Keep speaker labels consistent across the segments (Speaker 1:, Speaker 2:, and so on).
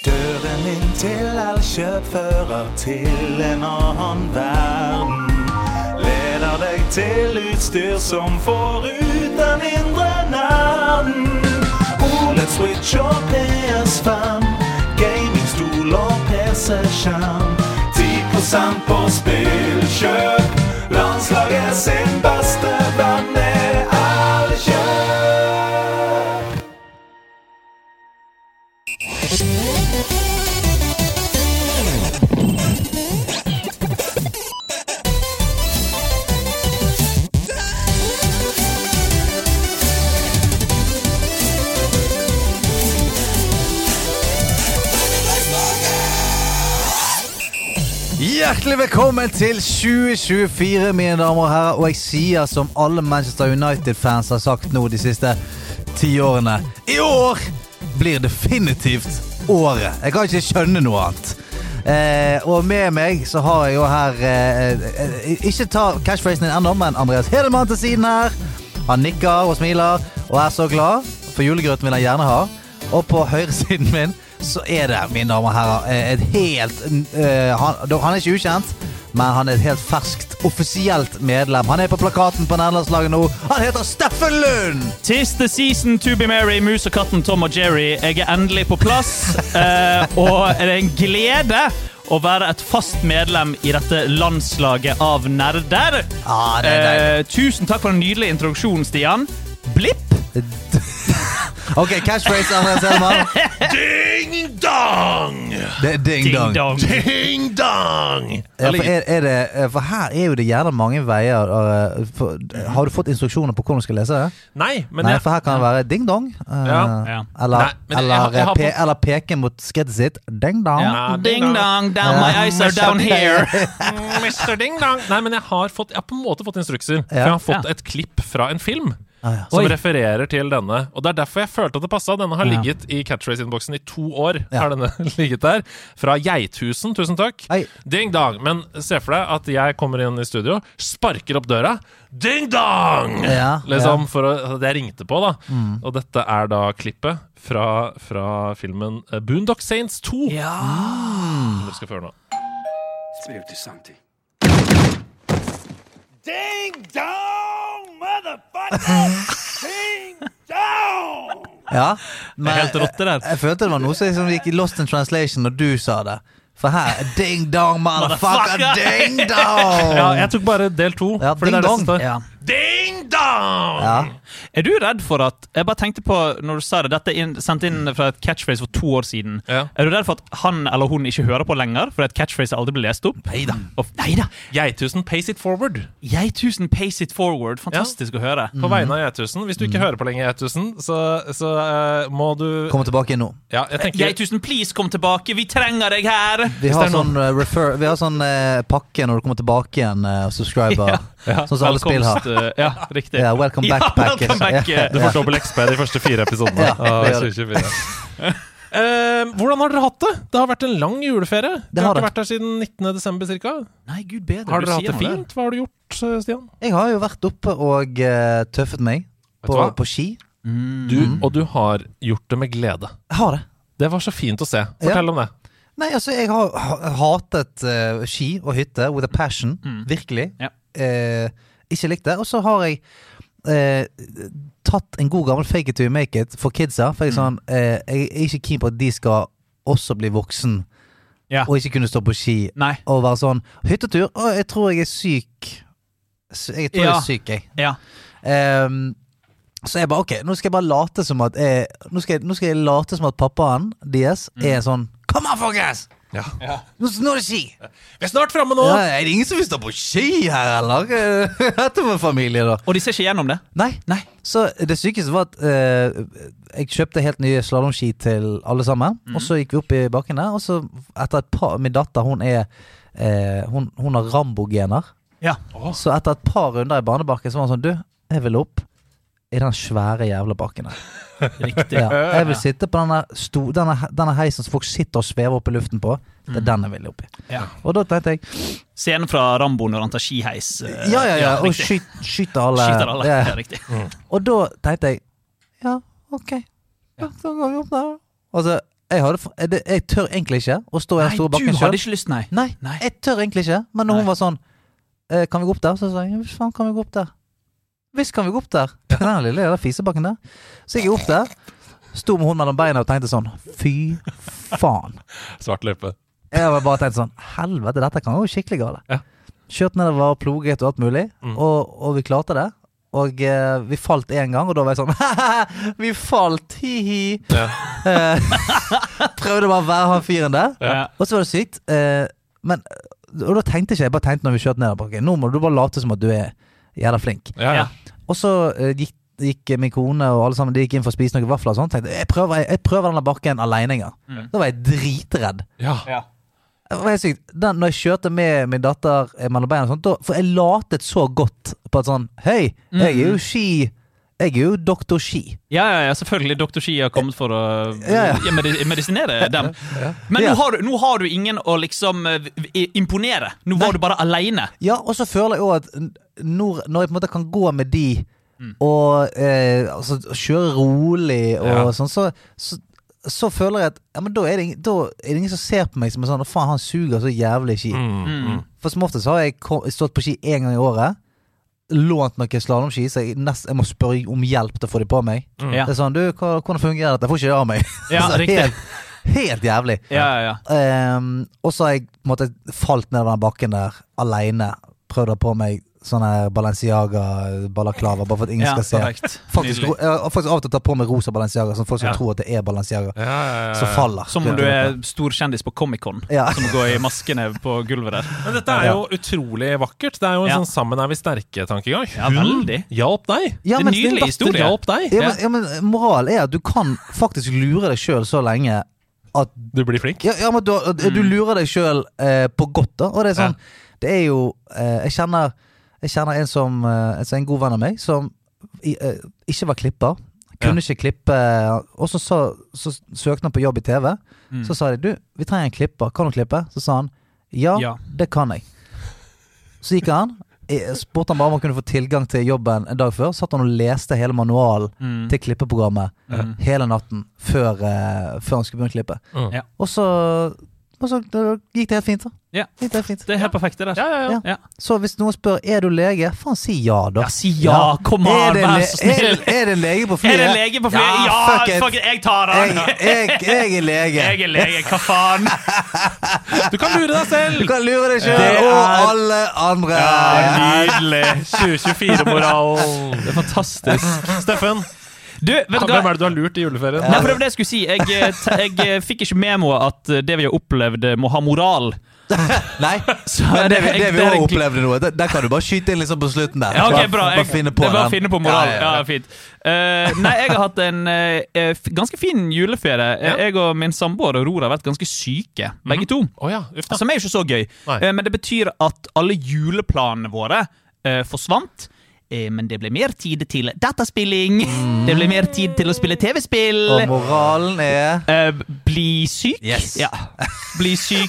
Speaker 1: Velkommen inn til elkjøpfører til en annen verden. Leder deg til utstyr som får ut den indre nerden. OLED Switch og PS5, gamingstol og PC-skjerm. 10 på spillkjøp. Landslaget sin beste venn er Elkjøp.
Speaker 2: Hjertelig velkommen til 2024, mine damer og herrer. Og jeg sier som alle Manchester United-fans har sagt nå de siste ti årene I år blir definitivt året. Jeg kan ikke skjønne noe annet. Eh, og med meg så har jeg jo her eh, eh, Ikke ta catchphrasen din ennå, men Andreas Hedemann til siden her. Han nikker og smiler og er så glad, for julegrøten vil han gjerne ha. Og på høyresiden min så er det, mine damer og herrer, eh, et helt eh, han, da- han er ikke ukjent, men han er et helt ferskt, offisielt medlem. Han er på plakaten på nederlandslaget nå. Han heter Steffen Lund!
Speaker 3: Tis the season to be merry, mus og katten Tom og Jerry. Jeg er endelig på plass, eh, og det er en glede å være et fast medlem i dette landslaget av nerder.
Speaker 2: Ja, det er deilig.
Speaker 3: Eh, tusen takk for den nydelige introduksjonen, Stian. Blipp!
Speaker 4: Eh.
Speaker 2: OK, catchphrase, Andreas Hedman.
Speaker 1: Ding dong!
Speaker 2: Det er ding dong.
Speaker 3: Ding-dong.
Speaker 1: Ding dong!
Speaker 2: Ja, for, er, er det, eh, for her er jo det gjerne mange veier. eh, For, har du fått instruksjoner på hvordan du skal lese det?
Speaker 4: Nei, men
Speaker 2: Nei,
Speaker 4: jeg,
Speaker 2: for her kan det være ding dong. eh,
Speaker 4: Ja.
Speaker 3: Ja.
Speaker 2: Eller,
Speaker 4: Nei, men jeg-
Speaker 2: eller,
Speaker 4: jeg- jeg har
Speaker 2: pe,
Speaker 4: på-
Speaker 2: eller peke mot skrittet sitt. Ding dong.
Speaker 3: Ja.
Speaker 4: ding
Speaker 3: Ding dong, down my eyes are down here.
Speaker 4: Mr. Ding Dong Nei, men jeg har, fått, jeg har på en måte fått instrukser. For jeg har fått et klipp fra en film
Speaker 2: Ah, ja.
Speaker 4: som
Speaker 3: Oi.
Speaker 4: refererer til denne. Og det er derfor jeg følte at det passa. Denne har ligget i Catchphrase-innboksen i to år.
Speaker 2: Ja.
Speaker 4: Har denne ligget der Fra Geithusen, tusen takk.
Speaker 2: Hei.
Speaker 4: Ding dong. Men se for deg at jeg kommer inn i studio, sparker opp døra. Ding dong!
Speaker 2: Ja, Mm.
Speaker 4: liksom, for å, at jeg ringte på, da. Og dette er da klippet fra, fra filmen eh, Boondock Saints 2. Som dere skal få høre nå.
Speaker 5: Spirito Santi.
Speaker 1: Ding dong, motherfucker! Ding dong!
Speaker 2: Ja, men
Speaker 3: Helt rått, det der.
Speaker 2: Jeg, jeg følte det var noe som liksom gikk i Lost in Translation når du sa det. For her Ding dong, motherfucker! Ding dong!
Speaker 4: Ja, jeg tok bare del to.
Speaker 2: Ja,
Speaker 4: fordi det er det som står.
Speaker 2: Ja.
Speaker 4: Ding dong!
Speaker 2: Ja.
Speaker 3: Er du redd for at Jeg bare tenkte på når du sa det, dette er inn, sendt inn fra et catchphrase for to år siden.
Speaker 4: Ja.
Speaker 3: Er du redd for at han eller hun ikke hører på lenger fordi et catchphrase aldri blir lest opp? Neida. Neida.
Speaker 4: Geithusen, pace it forward.
Speaker 3: Geithusen pace it forward. Fantastisk å høre.
Speaker 4: På vegne av Geithusen. Hvis du ikke hører på lenge, Geithusen, så, så eh, må du
Speaker 2: Mm. Kom tilbake igjen nå.
Speaker 4: Ja, jeg tenker
Speaker 3: Geithusen, please kom tilbake! Vi trenger deg her!
Speaker 2: Vi
Speaker 4: Hvis
Speaker 2: har
Speaker 4: det er
Speaker 2: sånn, eh, refer, vi har sånn eh, pakke når du kommer tilbake igjen eh, og subscriber. Sånn som alle spill har.
Speaker 4: Velkomst, eh, Ja, riktig.
Speaker 2: Ja, welcome
Speaker 3: Ja,
Speaker 2: back, package.
Speaker 3: welcome back, eh,
Speaker 4: Du får dobbel XP de første fire episodene
Speaker 2: Ja,
Speaker 4: av
Speaker 2: det gjør det.
Speaker 4: 2024. Eh, hvordan har dere hatt det? Det har vært en lang juleferie. Du
Speaker 2: Det har det.
Speaker 4: har ikke vært her siden 19. desember cirka.
Speaker 3: Nei, gud bedre.
Speaker 4: Har
Speaker 3: du sier
Speaker 4: dere hatt det
Speaker 3: noe der.
Speaker 4: fint? Hva har du gjort, eh, Stian?
Speaker 2: Jeg har jo vært oppe og eh, tøffet meg
Speaker 4: Vet
Speaker 2: på,
Speaker 4: du hva?
Speaker 2: på ski.
Speaker 3: Mm,
Speaker 4: Du,
Speaker 2: Mm.
Speaker 4: og du har gjort det med glede.
Speaker 2: Jeg har det.
Speaker 4: Det var så fint å se. Fortell om det.
Speaker 2: Nei, altså, jeg har ha- hatet eh, ski og hytte with a passion. Virkelig.
Speaker 3: Mm. Ja.
Speaker 2: Eh, ikke likt det. Og så har jeg eh, tatt en god gammel fake it to you make it for kidsa. For jeg, er
Speaker 3: Mm.
Speaker 2: sånn, eh, jeg er ikke keen på at de skal også bli voksen
Speaker 3: Ja.
Speaker 2: og ikke kunne stå på ski
Speaker 3: Nei.
Speaker 2: og være sånn Hyttetur? Å, jeg tror jeg er syk. Sy- Jeg tror
Speaker 3: Ja.
Speaker 2: jeg er syk, jeg.
Speaker 3: Ja.
Speaker 2: Ehm, så jeg bare ok, nå skal jeg bare late som at jeg, Nå skal jeg, nå skal jeg late som at pappaen deres er sånn Kom an, folkens!
Speaker 4: Ja.
Speaker 2: Nå, nå er det ski!
Speaker 4: Vi er snart framme nå!
Speaker 2: Ja, er det ingen som vil stå på ski her, eller? Dette var familie, da.
Speaker 3: Og de ser ikke gjennom det?
Speaker 2: Nei.
Speaker 3: Nei.
Speaker 2: Så det sykeste var at eh, jeg kjøpte helt nye slalåmski til alle sammen. Og så gikk vi opp i bakken der, og så etter et par Min datter, hun er eh, hun, hun har Rambo-gener.
Speaker 3: Ja.
Speaker 2: Så etter et par runder i barnebakken så var hun sånn Du, jeg vil opp i den svære jævla bakken der.
Speaker 3: Riktig.
Speaker 2: Ja. Jeg vil sitte på denne, sto, denne, denne heisen som folk sitter og svever opp i luften på. Det
Speaker 3: Mm.
Speaker 2: er den jeg vil opp i.
Speaker 3: Ja.
Speaker 2: Og da tenkte jeg
Speaker 3: Scenen fra Rambo når han tar skiheis. eh,
Speaker 2: Ja, ja, ja. og
Speaker 3: riktig.
Speaker 2: skyt, skyter alle.
Speaker 3: Skyter alle.
Speaker 2: Ja, ja.
Speaker 3: Ja, riktig.
Speaker 2: Og da tenkte jeg Ja, ok. Ja, Da går vi opp der. Og så Jeg, hadde, f- det- jeg tør egentlig ikke å stå i den
Speaker 3: Nei,
Speaker 2: store bakken
Speaker 3: du
Speaker 2: sjøl.
Speaker 3: hadde ikke lyst, nei.
Speaker 2: Nei,
Speaker 3: Nei.
Speaker 2: jeg tør egentlig ikke. Men når
Speaker 3: Nei.
Speaker 2: hun var sånn eh, Kan vi gå opp der? Så sa jeg ja, visst faen kan vi gå opp der. Visst kan vi gå opp der. Den lille den fisebakken der. Så gikk jeg opp der. Sto med hun mellom beina og tenkte sånn Fy faen.
Speaker 4: Svart løype.
Speaker 2: Jeg var bare tenkte sånn Helvete, dette kan gå skikkelig gale.
Speaker 4: Ja.
Speaker 2: Kjørt nedover og ploget og alt mulig, og, og vi klarte det. Og eh, vi falt én gang, og da var jeg sånn Vi falt, hi-hi.
Speaker 4: Ja.
Speaker 2: Eh, prøvde bare å være han fyren der.
Speaker 3: Ja.
Speaker 2: Og så var det sykt. eh, men og da tenkte ikke jeg, jeg bare tenkte når vi kjørte nedover Nå må du bare late som at du er jævla flink.
Speaker 4: Ja, ja.
Speaker 3: Ja.
Speaker 2: Og så eh, gikk, gikk min kone og alle sammen De gikk inn for å spise noen vafler og sånn. Tenkte jeg prøver, jeg, jeg prøver denne bakken alene en gang. Da var jeg dritredd.
Speaker 4: ja.
Speaker 3: Ja.
Speaker 2: Det var helt sykt. Den, når jeg kjørte med min datter eh, mellom beina, og sånt, da, for jeg latet så godt på at sånn Hei, jeg er jo ski Jeg er jo doktor ski.
Speaker 3: Ja, ja, ja, selvfølgelig. Dr. Ski har kommet for å
Speaker 2: Ja, ja.
Speaker 3: ja, medi- medisinere dem. Men
Speaker 2: Ja.
Speaker 3: nå har, du, nå har du ingen å liksom eh, v- imponere. Nå var du bare aleine.
Speaker 2: Ja, og så føler jeg òg at n- når, når jeg på en måte kan gå med de
Speaker 3: Mm.
Speaker 2: og eh, altså, kjøre rolig og
Speaker 4: Ja.
Speaker 2: sånn, så, så, så føler jeg at ja, men da, er det ingen, da er det ingen som ser på meg som en sånn Å, faen, han suger så jævlig i ski.
Speaker 3: Mm.
Speaker 4: Mm.
Speaker 2: For som oftest har jeg ko- stått på ski én gang i året. Lånt noen slalåmski, så jeg, nest, jeg må spørre om hjelp til å få de på meg. Det
Speaker 3: Ja.
Speaker 2: er sånn, du, hva- hvordan fungerer dette? Jeg får ikke det av meg.
Speaker 3: Ja,
Speaker 2: Altså,
Speaker 3: riktig.
Speaker 2: helt, helt jævlig.
Speaker 3: Ja, ja, ja.
Speaker 2: Ehm, og så har jeg på en måte, falt ned den bakken der alene. Prøvd å ha på meg sånne Balenciaga balaklava, bare for at ingen
Speaker 3: Ja,
Speaker 2: skal se.
Speaker 3: perfekt.
Speaker 2: Faktisk,
Speaker 3: Nydelig.
Speaker 2: ro- jeg har faktisk av og til tatt på meg rosa Balenciaga, sånn folk som
Speaker 4: Ja.
Speaker 2: tror at det er Balenciaga,
Speaker 4: Ja, ja, ja,
Speaker 2: som
Speaker 4: ja.
Speaker 2: faller.
Speaker 3: Som om du er stor kjendis på Comic-Con.
Speaker 2: Ja.
Speaker 3: Som går i maskene på gulvet der.
Speaker 4: Men dette er jo utrolig vakkert. Det er jo en
Speaker 3: Ja.
Speaker 4: sånn 'sammen er vi sterke'-tankegang.
Speaker 3: Ja,
Speaker 4: Hun
Speaker 3: veldig.
Speaker 4: hjalp deg.
Speaker 2: ja,
Speaker 3: det er
Speaker 2: men
Speaker 3: nydelig
Speaker 2: datter-
Speaker 3: historie.
Speaker 4: Hjalp deg.
Speaker 2: Ja, men, ja, men moral er at du kan faktisk lure deg sjøl så lenge at
Speaker 4: Du blir flink.
Speaker 2: Ja, ja men du,
Speaker 3: Mm.
Speaker 2: du lurer deg sjøl eh, på godt, da. Og det er sånn Det er jo eh, Jeg kjenner Jeg kjenner en som eh, altså En god venn av meg som i, eh, ikke var klipper. Kunne ikke klippe. eh, Og så, så, så søkte han på jobb i TV.
Speaker 3: Mm.
Speaker 2: Så sa de du, vi trenger en klipper. Kan du klippe? Så sa han ja,
Speaker 3: Ja.
Speaker 2: det kan jeg. Så gikk han. eh, Spurte han bare om han kunne få tilgang til jobben en dag før. Satt han og leste hele manualen
Speaker 3: Mm.
Speaker 2: til klippeprogrammet eh, hele natten før, eh, før han skulle begynne å klippe.
Speaker 4: Mm.
Speaker 3: Ja.
Speaker 2: Og så, og så da gikk det helt fint, da.
Speaker 3: Ja.
Speaker 2: Gikk det helt fint.
Speaker 3: Det er helt perfekt, det der.
Speaker 4: Ja, ja, ja.
Speaker 3: Ja.
Speaker 2: Så hvis noen spør er du lege, faen, si ja, da.
Speaker 3: Ja, si ja, kom an,
Speaker 2: Er det en
Speaker 3: vær
Speaker 2: le-
Speaker 3: så snill.
Speaker 2: Er, er det en lege på flyet?
Speaker 3: Er det lege på flyet? Ja,
Speaker 2: fuck it.
Speaker 3: fuck it, jeg tar
Speaker 2: Jeg,
Speaker 3: den!
Speaker 2: jeg, jeg er lege.
Speaker 3: Jeg er lege, hva faen?
Speaker 4: Du kan lure deg
Speaker 2: Du
Speaker 4: selv!
Speaker 2: kan lure deg
Speaker 3: Det
Speaker 2: sjøl
Speaker 3: er-
Speaker 2: og alle andre.
Speaker 4: Nydelig. 2024-moral.
Speaker 3: Det er fantastisk.
Speaker 4: Steffen,
Speaker 3: Du, vet du
Speaker 4: hvem
Speaker 3: hva?
Speaker 4: er det du har lurt i juleferien?
Speaker 3: Nei, for det var det jeg skulle si. Jeg, eh, te- jeg eh, fikk ikke med meg at eh, det vi har opplevd, eh, må ha moral.
Speaker 2: Nei,
Speaker 3: er
Speaker 2: men det, vi-
Speaker 3: det-
Speaker 2: det vi
Speaker 3: det
Speaker 2: òg
Speaker 3: er en-
Speaker 2: opplevde nå, det- der kan du bare skyte inn liksom på slutten der.
Speaker 3: Ja, ok,
Speaker 2: Bare-
Speaker 3: bra.
Speaker 2: bare
Speaker 3: Jeg,
Speaker 2: finne
Speaker 3: det er bare
Speaker 2: den.
Speaker 3: å finne på moral.
Speaker 2: Ja, ja,
Speaker 3: Ja,
Speaker 2: ja.
Speaker 3: fint. Eh, nei, jeg har hatt en eh, eh, f- ganske fin juleferie. Eh, Jeg og min samboer Aurora har vært ganske syke, begge to.
Speaker 4: Å ja, uff da.
Speaker 3: Som er jo ikke så gøy.
Speaker 4: Nei.
Speaker 3: Eh, men det betyr at alle juleplanene våre eh, forsvant. Eh, men det ble mer tid til dataspilling. Det ble mer tid til å spille TV-spill.
Speaker 2: Og moralen er
Speaker 3: Eh, bli syk.
Speaker 2: Yes.
Speaker 3: Ja. Bli syk.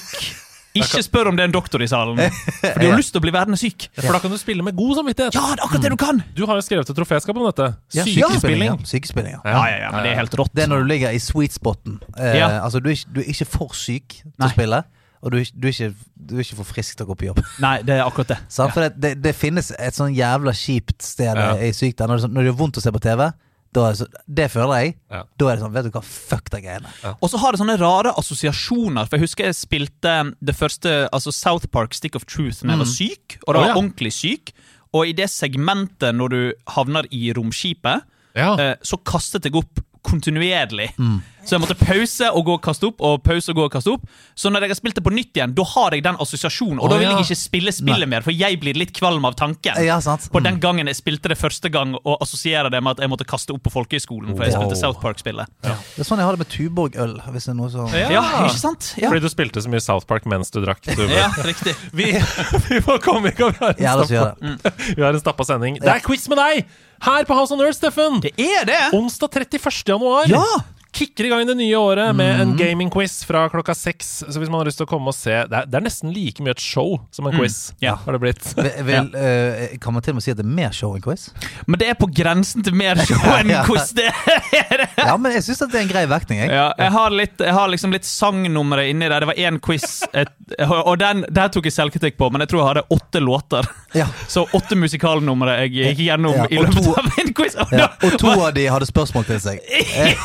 Speaker 3: Ikke spør om det er en doktor i salen, for du har lyst til å bli værende syk.
Speaker 4: For da kan du spille med god samvittighet.
Speaker 3: Ja, det er akkurat det du kan!
Speaker 4: Du har jo skrevet et troféskap om dette.
Speaker 2: Ja,
Speaker 4: Sykespilling.
Speaker 2: ja, Sykespilling, ja.
Speaker 3: Ja, ja, ja, men det er helt rått.
Speaker 2: Det er når du ligger i sweet spoten. Eh,
Speaker 3: Ja.
Speaker 2: Altså du er, ikke, du er ikke for syk til
Speaker 3: Nei.
Speaker 2: å spille, og du er, ikke- du, er ikke, du er ikke for frisk til å gå på jobb.
Speaker 3: Nei, det er akkurat det.
Speaker 2: Sant? For det, det, det finnes et sånn jævla kjipt sted
Speaker 4: Ja.
Speaker 2: i syk der. Når det, er sånn- når det gjør vondt å se på TV, da er det, så, det føler jeg.
Speaker 4: Ja.
Speaker 2: Da er det sånn Vet du hva, fuck de greiene.
Speaker 3: Og så har det sånne rare assosiasjoner. For Jeg husker jeg spilte um, det første altså South Park Stick of Truth da jeg var syk. Og da var
Speaker 4: Å,
Speaker 3: jeg
Speaker 4: ja.
Speaker 3: ordentlig syk. Og i det segmentet når du havner i romskipet,
Speaker 4: Ja.
Speaker 3: eh, så kastet jeg opp kontinuerlig.
Speaker 4: Mm.
Speaker 3: Så jeg måtte pause og gå og kaste opp, og pause og gå og kaste opp. Så når jeg har spilt det på nytt igjen, da har jeg den assosiasjonen. Og
Speaker 4: Å,
Speaker 3: da vil
Speaker 4: ja.
Speaker 3: jeg ikke spille spillet mer, for jeg blir litt kvalm av tanken.
Speaker 2: Ja, sant.
Speaker 3: På
Speaker 4: Mm.
Speaker 3: den gangen jeg spilte det første gang, og assosierer det med at jeg måtte kaste opp på folkehøyskolen. For jeg
Speaker 4: Wow.
Speaker 3: spilte South Park-spillet. Ja.
Speaker 2: Det er sånn jeg har det med Tuborg-øl. Hvis det er noe som
Speaker 4: Ja.
Speaker 3: ikke sant? Ja.
Speaker 4: Fordi du spilte så mye South Park mens du drakk. Du,
Speaker 3: Ja, riktig.
Speaker 4: vi, vi må komme i gang. Vi har en
Speaker 2: Ja, la oss gjøre
Speaker 4: stappa-
Speaker 3: Mm.
Speaker 4: vi har en stappa sending. Det er quiz med deg her på House on Earth, Steffen!
Speaker 3: Det er det!
Speaker 4: Onsdag 31. januar.
Speaker 2: Ja!
Speaker 4: kicker i gang det nye året med en gamingquiz fra klokka seks. Så hvis man har lyst til å komme og se Det er, det er nesten like mye et show som en quiz,
Speaker 3: Ja.
Speaker 4: har det blitt.
Speaker 2: Vel, vel, eh, kan man til og med si at det er mer show enn quiz?
Speaker 3: Men det er på grensen til mer show enn
Speaker 2: Ja.
Speaker 3: quiz. Det er det.
Speaker 2: Ja, men jeg syns det er en grei vektning. Jeg.
Speaker 3: Ja, jeg, har litt, jeg har liksom litt sangnumre inni der. Det var én quiz, et, og den der tok jeg selvkritikk på, men jeg tror jeg hadde åtte låter.
Speaker 2: Ja.
Speaker 3: Så åtte musikalnumre jeg gikk gjennom
Speaker 2: Ja,
Speaker 3: i
Speaker 2: og
Speaker 3: løpet
Speaker 2: to-
Speaker 3: av en quiz. Og
Speaker 2: Ja.
Speaker 3: da-
Speaker 2: Og to av de hadde spørsmål til seg. Eh,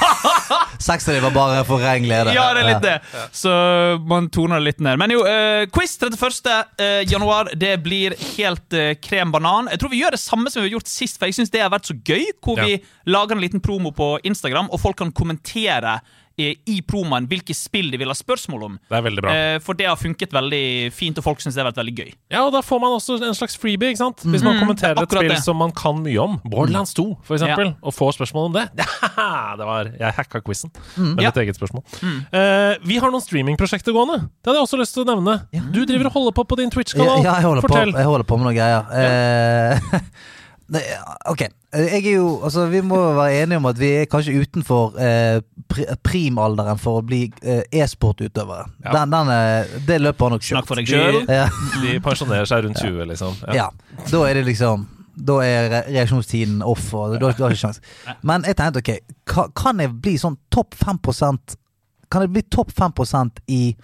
Speaker 2: Seks av de var bare for ren glede.
Speaker 3: Ja, det er litt det. Så man toner det litt ned. Men jo, eh, quiz 31. eh, januar. Det blir helt eh, krem banan. Jeg tror vi gjør det samme som vi har gjort sist, for jeg syns det har vært så gøy. Hvor
Speaker 4: Ja.
Speaker 3: vi lager en liten promo på Instagram, og folk kan kommentere eh, i promoen hvilke spill de vil ha spørsmål om.
Speaker 4: Det er veldig bra.
Speaker 3: Eh, For det har funket veldig fint, og folk syns det har vært veldig gøy.
Speaker 4: Ja, og da får man også en slags freebie, ikke sant? Hvis man kommenterer et
Speaker 3: akkurat
Speaker 4: spill
Speaker 3: det.
Speaker 4: som man kan mye om, Borderlands 2 for eksempel,
Speaker 3: Ja.
Speaker 4: og får spørsmål om det. det var, jeg hacka quizen med
Speaker 3: Ja.
Speaker 4: mitt eget spørsmål. Eh, vi har noen streamingprosjekter gående. Det hadde jeg også lyst til å nevne. Du driver og holder på på din Twitch-kanal.
Speaker 2: Ja, ja, jeg holder, på,
Speaker 4: Fortell.
Speaker 2: jeg holder på med noen greier. Eh, det, ok. Jeg er jo, altså, vi må jo være enige om at vi er kanskje utenfor eh, pri- primalderen for å bli eh, e-sportutøvere.
Speaker 4: Ja.
Speaker 2: Den, den, eh, det løpet har nok
Speaker 3: Snakk for
Speaker 2: kjørt.
Speaker 3: deg sjøl.
Speaker 2: Ja,
Speaker 4: De pensjonerer seg rundt 20, liksom. Ja.
Speaker 2: ja. Da er det liksom Da er re- reaksjonstiden off, og du har du har ikke sjans. Men jeg tenkte ok, ka- kan jeg bli sånn topp 5 Kan jeg bli topp 5 i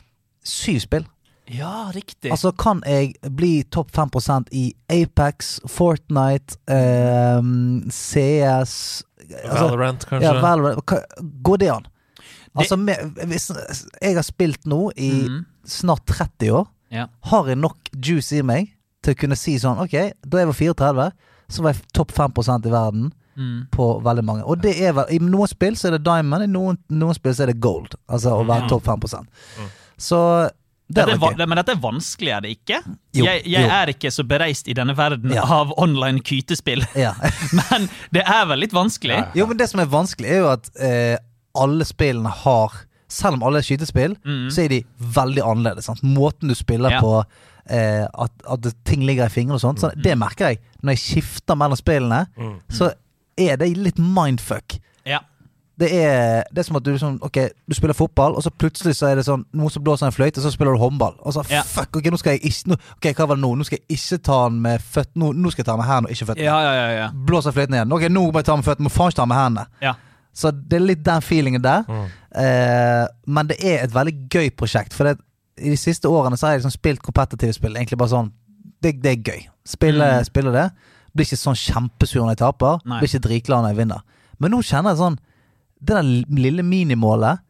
Speaker 2: syv spill?
Speaker 3: Ja, riktig.
Speaker 2: Altså, kan jeg bli topp 5 i Apex, Fortnite, ehm, CS altså,
Speaker 4: Valorant, kanskje.
Speaker 2: ja, Valorant. Ka- Går det an? Altså, med, hvis, jeg har spilt nå i snart 30 år.
Speaker 3: Ja.
Speaker 2: Har jeg nok juice i meg til å kunne si sånn Ok, da jeg var 34, så var jeg topp 5 i verden på veldig mange. Og det er vel I noen spill så er det diamond, i noen, noen spill så er det gold. Altså å være topp 5 Så det
Speaker 3: Dette
Speaker 2: er
Speaker 3: er, va-
Speaker 2: nok gøy.
Speaker 3: men dette er vanskelig, er det ikke?
Speaker 2: Jo,
Speaker 3: jeg jeg
Speaker 2: jo.
Speaker 3: er ikke så bereist i denne verden
Speaker 2: Ja.
Speaker 3: av online kytespill,
Speaker 2: Ja.
Speaker 3: men det er vel litt vanskelig.
Speaker 2: Jo, men det som er vanskelig, er jo at eh, alle spillene har Selv om alle er skytespill, så er de veldig annerledes. Sant? Måten du spiller
Speaker 3: Mm. Ja.
Speaker 2: på, eh, at, at det- ting ligger i fingrene og sånt, så
Speaker 3: Mm.
Speaker 2: det merker jeg. Når jeg skifter mellom spillene, så er det litt mindfuck.
Speaker 3: Ja.
Speaker 2: Det er, det er som at du liksom Ok, du spiller fotball, og så plutselig så er det sånn noen som blåser en fløyte, så spiller du håndball. Og så
Speaker 3: Ja.
Speaker 2: fuck, ok, nå skal jeg ikke nå, Ok, hva var det nå? Nå skal jeg ikke ta den med føtt Nå, nå skal jeg ta den med hendene og ikke føttene.
Speaker 3: Ja, ja, ja, ja.
Speaker 2: Blåser fløyten igjen. Ok, nå må jeg ta den med føttene, må faen ikke ta den med hendene.
Speaker 3: ja.
Speaker 2: Så det er litt den feelingen der. Eh, men det er et veldig gøy prosjekt. For det, i de siste årene så har jeg liksom spilt kompetitive spill. Egentlig bare sånn Det, det er gøy. Spille, spille det. Blir ikke sånn kjempesur når jeg taper.
Speaker 3: Nei.
Speaker 2: Blir ikke dritglad når jeg vinner. Men nå kjenner jeg sånn Det der lille minimålet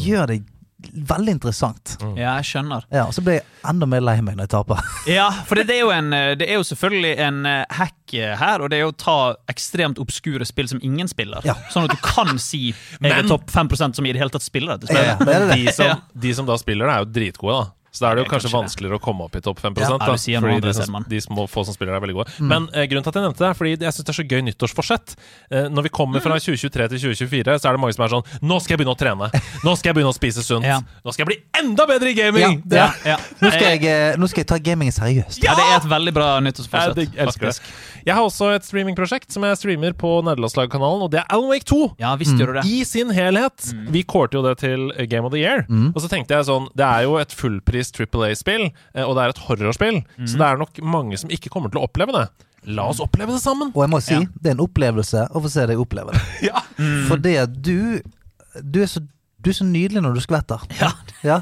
Speaker 2: gjør det veldig interessant.
Speaker 3: ja jeg skjønner.
Speaker 2: Ja, Og så blir jeg enda mer lei meg når jeg taper.
Speaker 3: Ja, for det det er jo, en, eh, det er jo selvfølgelig en eh, hack eh, her, og det er jo å ta ekstremt obskure spill som ingen spiller.
Speaker 2: Ja.
Speaker 3: Sånn at du kan si jeg er
Speaker 4: Men-
Speaker 3: topp 5 som i det hele tatt spiller dette
Speaker 2: Ja,
Speaker 3: spillet.
Speaker 2: det er det.
Speaker 4: De som,
Speaker 3: Ja.
Speaker 4: de som da spiller, er jo dritgode, da. Så da er det jo
Speaker 3: Ok,
Speaker 4: kanskje,
Speaker 3: kanskje det.
Speaker 4: vanskeligere å komme opp i topp 5
Speaker 3: Ja,
Speaker 4: da,
Speaker 3: du sier noe
Speaker 4: Fordi
Speaker 3: annet,
Speaker 4: de, som,
Speaker 3: Selman.
Speaker 4: de små, få som spiller, er veldig gode.
Speaker 3: Mm.
Speaker 4: Men eh, grunnen til at jeg nevnte det, er fordi jeg syns det er så gøy nyttårsforsett. Eh, når vi kommer fra
Speaker 3: Mm.
Speaker 4: 2023 til 2024, så er det mange som er sånn Nå skal jeg begynne å trene! Nå skal jeg begynne å spise sunt!
Speaker 3: Ja.
Speaker 4: Nå skal jeg bli enda bedre i gaming!
Speaker 2: Ja,
Speaker 4: Det
Speaker 3: Ja,
Speaker 4: er-
Speaker 3: ja.
Speaker 2: Nå skal jeg, eh, nå skal jeg ta gamingen seriøst.
Speaker 3: ja, det er et veldig bra
Speaker 4: Jeg,
Speaker 3: nyttårsforsett.
Speaker 4: digg- elsker
Speaker 3: faktisk.
Speaker 4: det. Jeg har også et streamingprosjekt som jeg streamer på Nederlandslagkanalen, og det er Alan Wake 2.
Speaker 3: Ja, visst gjør du det.
Speaker 4: I sin helhet. Vi kårte jo det til Game of the Year.
Speaker 3: Mm.
Speaker 4: Og så tenkte jeg sånn Det er jo et fullpris Triple A-spill, eh, og det er et horrorspill, så det er nok mange som ikke kommer til å oppleve det. La oss oppleve det sammen!
Speaker 2: Og jeg må si,
Speaker 3: Ja.
Speaker 2: det er en opplevelse å få se deg oppleve det.
Speaker 4: Ja.
Speaker 2: Fordi at du Du er så, du er så nydelig når du skvetter.
Speaker 3: Ja.
Speaker 2: Ja.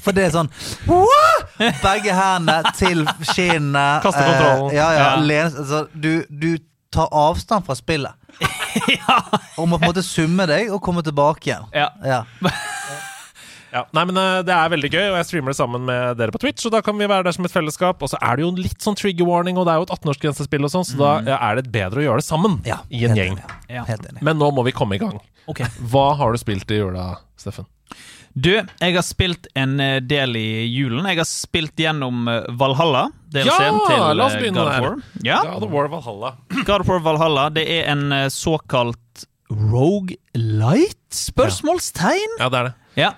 Speaker 2: For det er sånn «Wah!» Begge hendene til kinnene.
Speaker 4: Kaste
Speaker 2: eh,
Speaker 4: kontrollen.
Speaker 2: Ja, ja,
Speaker 3: Ja.
Speaker 2: lene- altså, du, du tar avstand fra spillet. Og må på en måte summe deg og komme tilbake igjen.
Speaker 3: Ja.
Speaker 2: Ja.
Speaker 4: Ja. Nei, men eh, Det er veldig gøy, og jeg streamer det sammen med dere på Twitch. Og da kan vi være der som et fellesskap. Og så er det jo litt sånn trigger warning, og det er jo et 18-årsgrensespill, og sånn, så da eh, er det bedre å gjøre det sammen
Speaker 2: Ja,
Speaker 4: i en
Speaker 2: helt
Speaker 4: gjeng.
Speaker 2: enig.
Speaker 3: Ja.
Speaker 2: Helt enig.
Speaker 4: Men nå må vi komme i gang.
Speaker 3: Ok.
Speaker 4: Hva har du spilt i jula, Steffen?
Speaker 3: Du, jeg har spilt en eh, del i julen. Jeg har spilt gjennom eh, Valhalla.
Speaker 4: Ja,
Speaker 3: DLC-en til eh,
Speaker 4: la oss begynne
Speaker 3: God of
Speaker 4: der.
Speaker 3: War. Ja,
Speaker 4: of War Valhalla.
Speaker 3: God of War Valhalla det er en eh, såkalt Rogue Light? Spørsmålstegn?
Speaker 4: Ja, det er det.
Speaker 3: Ja.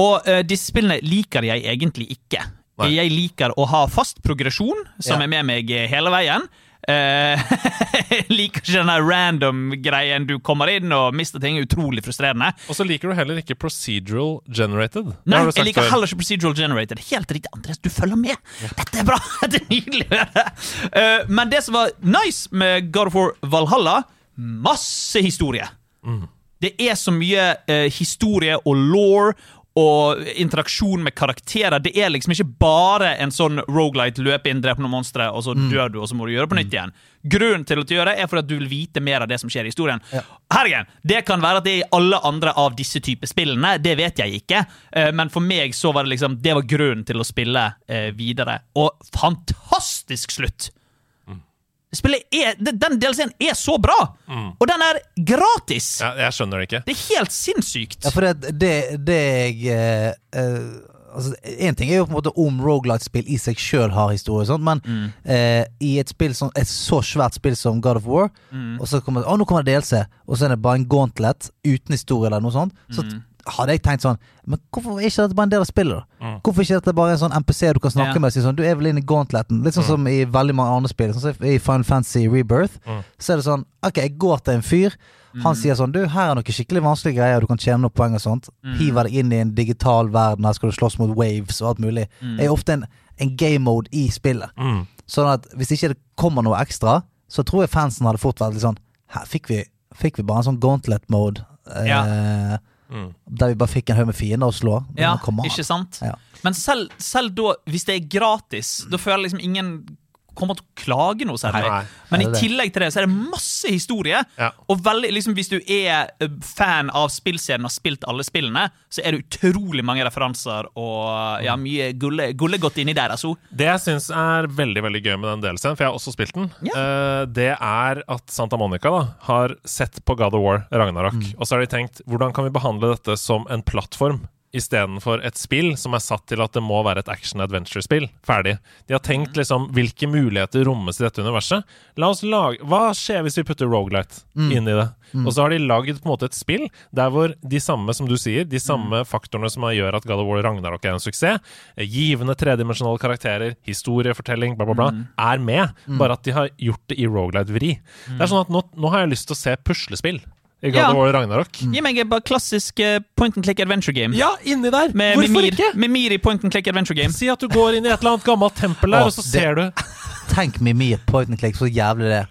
Speaker 3: Og eh, disse spillene liker jeg egentlig ikke.
Speaker 4: Nei.
Speaker 3: Jeg liker å ha fast progresjon, som
Speaker 2: Ja.
Speaker 3: er med meg eh, hele veien. Eh, Jeg liker ikke den der random-greien du kommer inn og mister ting. Utrolig frustrerende.
Speaker 4: Og så liker du heller ikke procedural generated. Det
Speaker 3: Nei,
Speaker 4: har du sagt
Speaker 3: jeg liker
Speaker 4: før.
Speaker 3: heller ikke procedural generated. Helt riktig, Andreas, du følger med! Dette er bra! Det er nydelig! å høre. Eh, men det som var nice med God of War Valhalla, masse historie. Det er så mye eh, historie og law og interaksjon med karakterer. Det er liksom ikke bare en sånn rogelight, løpe inn, drepe noen monstre, og så dør du, og så må du gjøre det på nytt igjen. Grunnen til at du gjør det, er fordi at du vil vite mer av det som skjer i historien. Herregud, det kan være at det er i alle andre av disse typer spillene, det vet jeg ikke, eh, men for meg så var det liksom Det var grunnen til å spille eh, videre. Og fantastisk slutt! Spillet er, den DLC-en er så bra! Og den er gratis!
Speaker 4: Ja, jeg skjønner det ikke.
Speaker 3: Det er helt sinnssykt.
Speaker 2: Ja, for det, det, det jeg eh, eh, Altså, Én ting er jo på en måte om Roguelite-spill i seg sjøl har historie, og sånt, men eh, i et spill som, et så svært spill som God of War, og så kommer det, å, nå kommer det DLC, og så er det bare en gauntlet uten historie eller noe sånt, så t- hadde jeg tenkt sånn Men hvorfor er ikke dette bare en del av spillet? da? Hvorfor ikke dette bare en sånn MPC du kan snakke
Speaker 3: Ja. Mm.
Speaker 2: med og si sånn Du er vel inne i gauntleten? Litt sånn som i veldig mange andre spill. Sånn som I Final Fantasy Rebirth
Speaker 3: Mm.
Speaker 2: så er det sånn OK, jeg går til en fyr. Han sier sånn Du, her er noen skikkelig vanskelige greier, du kan tjene noen poeng og sånt.
Speaker 3: Mm.
Speaker 2: Hiver deg inn i en digital verden, her skal du slåss mot waves og alt mulig.
Speaker 3: Mm.
Speaker 2: Det er ofte en, en game mode i spillet. Sånn at hvis ikke det kommer noe ekstra, så tror jeg fansen hadde fort vært litt sånn Her fikk vi, fikk vi bare en sånn gauntlet mode. eh, Der vi bare fikk en haug med fiender å slå. Men
Speaker 3: Mm. Ja,
Speaker 2: nå kommer han.
Speaker 3: ikke sant?
Speaker 2: Ja.
Speaker 3: Men selv, selv da, hvis det er gratis, da føler jeg liksom ingen kommer til å klage noe særlig.
Speaker 4: Nei.
Speaker 3: Men i
Speaker 2: Er det det?
Speaker 3: tillegg til det så er det masse historie.
Speaker 4: Ja.
Speaker 3: Og veldig, liksom, hvis du er eh, fan av spillserien og har spilt alle spillene, så er det utrolig mange referanser og eh, ja, mye gulle, gulle godt inni der. altså.
Speaker 4: Det jeg syns er veldig veldig gøy med den delscenen, for jeg har også spilt den, eh, det er at Santa Monica da har sett på God of War, Ragnarok, og så har de tenkt hvordan kan vi behandle dette som en plattform? Istedenfor et spill som er satt til at det må være et action-adventure-spill. Ferdig. De har tenkt liksom hvilke muligheter rommes i dette universet. La oss lage Altså, Hva skjer hvis vi putter Roguelite inn i det? Og så har de lagd på en måte et spill der hvor de samme, som du sier, de samme faktorene som gjør at God of War Ragnarok er en suksess, eh, givende tredimensjonale karakterer, historiefortelling, bla, bla, bla, er med. Bare at de har gjort det i Roguelite-vri. Det er sånn at nå, nå har jeg lyst til å se puslespill i God
Speaker 3: Ja.
Speaker 4: of War Ragnarok.
Speaker 3: Gi meg bare klassisk eh, point and click adventure game.
Speaker 4: Ja, inni der!
Speaker 3: Med
Speaker 4: Hvorfor
Speaker 3: Mimir.
Speaker 4: ikke?
Speaker 3: Mimir i point and click adventure game.
Speaker 4: Si at du går inn i et eller annet gammelt tempel
Speaker 2: Å,
Speaker 4: der, og så
Speaker 2: det-
Speaker 4: ser du
Speaker 2: Tenk Mimir point and click, så jævlig det er.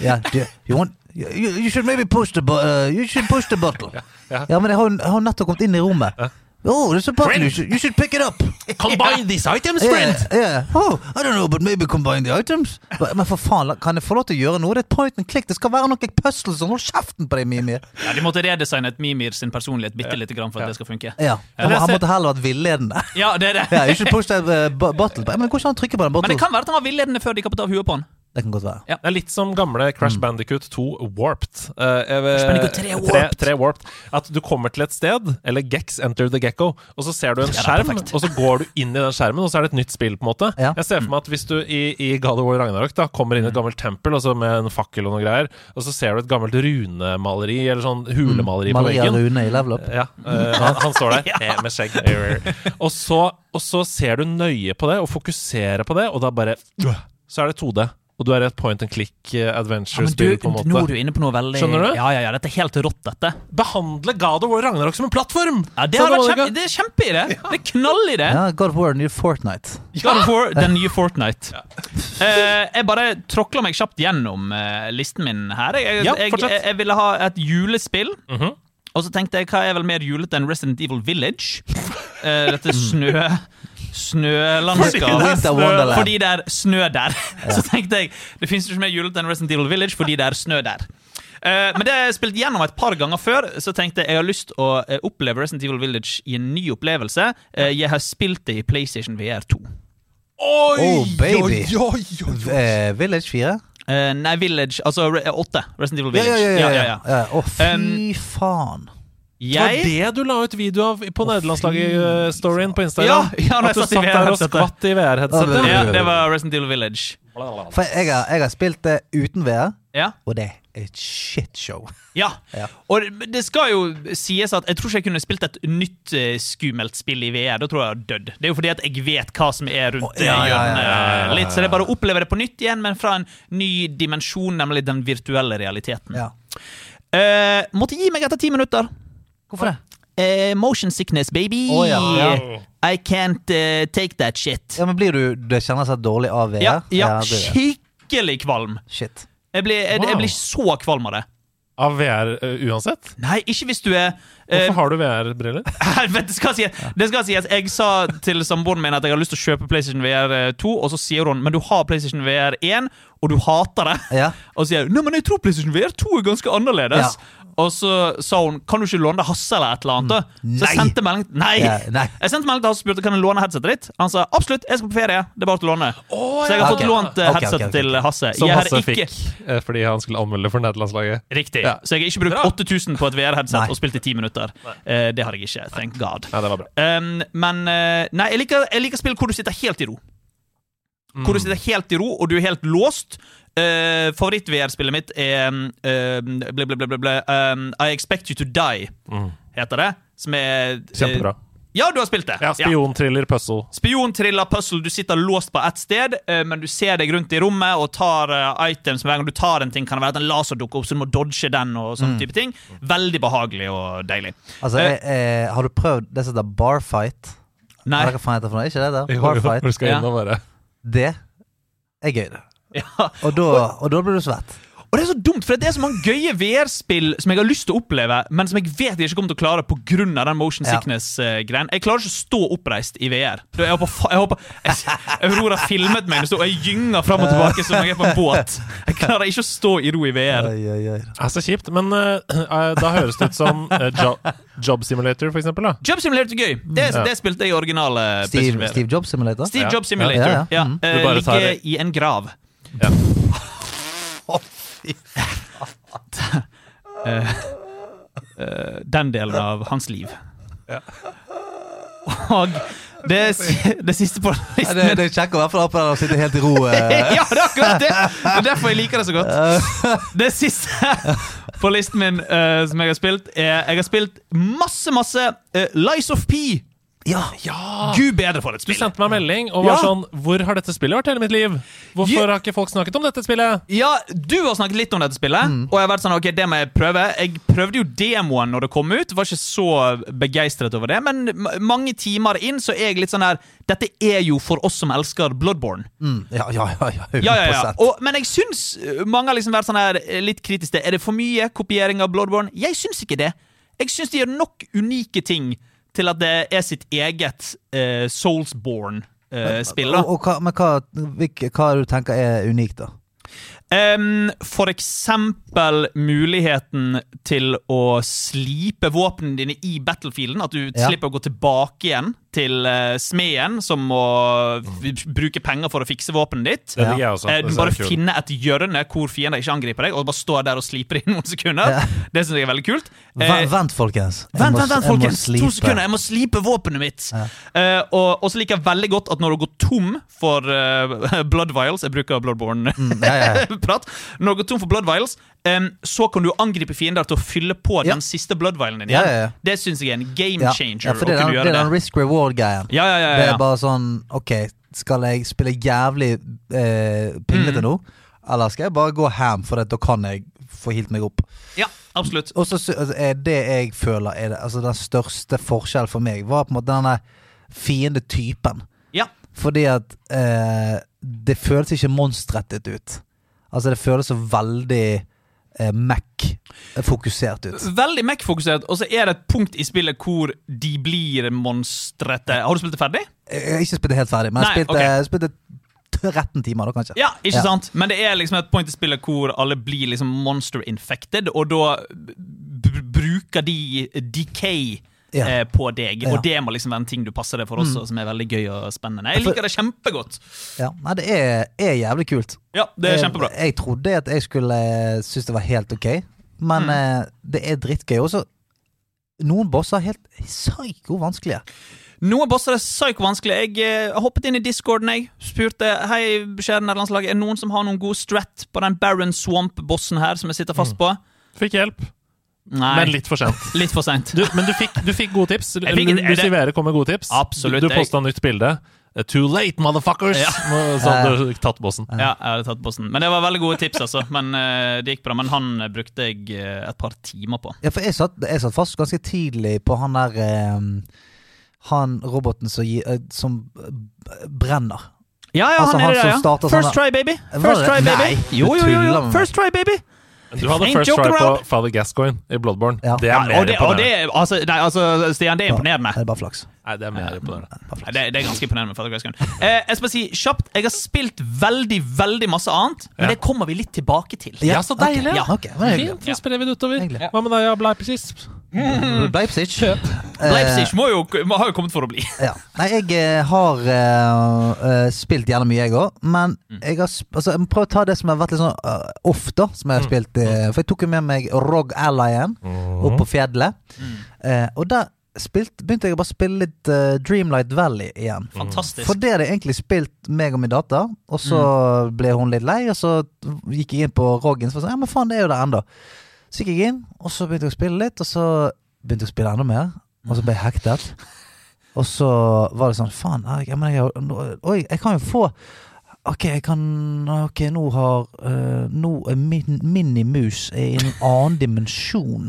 Speaker 2: Ja, du, you, want, you, you should maybe push the, bu uh, you should push the bottle. ja, men jeg har jo- jeg har jo nettopp kommet inn i rommet. Oh, there's a button. You should, you should pick it up.
Speaker 4: Combine these items,
Speaker 2: Yeah, yeah. Oh, I don't know, but maybe combine the items. Ba- Men for faen, la- kan jeg få lov til å gjøre noe? Det er et point and click. Det skal være noe puzzles. Hold kjeften på deg, Mimir.
Speaker 3: Ja, de måtte redesigne et Mimir sin personlighet bitte lite grann for at det skal funke.
Speaker 2: Ja, han,
Speaker 4: jeg
Speaker 2: han
Speaker 4: ser-
Speaker 2: måtte heller vært villedende.
Speaker 3: Ja, det er
Speaker 2: Ja,
Speaker 3: det.
Speaker 2: you should push that uh, bu- bottle. Men det går ikke an å trykke på den
Speaker 3: Men
Speaker 2: bottlen.
Speaker 3: det kan være at han var villedende før de kappet av huet på han.
Speaker 2: det kan godt være.
Speaker 4: Det er litt som gamle Crash Bandicoot 2 Warped. Eh, eh,
Speaker 3: Mm. Bandicoot 3 Warped.
Speaker 4: 3 Warped. At du kommer til et sted, eller Gex Enter the Gecko, og så ser du en
Speaker 3: Ja, det er
Speaker 4: skjerm,
Speaker 3: perfekt.
Speaker 4: og så går du inn i den skjermen, og så er det et nytt spill, på en måte.
Speaker 2: Ja.
Speaker 4: Jeg ser for meg at hvis du i, i God of War Ragnarok da, kommer
Speaker 3: Mm.
Speaker 4: inn i et gammelt tempel, og så med en fakkel og noen greier, og så ser du et gammelt runemaleri, eller sånn hulemaleri på
Speaker 2: Maria
Speaker 4: veggen.
Speaker 2: Rune i level up.
Speaker 4: Ja, eh, han, han står der eh, med skjegg. Og så, og så ser du nøye på det og fokuserer på det, og da bare Så er det 2D. Og du er i et point and click eh,
Speaker 3: men du,
Speaker 4: adventure-spill, på en
Speaker 3: nå er du
Speaker 4: måte.
Speaker 3: inne på noe veldig
Speaker 4: Skjønner du?
Speaker 3: Ja, ja, ja, Dette er helt rått, dette.
Speaker 4: Behandle God of War Ragnarok som en plattform!
Speaker 3: Ja, det,
Speaker 4: Så
Speaker 3: har vært
Speaker 4: da må
Speaker 3: kjempe,
Speaker 4: du ikke-
Speaker 3: det er kjempe i det! Det er knall i det!
Speaker 2: Ja, God of War, New Fortnite.
Speaker 3: God of War, den nye Fortnite. Eh, jeg bare tråkla meg kjapt gjennom eh, listen min her. Jeg,
Speaker 4: Ja,
Speaker 3: jeg,
Speaker 4: fortsett. Mhm.
Speaker 3: jeg, jeg ville ha et julespill. Og så tenkte jeg, hva er vel mer julete enn Resident Evil Village? Eh, dette snø... Snølandskap.
Speaker 2: Fordi det er Winter Wonderland.
Speaker 3: Fordi det er snø der. Så tenkte jeg, det fins ikke mer julete enn Resident Evil Village fordi det er snø der. Eh, men det har jeg spilt gjennom et par ganger før, så tenkte jeg jeg har lyst å eh, oppleve Resident Evil Village i en ny opplevelse. Eh, jeg har spilt det i PlayStation VR 2.
Speaker 2: Oh, baby.
Speaker 4: Oi, oi, oi, oi.
Speaker 2: Eh, Village 4?
Speaker 3: Eh, nei, Village Altså Re- eh, 8. Resident Evil
Speaker 2: Ja, ja, ja.
Speaker 3: Village.
Speaker 2: ja,
Speaker 3: Ja,
Speaker 2: ja.
Speaker 3: ja, ja.
Speaker 2: ja. Å, fy faen.
Speaker 4: Det var
Speaker 3: Jeg
Speaker 4: det du la ut video av på nederlandslaget-storyen på Instagram?
Speaker 3: Ja, ja, når jeg
Speaker 4: at du
Speaker 3: satt i
Speaker 4: satt der og
Speaker 3: VR-headsetet.
Speaker 4: skvatt i
Speaker 2: Ja,
Speaker 4: VR-headsetet?
Speaker 2: det-
Speaker 3: ja, Det var Resident Evil Village.
Speaker 2: For jeg har, jeg har spilt det uten VR,
Speaker 3: Ja.
Speaker 2: og det er et shitshow.
Speaker 3: Ja.
Speaker 2: Ja.
Speaker 3: Og det- det skal jo sies at jeg tror ikke jeg kunne spilt et nytt eh, skummelt spill i VR. Da tror jeg jeg hadde dødd. Det er jo fordi at jeg vet hva som er rundt eh,
Speaker 2: Ja, ja, ja, ja,
Speaker 3: hjørnet.
Speaker 2: ja,
Speaker 3: eh, litt, Så det er bare å oppleve det på nytt igjen, men fra en ny dimensjon, nemlig den virtuelle realiteten.
Speaker 2: Ja.
Speaker 3: Eh, måtte gi meg etter ti minutter.
Speaker 2: Hvorfor det?
Speaker 3: Eh, motion sickness, baby.
Speaker 2: Å, ja,
Speaker 4: ja.
Speaker 3: I can't eh, take that shit.
Speaker 2: Ja, men blir du Det kjennes seg dårlig av VR?
Speaker 3: Ja, ja,
Speaker 2: det blir det.
Speaker 3: skikkelig kvalm.
Speaker 2: Shit.
Speaker 3: Jeg blir, jeg, jeg
Speaker 4: Wow.
Speaker 3: blir så kvalm av det.
Speaker 4: Av VR eh, uansett?
Speaker 3: Nei, ikke hvis du er eh,
Speaker 4: Hvorfor har du VR-briller?
Speaker 3: Helvete, skal jeg si, det skal sies. Jeg sa til samboeren min at jeg har lyst til å kjøpe PlayStation VR 2, og så sier hun men du har PlayStation VR 1, og du hater det.
Speaker 2: Ja.
Speaker 3: Og så sier hun nei, men jeg tror PlayStation VR 2 er ganske annerledes. Og så sa hun kan du ikke låne det Hasse eller et eller annet. da? Så
Speaker 2: Nei.
Speaker 3: jeg sendte melding Nei!
Speaker 2: Ja, nei.
Speaker 3: Jeg sendte melding til Hasse og spurte kan jeg låne headsetet ditt. Han sa absolutt, jeg skal på ferie. Det er bare til å låne. så jeg har fått
Speaker 2: Ok.
Speaker 3: lånt eh,
Speaker 2: Ok, ok, ok,
Speaker 3: headsetet
Speaker 2: ok.
Speaker 3: til Hasse.
Speaker 4: Som
Speaker 3: jeg har
Speaker 4: Hasse
Speaker 3: ikke-
Speaker 4: fikk eh, fordi han skulle anmelde for nederlandslaget.
Speaker 3: Riktig.
Speaker 4: Ja.
Speaker 3: Så jeg har ikke brukt 8000 på et
Speaker 2: Nei.
Speaker 3: VR-headset og spilt i ti minutter. Eh, det har jeg ikke. Thank God.
Speaker 4: Ja, det var bra.
Speaker 3: Um, men eh, Nei, jeg liker, jeg liker spill hvor du sitter helt i ro.
Speaker 4: Mm.
Speaker 3: Hvor du sitter helt i ro, og du er helt låst. Eh, Favoritt-VR-spillet mitt er eh, ble, ble, ble, ble, ble, um, I Expect You To Die, heter det. Som er eh,
Speaker 4: Mm. Kjempebra.
Speaker 3: Ja, du har spilt det.
Speaker 4: Ja, Spionthriller, puzzle.
Speaker 3: Spionthriller, puzzle, du sitter låst på ett sted, eh, men du ser deg rundt i rommet og tar eh, items. Hver gang du tar en ting, kan det være at en laser dukker opp, så du må dodge den. og sånne type ting. Veldig behagelig og deilig.
Speaker 2: Altså,
Speaker 3: Eh,
Speaker 2: jeg, eh, har du prøvd det som heter barfight?
Speaker 3: nei,
Speaker 2: Hva faen heter det for noe? Ikke det der?
Speaker 4: Jo, jo,
Speaker 2: Barfight.
Speaker 4: hvor skal jeg inn og bare
Speaker 2: Det er gøy, det.
Speaker 3: ja.
Speaker 2: Og da, og da blir du svett.
Speaker 3: Og det er så dumt, for det er så mange gøye VR-spill som jeg har lyst til å oppleve, men som jeg vet jeg ikke kommer til å klare pga. den motion
Speaker 2: Ja.
Speaker 3: sickness-greien. Jeg klarer ikke å stå oppreist i VR. Da, Jeg håper, fa- jeg håper jeg, Aurora filmet meg, og jeg gynger fram og tilbake som om jeg er på en båt. Jeg klarer ikke å stå i ro i VR.
Speaker 2: Oi, oi, oi.
Speaker 4: Det er så kjipt, men eh, eh, da høres det ut som eh, jo Job Simulator, for eksempel. Da.
Speaker 3: Job Simulator er gøy. Det,
Speaker 4: Mm. Ja.
Speaker 3: det spilte jeg i originale PlayStation
Speaker 2: Steve,
Speaker 3: VR.
Speaker 2: Steve Jobs Simulator?
Speaker 3: Steve
Speaker 4: Ja.
Speaker 3: Job
Speaker 2: Ja,
Speaker 3: Simulator.
Speaker 2: ja, ja.
Speaker 3: Ja,
Speaker 2: Mm.
Speaker 3: eh,
Speaker 4: Du bare tar
Speaker 3: ligger
Speaker 4: det.
Speaker 3: i en grav.
Speaker 4: Ja.
Speaker 3: Eh, eh, Den delen av hans liv. Og det, si- det siste på
Speaker 2: Ja,
Speaker 3: listen
Speaker 2: det, det er kjekt å være for å sitte helt i ro. eh.
Speaker 3: ja, det er akkurat det! Det er derfor jeg liker det så godt. Det siste på listen min eh, som jeg har spilt, er Jeg har spilt masse, masse eh, Lies of P.
Speaker 2: Ja,
Speaker 3: Gud bedre for et
Speaker 4: Du
Speaker 3: spill.
Speaker 4: sendte meg en melding og var
Speaker 3: Ja.
Speaker 4: sånn Hvor har dette spillet vært hele mitt liv? Hvorfor
Speaker 3: Je-
Speaker 4: har ikke folk snakket om dette spillet?
Speaker 3: Ja, du har snakket litt om dette spillet, og jeg har vært sånn, ok, det må jeg prøve. Jeg prøvde jo demoen når det kom ut, var ikke så begeistret over det, men ma- mange timer inn så er jeg litt sånn her, dette er jo for oss som elsker Bloodborne.
Speaker 2: Mm, ja, ja, ja, ja, 100
Speaker 3: Ja, ja, ja. Og, men jeg syns eh, mange har liksom vært sånn her eh, litt kritiske. Er det for mye kopiering av Bloodborne? Jeg syns ikke det. Jeg syns de gjør nok unike ting til at det er sitt eget eh, Soulsborne-spill. da.
Speaker 2: Og, og hva, men hva, hvilke, hva er det du tenker er unikt, da?
Speaker 3: Em, for eksempel muligheten til å slipe våpnene dine i battlefielden. At du
Speaker 2: Ja.
Speaker 3: slipper å gå tilbake igjen til eh, smeden som må f- bruke penger for å fikse våpenet ditt.
Speaker 4: Det ligger jeg også.
Speaker 3: Eh, Du
Speaker 4: Det
Speaker 3: bare
Speaker 4: ser kult.
Speaker 3: finner et hjørne hvor fiender ikke angriper deg, og bare står der og sliper i noen sekunder.
Speaker 2: Ja.
Speaker 3: Det syns jeg er veldig kult. Eh,
Speaker 2: Vent, vent, folkens. Jeg
Speaker 3: Vent,
Speaker 2: må-
Speaker 3: vent, vent,
Speaker 2: jeg må
Speaker 3: folkens! To
Speaker 2: slipe.
Speaker 3: sekunder, jeg må slipe våpenet mitt! Eh, og, og så liker jeg veldig godt at når du går tom for eh, blood vials Jeg bruker Bloodborne
Speaker 2: Ja, ja, ja.
Speaker 3: prat. Når du går tom for blood vials, em, så kan du angripe fiender til å fylle på
Speaker 2: Ja.
Speaker 3: den siste blood vialen din.
Speaker 2: Ja,
Speaker 3: igjen.
Speaker 2: ja, ja.
Speaker 3: Det syns jeg er en game
Speaker 2: Ja,
Speaker 3: changer.
Speaker 2: ja, for det er
Speaker 3: å
Speaker 2: den,
Speaker 3: kunne
Speaker 2: det
Speaker 3: gjøre
Speaker 2: er den
Speaker 3: det.
Speaker 2: risk reward-greien.
Speaker 3: Ja, ja, ja, ja,
Speaker 2: Det
Speaker 3: ja.
Speaker 2: er bare sånn OK, skal jeg spille jævlig eh,
Speaker 3: Mm.
Speaker 2: pinglete nå? Eller skal jeg bare gå ham, for at da kan jeg få hilt meg opp?
Speaker 3: ja, absolutt.
Speaker 2: Og så sy- altså, er det jeg føler er det, altså, Den største forskjellen for meg var på en måte denne fiendetypen.
Speaker 3: Ja.
Speaker 2: Fordi at eh, det føles ikke monstrettet ut. Altså, det føles så veldig eh, Mac-fokusert ut.
Speaker 3: Veldig Mac-fokusert, og så er det et punkt i spillet hvor de blir monstrete. Har du spilt det ferdig?
Speaker 2: Jeg har ikke spilt det helt ferdig, men
Speaker 3: Nei,
Speaker 2: jeg spilte,
Speaker 3: ok.
Speaker 2: jeg spilte 13 timer, da, kanskje.
Speaker 3: Ja, ikke
Speaker 2: Ja.
Speaker 3: sant? Men det er liksom et point i spillet hvor alle blir liksom monster-infected, og da b b- bruker de decay
Speaker 2: Ja.
Speaker 3: eh, på deg.
Speaker 2: Ja. Mm.
Speaker 3: Og det må liksom være en ting du passer deg for også, som er veldig gøy og spennende. Jeg
Speaker 2: For-
Speaker 3: liker det kjempegodt.
Speaker 2: Ja, Nei, det er, er jævlig kult.
Speaker 3: Ja, det er
Speaker 2: Jeg-
Speaker 3: kjempebra.
Speaker 2: Jeg trodde at jeg skulle eh, synes det var helt ok, men
Speaker 3: Mm.
Speaker 2: eh, det er drittgøy. Også noen bosser er helt psyko vanskelige.
Speaker 3: Noen bosser er psyko-vanskelig. Jeg eh, hoppet inn i discorden jeg spurte Hei, beskjeden nederlandslag, er det noen som har noen god strat på den Baron Swamp-bossen her som jeg sitter fast på?
Speaker 4: Fikk hjelp,
Speaker 3: Nei,
Speaker 4: men
Speaker 3: Mm. litt,
Speaker 4: litt for sent.
Speaker 3: for seint.
Speaker 4: Du, men du fikk, du fikk gode tips.
Speaker 3: Jeg fikk- er
Speaker 4: Lucy
Speaker 3: det-
Speaker 4: Sivere kom med gode tips.
Speaker 3: Absolutt,
Speaker 4: Du, du
Speaker 3: jeg-
Speaker 4: posta nytt bilde. Eh, Too late, motherfuckers!
Speaker 3: Ja.
Speaker 4: Nå- Sånn du tatt bossen.
Speaker 3: Ja, jeg hadde tatt bossen. Men det var veldig gode tips, altså. Men eh, det gikk bra. Men han eh, brukte jeg eh, et par timer på.
Speaker 2: Ja, for jeg satt, jeg satt fast ganske tidlig på han der eh, Han roboten som, gi- eh, som eh, brenner.
Speaker 3: Ja, ja,
Speaker 2: Altså,
Speaker 3: han
Speaker 2: han
Speaker 3: er det,
Speaker 2: som
Speaker 3: ja.
Speaker 2: starter
Speaker 3: First
Speaker 2: sånne-
Speaker 3: try, baby.
Speaker 2: Var
Speaker 3: First
Speaker 2: det-
Speaker 3: try, baby.
Speaker 2: Nei, du
Speaker 3: jo, jo, jo,
Speaker 2: tuller
Speaker 3: jo.
Speaker 2: med meg.
Speaker 3: First try, baby.
Speaker 4: Du hadde
Speaker 3: Ain't
Speaker 4: first
Speaker 3: joke
Speaker 4: try på
Speaker 3: around.
Speaker 4: Father Gascoigne i Bloodborne.
Speaker 2: Ja.
Speaker 4: Det
Speaker 3: Ja,
Speaker 4: er mer
Speaker 3: og det, og det,
Speaker 4: imponerende.
Speaker 3: altså, nei, altså, Stian, det
Speaker 2: Ja,
Speaker 3: er imponerende.
Speaker 2: det er bare flaks.
Speaker 4: Nei, det er mer imponerende.
Speaker 3: Nei, Det, det er ganske imponerende. med Father Grace Gun. Eh, jeg skal bare si kjapt Jeg har spilt veldig veldig masse annet, men
Speaker 4: Ja.
Speaker 3: det kommer vi litt tilbake til.
Speaker 2: Ja,
Speaker 4: så deilig.
Speaker 2: Ja,
Speaker 3: Ja.
Speaker 2: ok, det var hyggelig.
Speaker 4: Fint. Vi sprer det utover.
Speaker 2: Hyggelig.
Speaker 4: Hva med deg, Bleipsis?
Speaker 2: Leipzig. Eh,
Speaker 3: Leipzig må jo, må, har jo kommet for å bli.
Speaker 2: Ja. Nei, jeg eh, har eh, eh, spilt gjerne mye, jeg òg. Men jeg har sp altså, jeg må prøve å ta det som har vært litt sånn eh, off, da. Som jeg har spilt eh, For jeg tok jo med meg Rog Allyen
Speaker 4: Mm.
Speaker 2: opp på fjellet.
Speaker 3: Mm.
Speaker 2: Eh, og der spilt, begynte jeg å bare spille litt eh, Dreamlight Valley igjen.
Speaker 3: Fantastisk.
Speaker 2: For det hadde jeg egentlig spilt meg og min datter, og så ble hun litt lei. Og så gikk jeg inn på Roggen, så var jeg sånn, ja, men faen, det er jo der ennå. Så gikk jeg inn, og så begynte jeg å spille litt, og så begynte jeg å spille enda mer. Og så ble jeg hektet. Og så var det sånn, faen, jeg, jeg, jeg, har- nå- oi, jeg kan jo få Ok, jeg kan Ok, nå har eh, Nå er min, Minimus er i en annen dimensjon.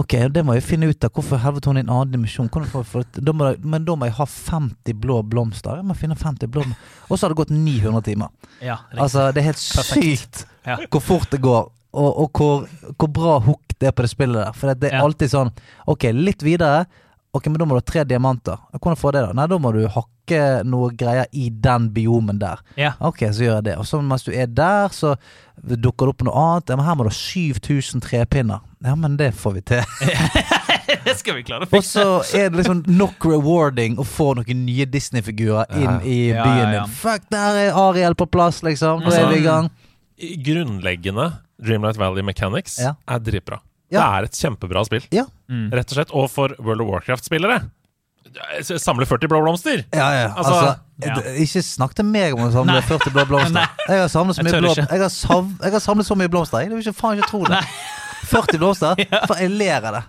Speaker 2: Ok, det må jeg finne ut av. Hvorfor helvete hun er i en annen dimensjon? Hvordan får jeg få det- da må jeg, men da må jeg ha 50 blå blomster. Jeg må finne 50 blå Og så har det gått 900 timer.
Speaker 3: Ja, riktig.
Speaker 2: Altså, det er helt sykt
Speaker 3: Ja.
Speaker 2: hvor fort det går. Og, og hvor, hvor bra hook det er på det spillet der. For det, det er
Speaker 3: Ja.
Speaker 2: alltid sånn Ok, litt videre. Ok, men da må du ha tre diamanter. Hvordan får jeg det, da? Nei, da må du hakke noe greier i den biomen der.
Speaker 3: ja.
Speaker 2: Ok, så gjør jeg det. Og så mens du er der, så dukker det opp noe annet. Ja, men her må du ha 7000 trepinner. Ja, men det får vi til.
Speaker 3: Det skal vi klare å
Speaker 2: Og
Speaker 3: fikse.
Speaker 2: så er det liksom nok rewarding å få noen nye Disney-figurer inn i
Speaker 3: Ja, ja,
Speaker 2: byen
Speaker 3: ja. Altså,
Speaker 2: din. Fuck, der er Ariel på plass, liksom. Nå er vi i gang.
Speaker 4: Grunnleggende Dreamlight Valley Mechanics
Speaker 2: Ja.
Speaker 4: er dritbra. Det
Speaker 2: Ja.
Speaker 4: er et kjempebra spill,
Speaker 2: Ja.
Speaker 3: Mm.
Speaker 4: rett og slett. Og for World of Warcraft-spillere. Samle 40 blå blomster!
Speaker 2: Ja, ja. Altså,
Speaker 4: Altså,
Speaker 2: d- Ikke snakk til meg om å samle
Speaker 3: Nei.
Speaker 2: 40 blå blomster.
Speaker 3: Nei.
Speaker 2: Jeg har samlet så
Speaker 3: Jeg
Speaker 2: mye
Speaker 3: tør
Speaker 2: blå
Speaker 3: ikke.
Speaker 2: jeg har, sav, jeg har samlet så mye blomster. Jeg vil ikke faen ikke tro det. 40 blomster? For jeg ler av det.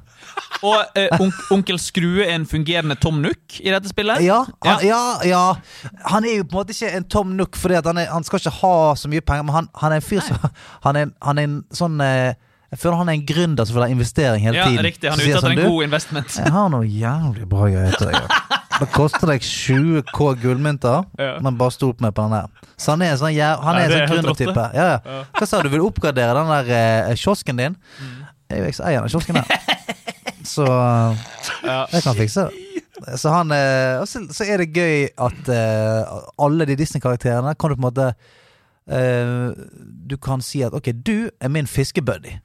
Speaker 3: Og eh, onk, onkel Skrue er en fungerende Tom Nook i dette spillet.
Speaker 2: Ja, han,
Speaker 3: ja.
Speaker 2: ja, ja. Han er jo på en måte ikke en tom nook, fordi at han, er, han skal ikke ha så mye penger, men han, han er en fyr som han er, en- han er en sånn eh, Jeg føler han er en gründer som vil ha investering hele
Speaker 3: Ja,
Speaker 2: tiden.
Speaker 3: riktig. Han
Speaker 2: Så
Speaker 3: er
Speaker 2: sier
Speaker 3: ute etter
Speaker 2: sånn,
Speaker 3: en
Speaker 2: «Du,
Speaker 3: god investment.
Speaker 2: Jeg har noe jævlig bra greier til deg. Det koster deg 20 K gullmynter,
Speaker 4: Ja.
Speaker 2: men bare stol på meg på den der. Så han er en sånn, jæv- han
Speaker 4: Nei,
Speaker 2: er en
Speaker 4: det er
Speaker 2: sånn
Speaker 4: helt
Speaker 2: gründertype. Ja, ja. Hva sa du, vil du oppgradere den der eh, kiosken din?
Speaker 4: Mm.
Speaker 2: Jeg er jo eks-eieren av kiosken der. Så eh, jeg kan fikse det. Så, han, eh, og så, så er det gøy at eh, alle de Disney-karakterene kan du på en måte eh, Du kan si at OK, du er min fiskebuddy.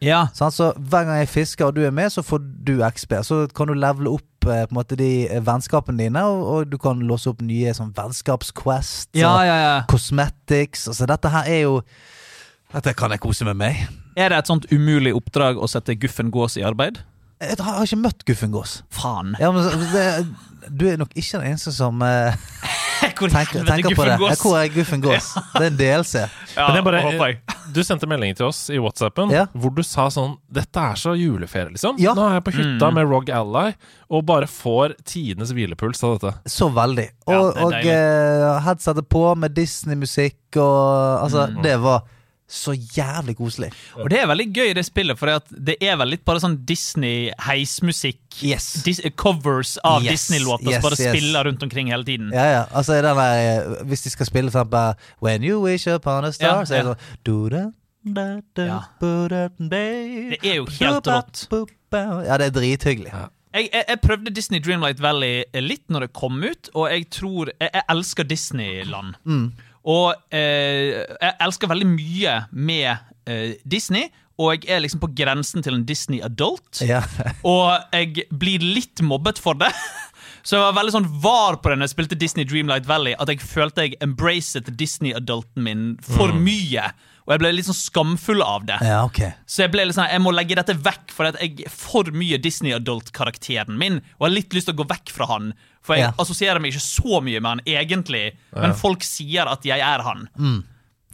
Speaker 3: Ja.
Speaker 2: Sant? Så hver gang jeg fisker og du er med, så får du XP. Så kan du levele opp eh, på en måte de eh, vennskapene dine, og, og du kan låse opp nye sånn vennskapsquest.
Speaker 3: Ja,
Speaker 2: og
Speaker 3: ja, ja.
Speaker 2: Cosmetics. Altså, dette her er jo Dette kan jeg kose meg med.
Speaker 3: Er det et sånt umulig oppdrag å sette Guffen Gås i arbeid?
Speaker 2: Jeg har- jeg har ikke møtt Guffen Gås.
Speaker 3: Faen.
Speaker 2: Ja, men, så- det, du er nok ikke den eneste som eh,
Speaker 3: Hvor i
Speaker 2: tenker,
Speaker 3: helvete
Speaker 2: tenker på
Speaker 3: Guffen
Speaker 2: det.
Speaker 3: Gås?
Speaker 2: Ja, Hvor er Guffen Gås? Det er en DLC.
Speaker 3: Ja,
Speaker 4: Men jeg
Speaker 3: håper
Speaker 4: bare, eh,
Speaker 3: jeg.
Speaker 4: du sendte melding til oss i WhatsAppen
Speaker 2: Ja.
Speaker 4: hvor du sa sånn Dette er så juleferie, liksom.
Speaker 2: Ja.
Speaker 4: Nå er jeg på
Speaker 3: Mm.
Speaker 4: hytta med Rog Ally og bare får tidenes hvilepuls av dette.
Speaker 2: Så veldig. Og,
Speaker 3: Ja, det er
Speaker 2: og eh, headsetet på med Disney-musikk og Altså, det var så jævlig koselig.
Speaker 3: Og det er veldig gøy i det spillet, for det er vel litt bare sånn Disney-heismusikk.
Speaker 2: Yes.
Speaker 3: Dis covers av
Speaker 2: Yes,
Speaker 3: Disney-låter
Speaker 2: yes,
Speaker 3: som bare
Speaker 2: yes.
Speaker 3: spiller rundt omkring hele tiden.
Speaker 2: Ja, ja. Altså, den der, eh, hvis de skal spille for eksempel When you wish upon a star,
Speaker 3: Ja,
Speaker 2: så er det
Speaker 3: ja.
Speaker 2: sånn du, da, da, da,
Speaker 3: Ja.
Speaker 2: bu, da, da.
Speaker 3: Det er jo helt
Speaker 2: Bu, ba,
Speaker 3: rått.
Speaker 2: bu, ba. Ja, det er drithyggelig.
Speaker 3: Jeg, jeg, jeg prøvde Disney Dreamlight Valley litt når det kom ut, og jeg tror Jeg, jeg elsker Disneyland.
Speaker 2: Mm.
Speaker 3: Og eh, jeg elsker veldig mye med eh, Disney, og jeg er liksom på grensen til en Disney adult.
Speaker 2: Ja.
Speaker 3: Og jeg blir litt mobbet for det. Så jeg var veldig sånn var på det når jeg spilte Disney Dreamlight Valley, at jeg følte jeg embracet Disney-adulten min for mye. Og jeg ble litt sånn skamfull av det.
Speaker 2: Mm. Ja, ok.
Speaker 3: Så jeg ble litt sånn, jeg må legge dette vekk, for at jeg er for mye Disney-adult-karakteren min. Og har litt lyst til å gå vekk fra han, for jeg
Speaker 2: Ja.
Speaker 3: assosierer meg ikke så mye med han egentlig. Men folk sier at jeg er han.
Speaker 2: Mm.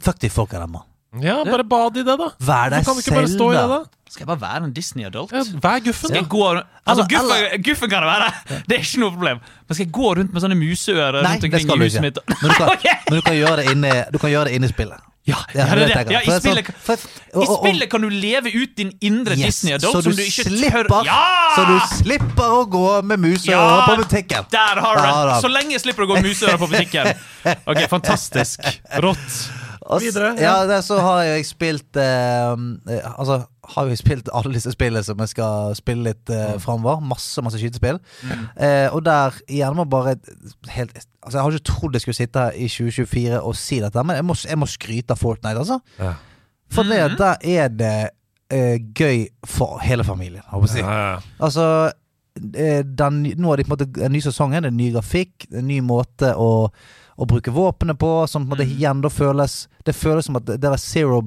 Speaker 2: Fuck de folka der, mann.
Speaker 4: Ja, bare bad i det, da.
Speaker 2: Vær deg
Speaker 4: Hvorfor kan vi ikke bare
Speaker 2: selv,
Speaker 4: stå i
Speaker 2: da.
Speaker 4: det, da?
Speaker 3: Skal jeg bare være en Disney-adult?
Speaker 4: Ja, vær
Speaker 3: Skal
Speaker 4: guffen, da.
Speaker 3: jeg gå Altså,
Speaker 2: Eller-
Speaker 3: guffen,
Speaker 2: eller-
Speaker 3: guffen kan det være! Det er ikke noe problem. Men skal jeg gå rundt med sånne museører
Speaker 2: Nei,
Speaker 3: rundt
Speaker 2: det
Speaker 3: omkring
Speaker 2: skal
Speaker 3: i
Speaker 2: du
Speaker 3: huset
Speaker 2: ikke.
Speaker 3: mitt?
Speaker 2: Men du kan,
Speaker 3: Ok.
Speaker 2: men du kan gjøre det inne, du kan gjøre det inne i spillet.
Speaker 3: Ja, ja, det er det.
Speaker 2: tenker jeg. For
Speaker 3: Ja, i,
Speaker 2: det er sånn-
Speaker 3: spillet,
Speaker 2: for- og- og-
Speaker 3: I
Speaker 2: og-
Speaker 3: spillet kan du leve ut din indre
Speaker 2: Yes,
Speaker 3: Disney-adult
Speaker 2: så
Speaker 3: som du ikke
Speaker 2: slipper,
Speaker 3: tør Ja!
Speaker 2: Så du slipper å gå med mus og ører på butikken.
Speaker 3: Der har du
Speaker 2: Ja,
Speaker 3: det!
Speaker 2: da.
Speaker 3: Så lenge jeg slipper å gå med museører på butikken. Ok, Fantastisk. Rått.
Speaker 2: Og s-
Speaker 4: Videre,
Speaker 2: Ja, det, så har jeg spilt eh, eh, Altså, har jo spilt alle disse spillene som jeg skal spille litt eh,
Speaker 4: Mm.
Speaker 2: framover. Masse, masse skytespill. Eh, og der igjen må jeg bare helt, Altså, jeg har ikke trodd jeg skulle sitte her i 2024 og si dette, men jeg må, jeg må skryte av Fortnite, altså.
Speaker 4: Ja.
Speaker 2: For det,
Speaker 4: Mm.
Speaker 2: der er det eh, gøy for hele familien, holdt jeg på å si.
Speaker 4: Ja, ja.
Speaker 2: Altså eh, den, Nå er det på en måte en ny sesong, det er en ny grafikk, en ny måte å, å bruke våpenet på, som på en måte igjen da føles Det føles som at det det der zero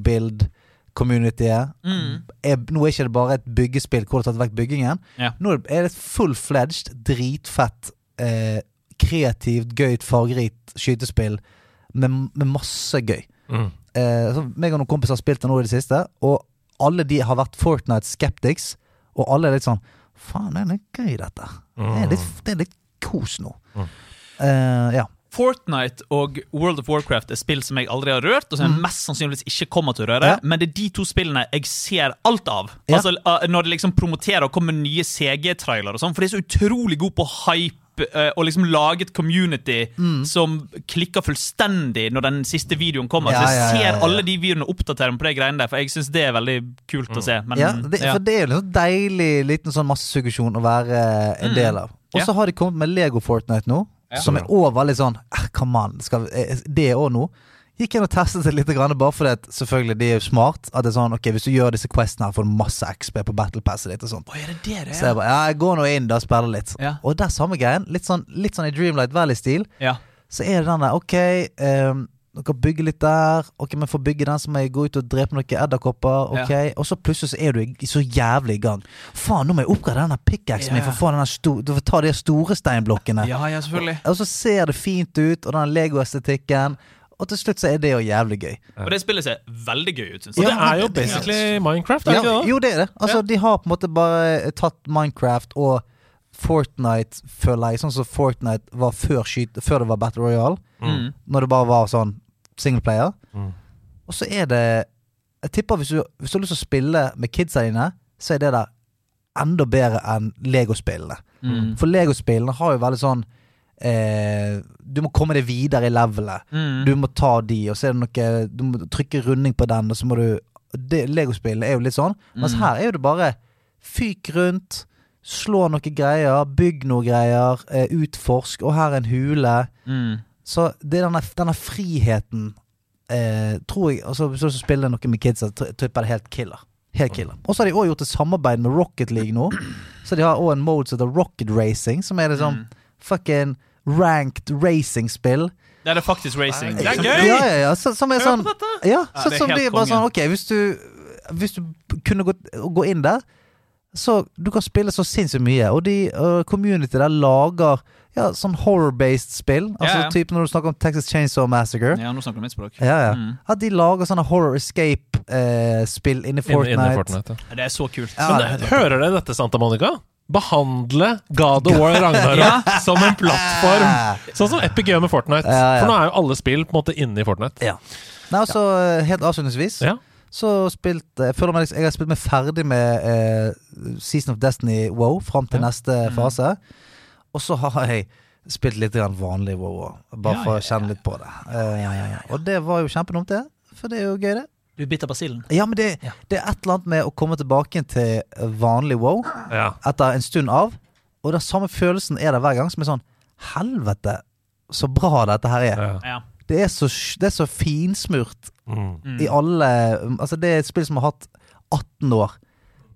Speaker 2: build-communityet er, Nå er ikke det bare et byggespill hvor du har tatt vekk byggingen.
Speaker 3: Ja.
Speaker 2: Nå er det- er det et full-fledged, dritfett, eh, kreativt, gøyt, fargerikt skytespill med, med masse gøy.
Speaker 4: Mm.
Speaker 2: Eh, så meg og noen kompiser har spilt det nå i det siste, og alle de har vært Fortnite-skeptics, og alle er litt sånn Faen, det er litt gøy, dette. Det er litt, det er litt kos nå. Eh, ja.
Speaker 3: Fortnite og World of Warcraft er spill som jeg aldri har rørt, og som jeg mest sannsynligvis ikke kommer til å røre,
Speaker 2: Mm. Ja.
Speaker 3: men det er de to spillene jeg ser alt av.
Speaker 2: Ja.
Speaker 3: Altså uh, Når de liksom promoterer og kommer med nye CG-trailere og sånn, for de er så utrolig gode på hype uh, og liksom lage et community
Speaker 2: Mm.
Speaker 3: som klikker fullstendig når den siste videoen kommer.
Speaker 2: Ja, ja,
Speaker 3: så jeg
Speaker 2: ja, ja, ja.
Speaker 3: ser alle de videoene og oppdaterer meg på de greiene der, for jeg syns det er veldig kult å se. Men,
Speaker 2: ja det,
Speaker 3: ja.
Speaker 2: For det er jo liksom deilig liten sånn massesuggesjon å være eh, en del av. Og
Speaker 3: Mm. Ja.
Speaker 2: så har de kommet med Lego Fortnite nå, som er over litt sånn eh, Come on, skal vi, eh, det òg nå? Gikk inn og testet det litt, grann, bare fordi at selvfølgelig de er jo smart. At det er sånn, ok, Hvis du gjør disse questene, her får du masse XP på battlepasset ditt. og sånt
Speaker 3: Å, er det det det
Speaker 2: Så jeg
Speaker 3: er?
Speaker 2: bare, ja, jeg går nå inn da og spiller litt.
Speaker 3: Ja.
Speaker 2: Og det er samme greien. Litt sånn, litt sånn i Dreamlight Valley-stil.
Speaker 3: Ja.
Speaker 2: Så er det den der, ok, um, dere bygger litt der. Ok, men for å bygge den så må jeg gå ut og drepe noen edderkopper. Ok, Og så plutselig så er du i- så jævlig i gang. Faen, nå må jeg oppgradere den der pickaxen min
Speaker 3: Ja.
Speaker 2: for å få den der sto- du får ta de store steinblokkene.
Speaker 3: ja, ja, selvfølgelig.
Speaker 2: Og så ser det fint ut, og den Lego-estetikken. Og til slutt så er det jo jævlig gøy.
Speaker 3: Og det spillet ser veldig gøy ut, syns jeg.
Speaker 4: Og det er jo basically Minecraft, er det
Speaker 2: Ja,
Speaker 4: ikke det?
Speaker 2: jo, det er det. Altså, De har på en måte bare eh, tatt Minecraft og Fortnite, føler jeg, sånn som Fortnite var før, skyt, før det var Battle Royale.
Speaker 3: Mm.
Speaker 2: Når det bare var sånn singleplayer. Og så er det Jeg tipper hvis du, hvis du har lyst til å spille med kidsa dine, så er det der enda bedre enn Lego-spillene. For Lego-spillene har jo veldig sånn eh, Du må komme deg videre i levelet.
Speaker 3: Mm.
Speaker 2: Du må ta de, og så er det noe Du må trykke runding på den, og så må du det, Lego-spillene er jo litt sånn, mens her er jo det bare fyk rundt. Slå noen greier, bygg noen greier, eh, utforsk. Og her er en hule.
Speaker 3: Mm.
Speaker 2: Så det er denne, denne friheten eh, Tror jeg altså, Hvis du spiller noe med kidsa, tr- tipper jeg det helt killer. Helt killer. Og så har de også gjort et samarbeid med Rocket League nå. Så de har også en mode som heter Rocket Racing, som er
Speaker 3: Sånn. Mm.
Speaker 2: liksom fucking ranked racing-spill.
Speaker 3: Det er det faktisk racing.
Speaker 4: Det er gøy!
Speaker 2: Ja, ja, ja. Så, som er
Speaker 3: Hør
Speaker 2: sånn
Speaker 3: på dette!
Speaker 2: Ja,
Speaker 3: Ja,
Speaker 2: sånn
Speaker 3: det er
Speaker 2: som
Speaker 3: helt
Speaker 2: blir bare
Speaker 3: konge.
Speaker 2: sånn Ok, hvis du Hvis du kunne gå, gå inn der Så du kan spille så sinnssykt mye Og de øh, community der lager Ja, sånn horror-based spill Altså
Speaker 3: Ja, ja.
Speaker 2: typ når du snakker om Texas Chainsaw Massacre
Speaker 3: Ja, nå snakker du mitt språk.
Speaker 2: Ja, ja
Speaker 3: Mm.
Speaker 2: At de lager sånne horror escape-spill Inni
Speaker 4: Inne-
Speaker 2: Fortnite,
Speaker 4: inne i Fortnite, ja.
Speaker 3: Det er så kult.
Speaker 2: Ja,
Speaker 4: Men
Speaker 2: det er
Speaker 4: eh, hører dere dette, Santa Monica? Behandle God of War Ragnarok som en
Speaker 2: Ah!
Speaker 4: plattform. Sånn som Epic gjør med Fortnite.
Speaker 2: Ja, ja.
Speaker 4: For nå er jo alle spill på en måte inne i Fortnite.
Speaker 2: Ja Nei, altså øh, helt avslutningsvis
Speaker 4: Ja.
Speaker 2: Så spilt Jeg føler meg liksom- Jeg har spilt meg ferdig med eh, Season of Destiny WoW Frem til neste
Speaker 3: Mm.
Speaker 2: fase Og så har jeg spilt litt grann vanlig WoW også, Bare
Speaker 3: Ja,
Speaker 2: for
Speaker 3: ja,
Speaker 2: å kjenne litt på det Eh, Og det var jo kjempenumt det For det er jo gøy det
Speaker 3: Du biter basillen.
Speaker 2: Ja, men det,
Speaker 3: Ja.
Speaker 2: det er et eller annet med Å komme tilbake til vanlig WoW
Speaker 4: Ja.
Speaker 2: Etter en stund av Og den samme følelsen er det hver gang Som er sånn Helvete Så bra dette her er
Speaker 4: Ja.
Speaker 3: Ja.
Speaker 2: Det er så, sj- det er så finsmurt
Speaker 4: Mm.
Speaker 2: i alle Altså, det er et spill som har hatt 18 år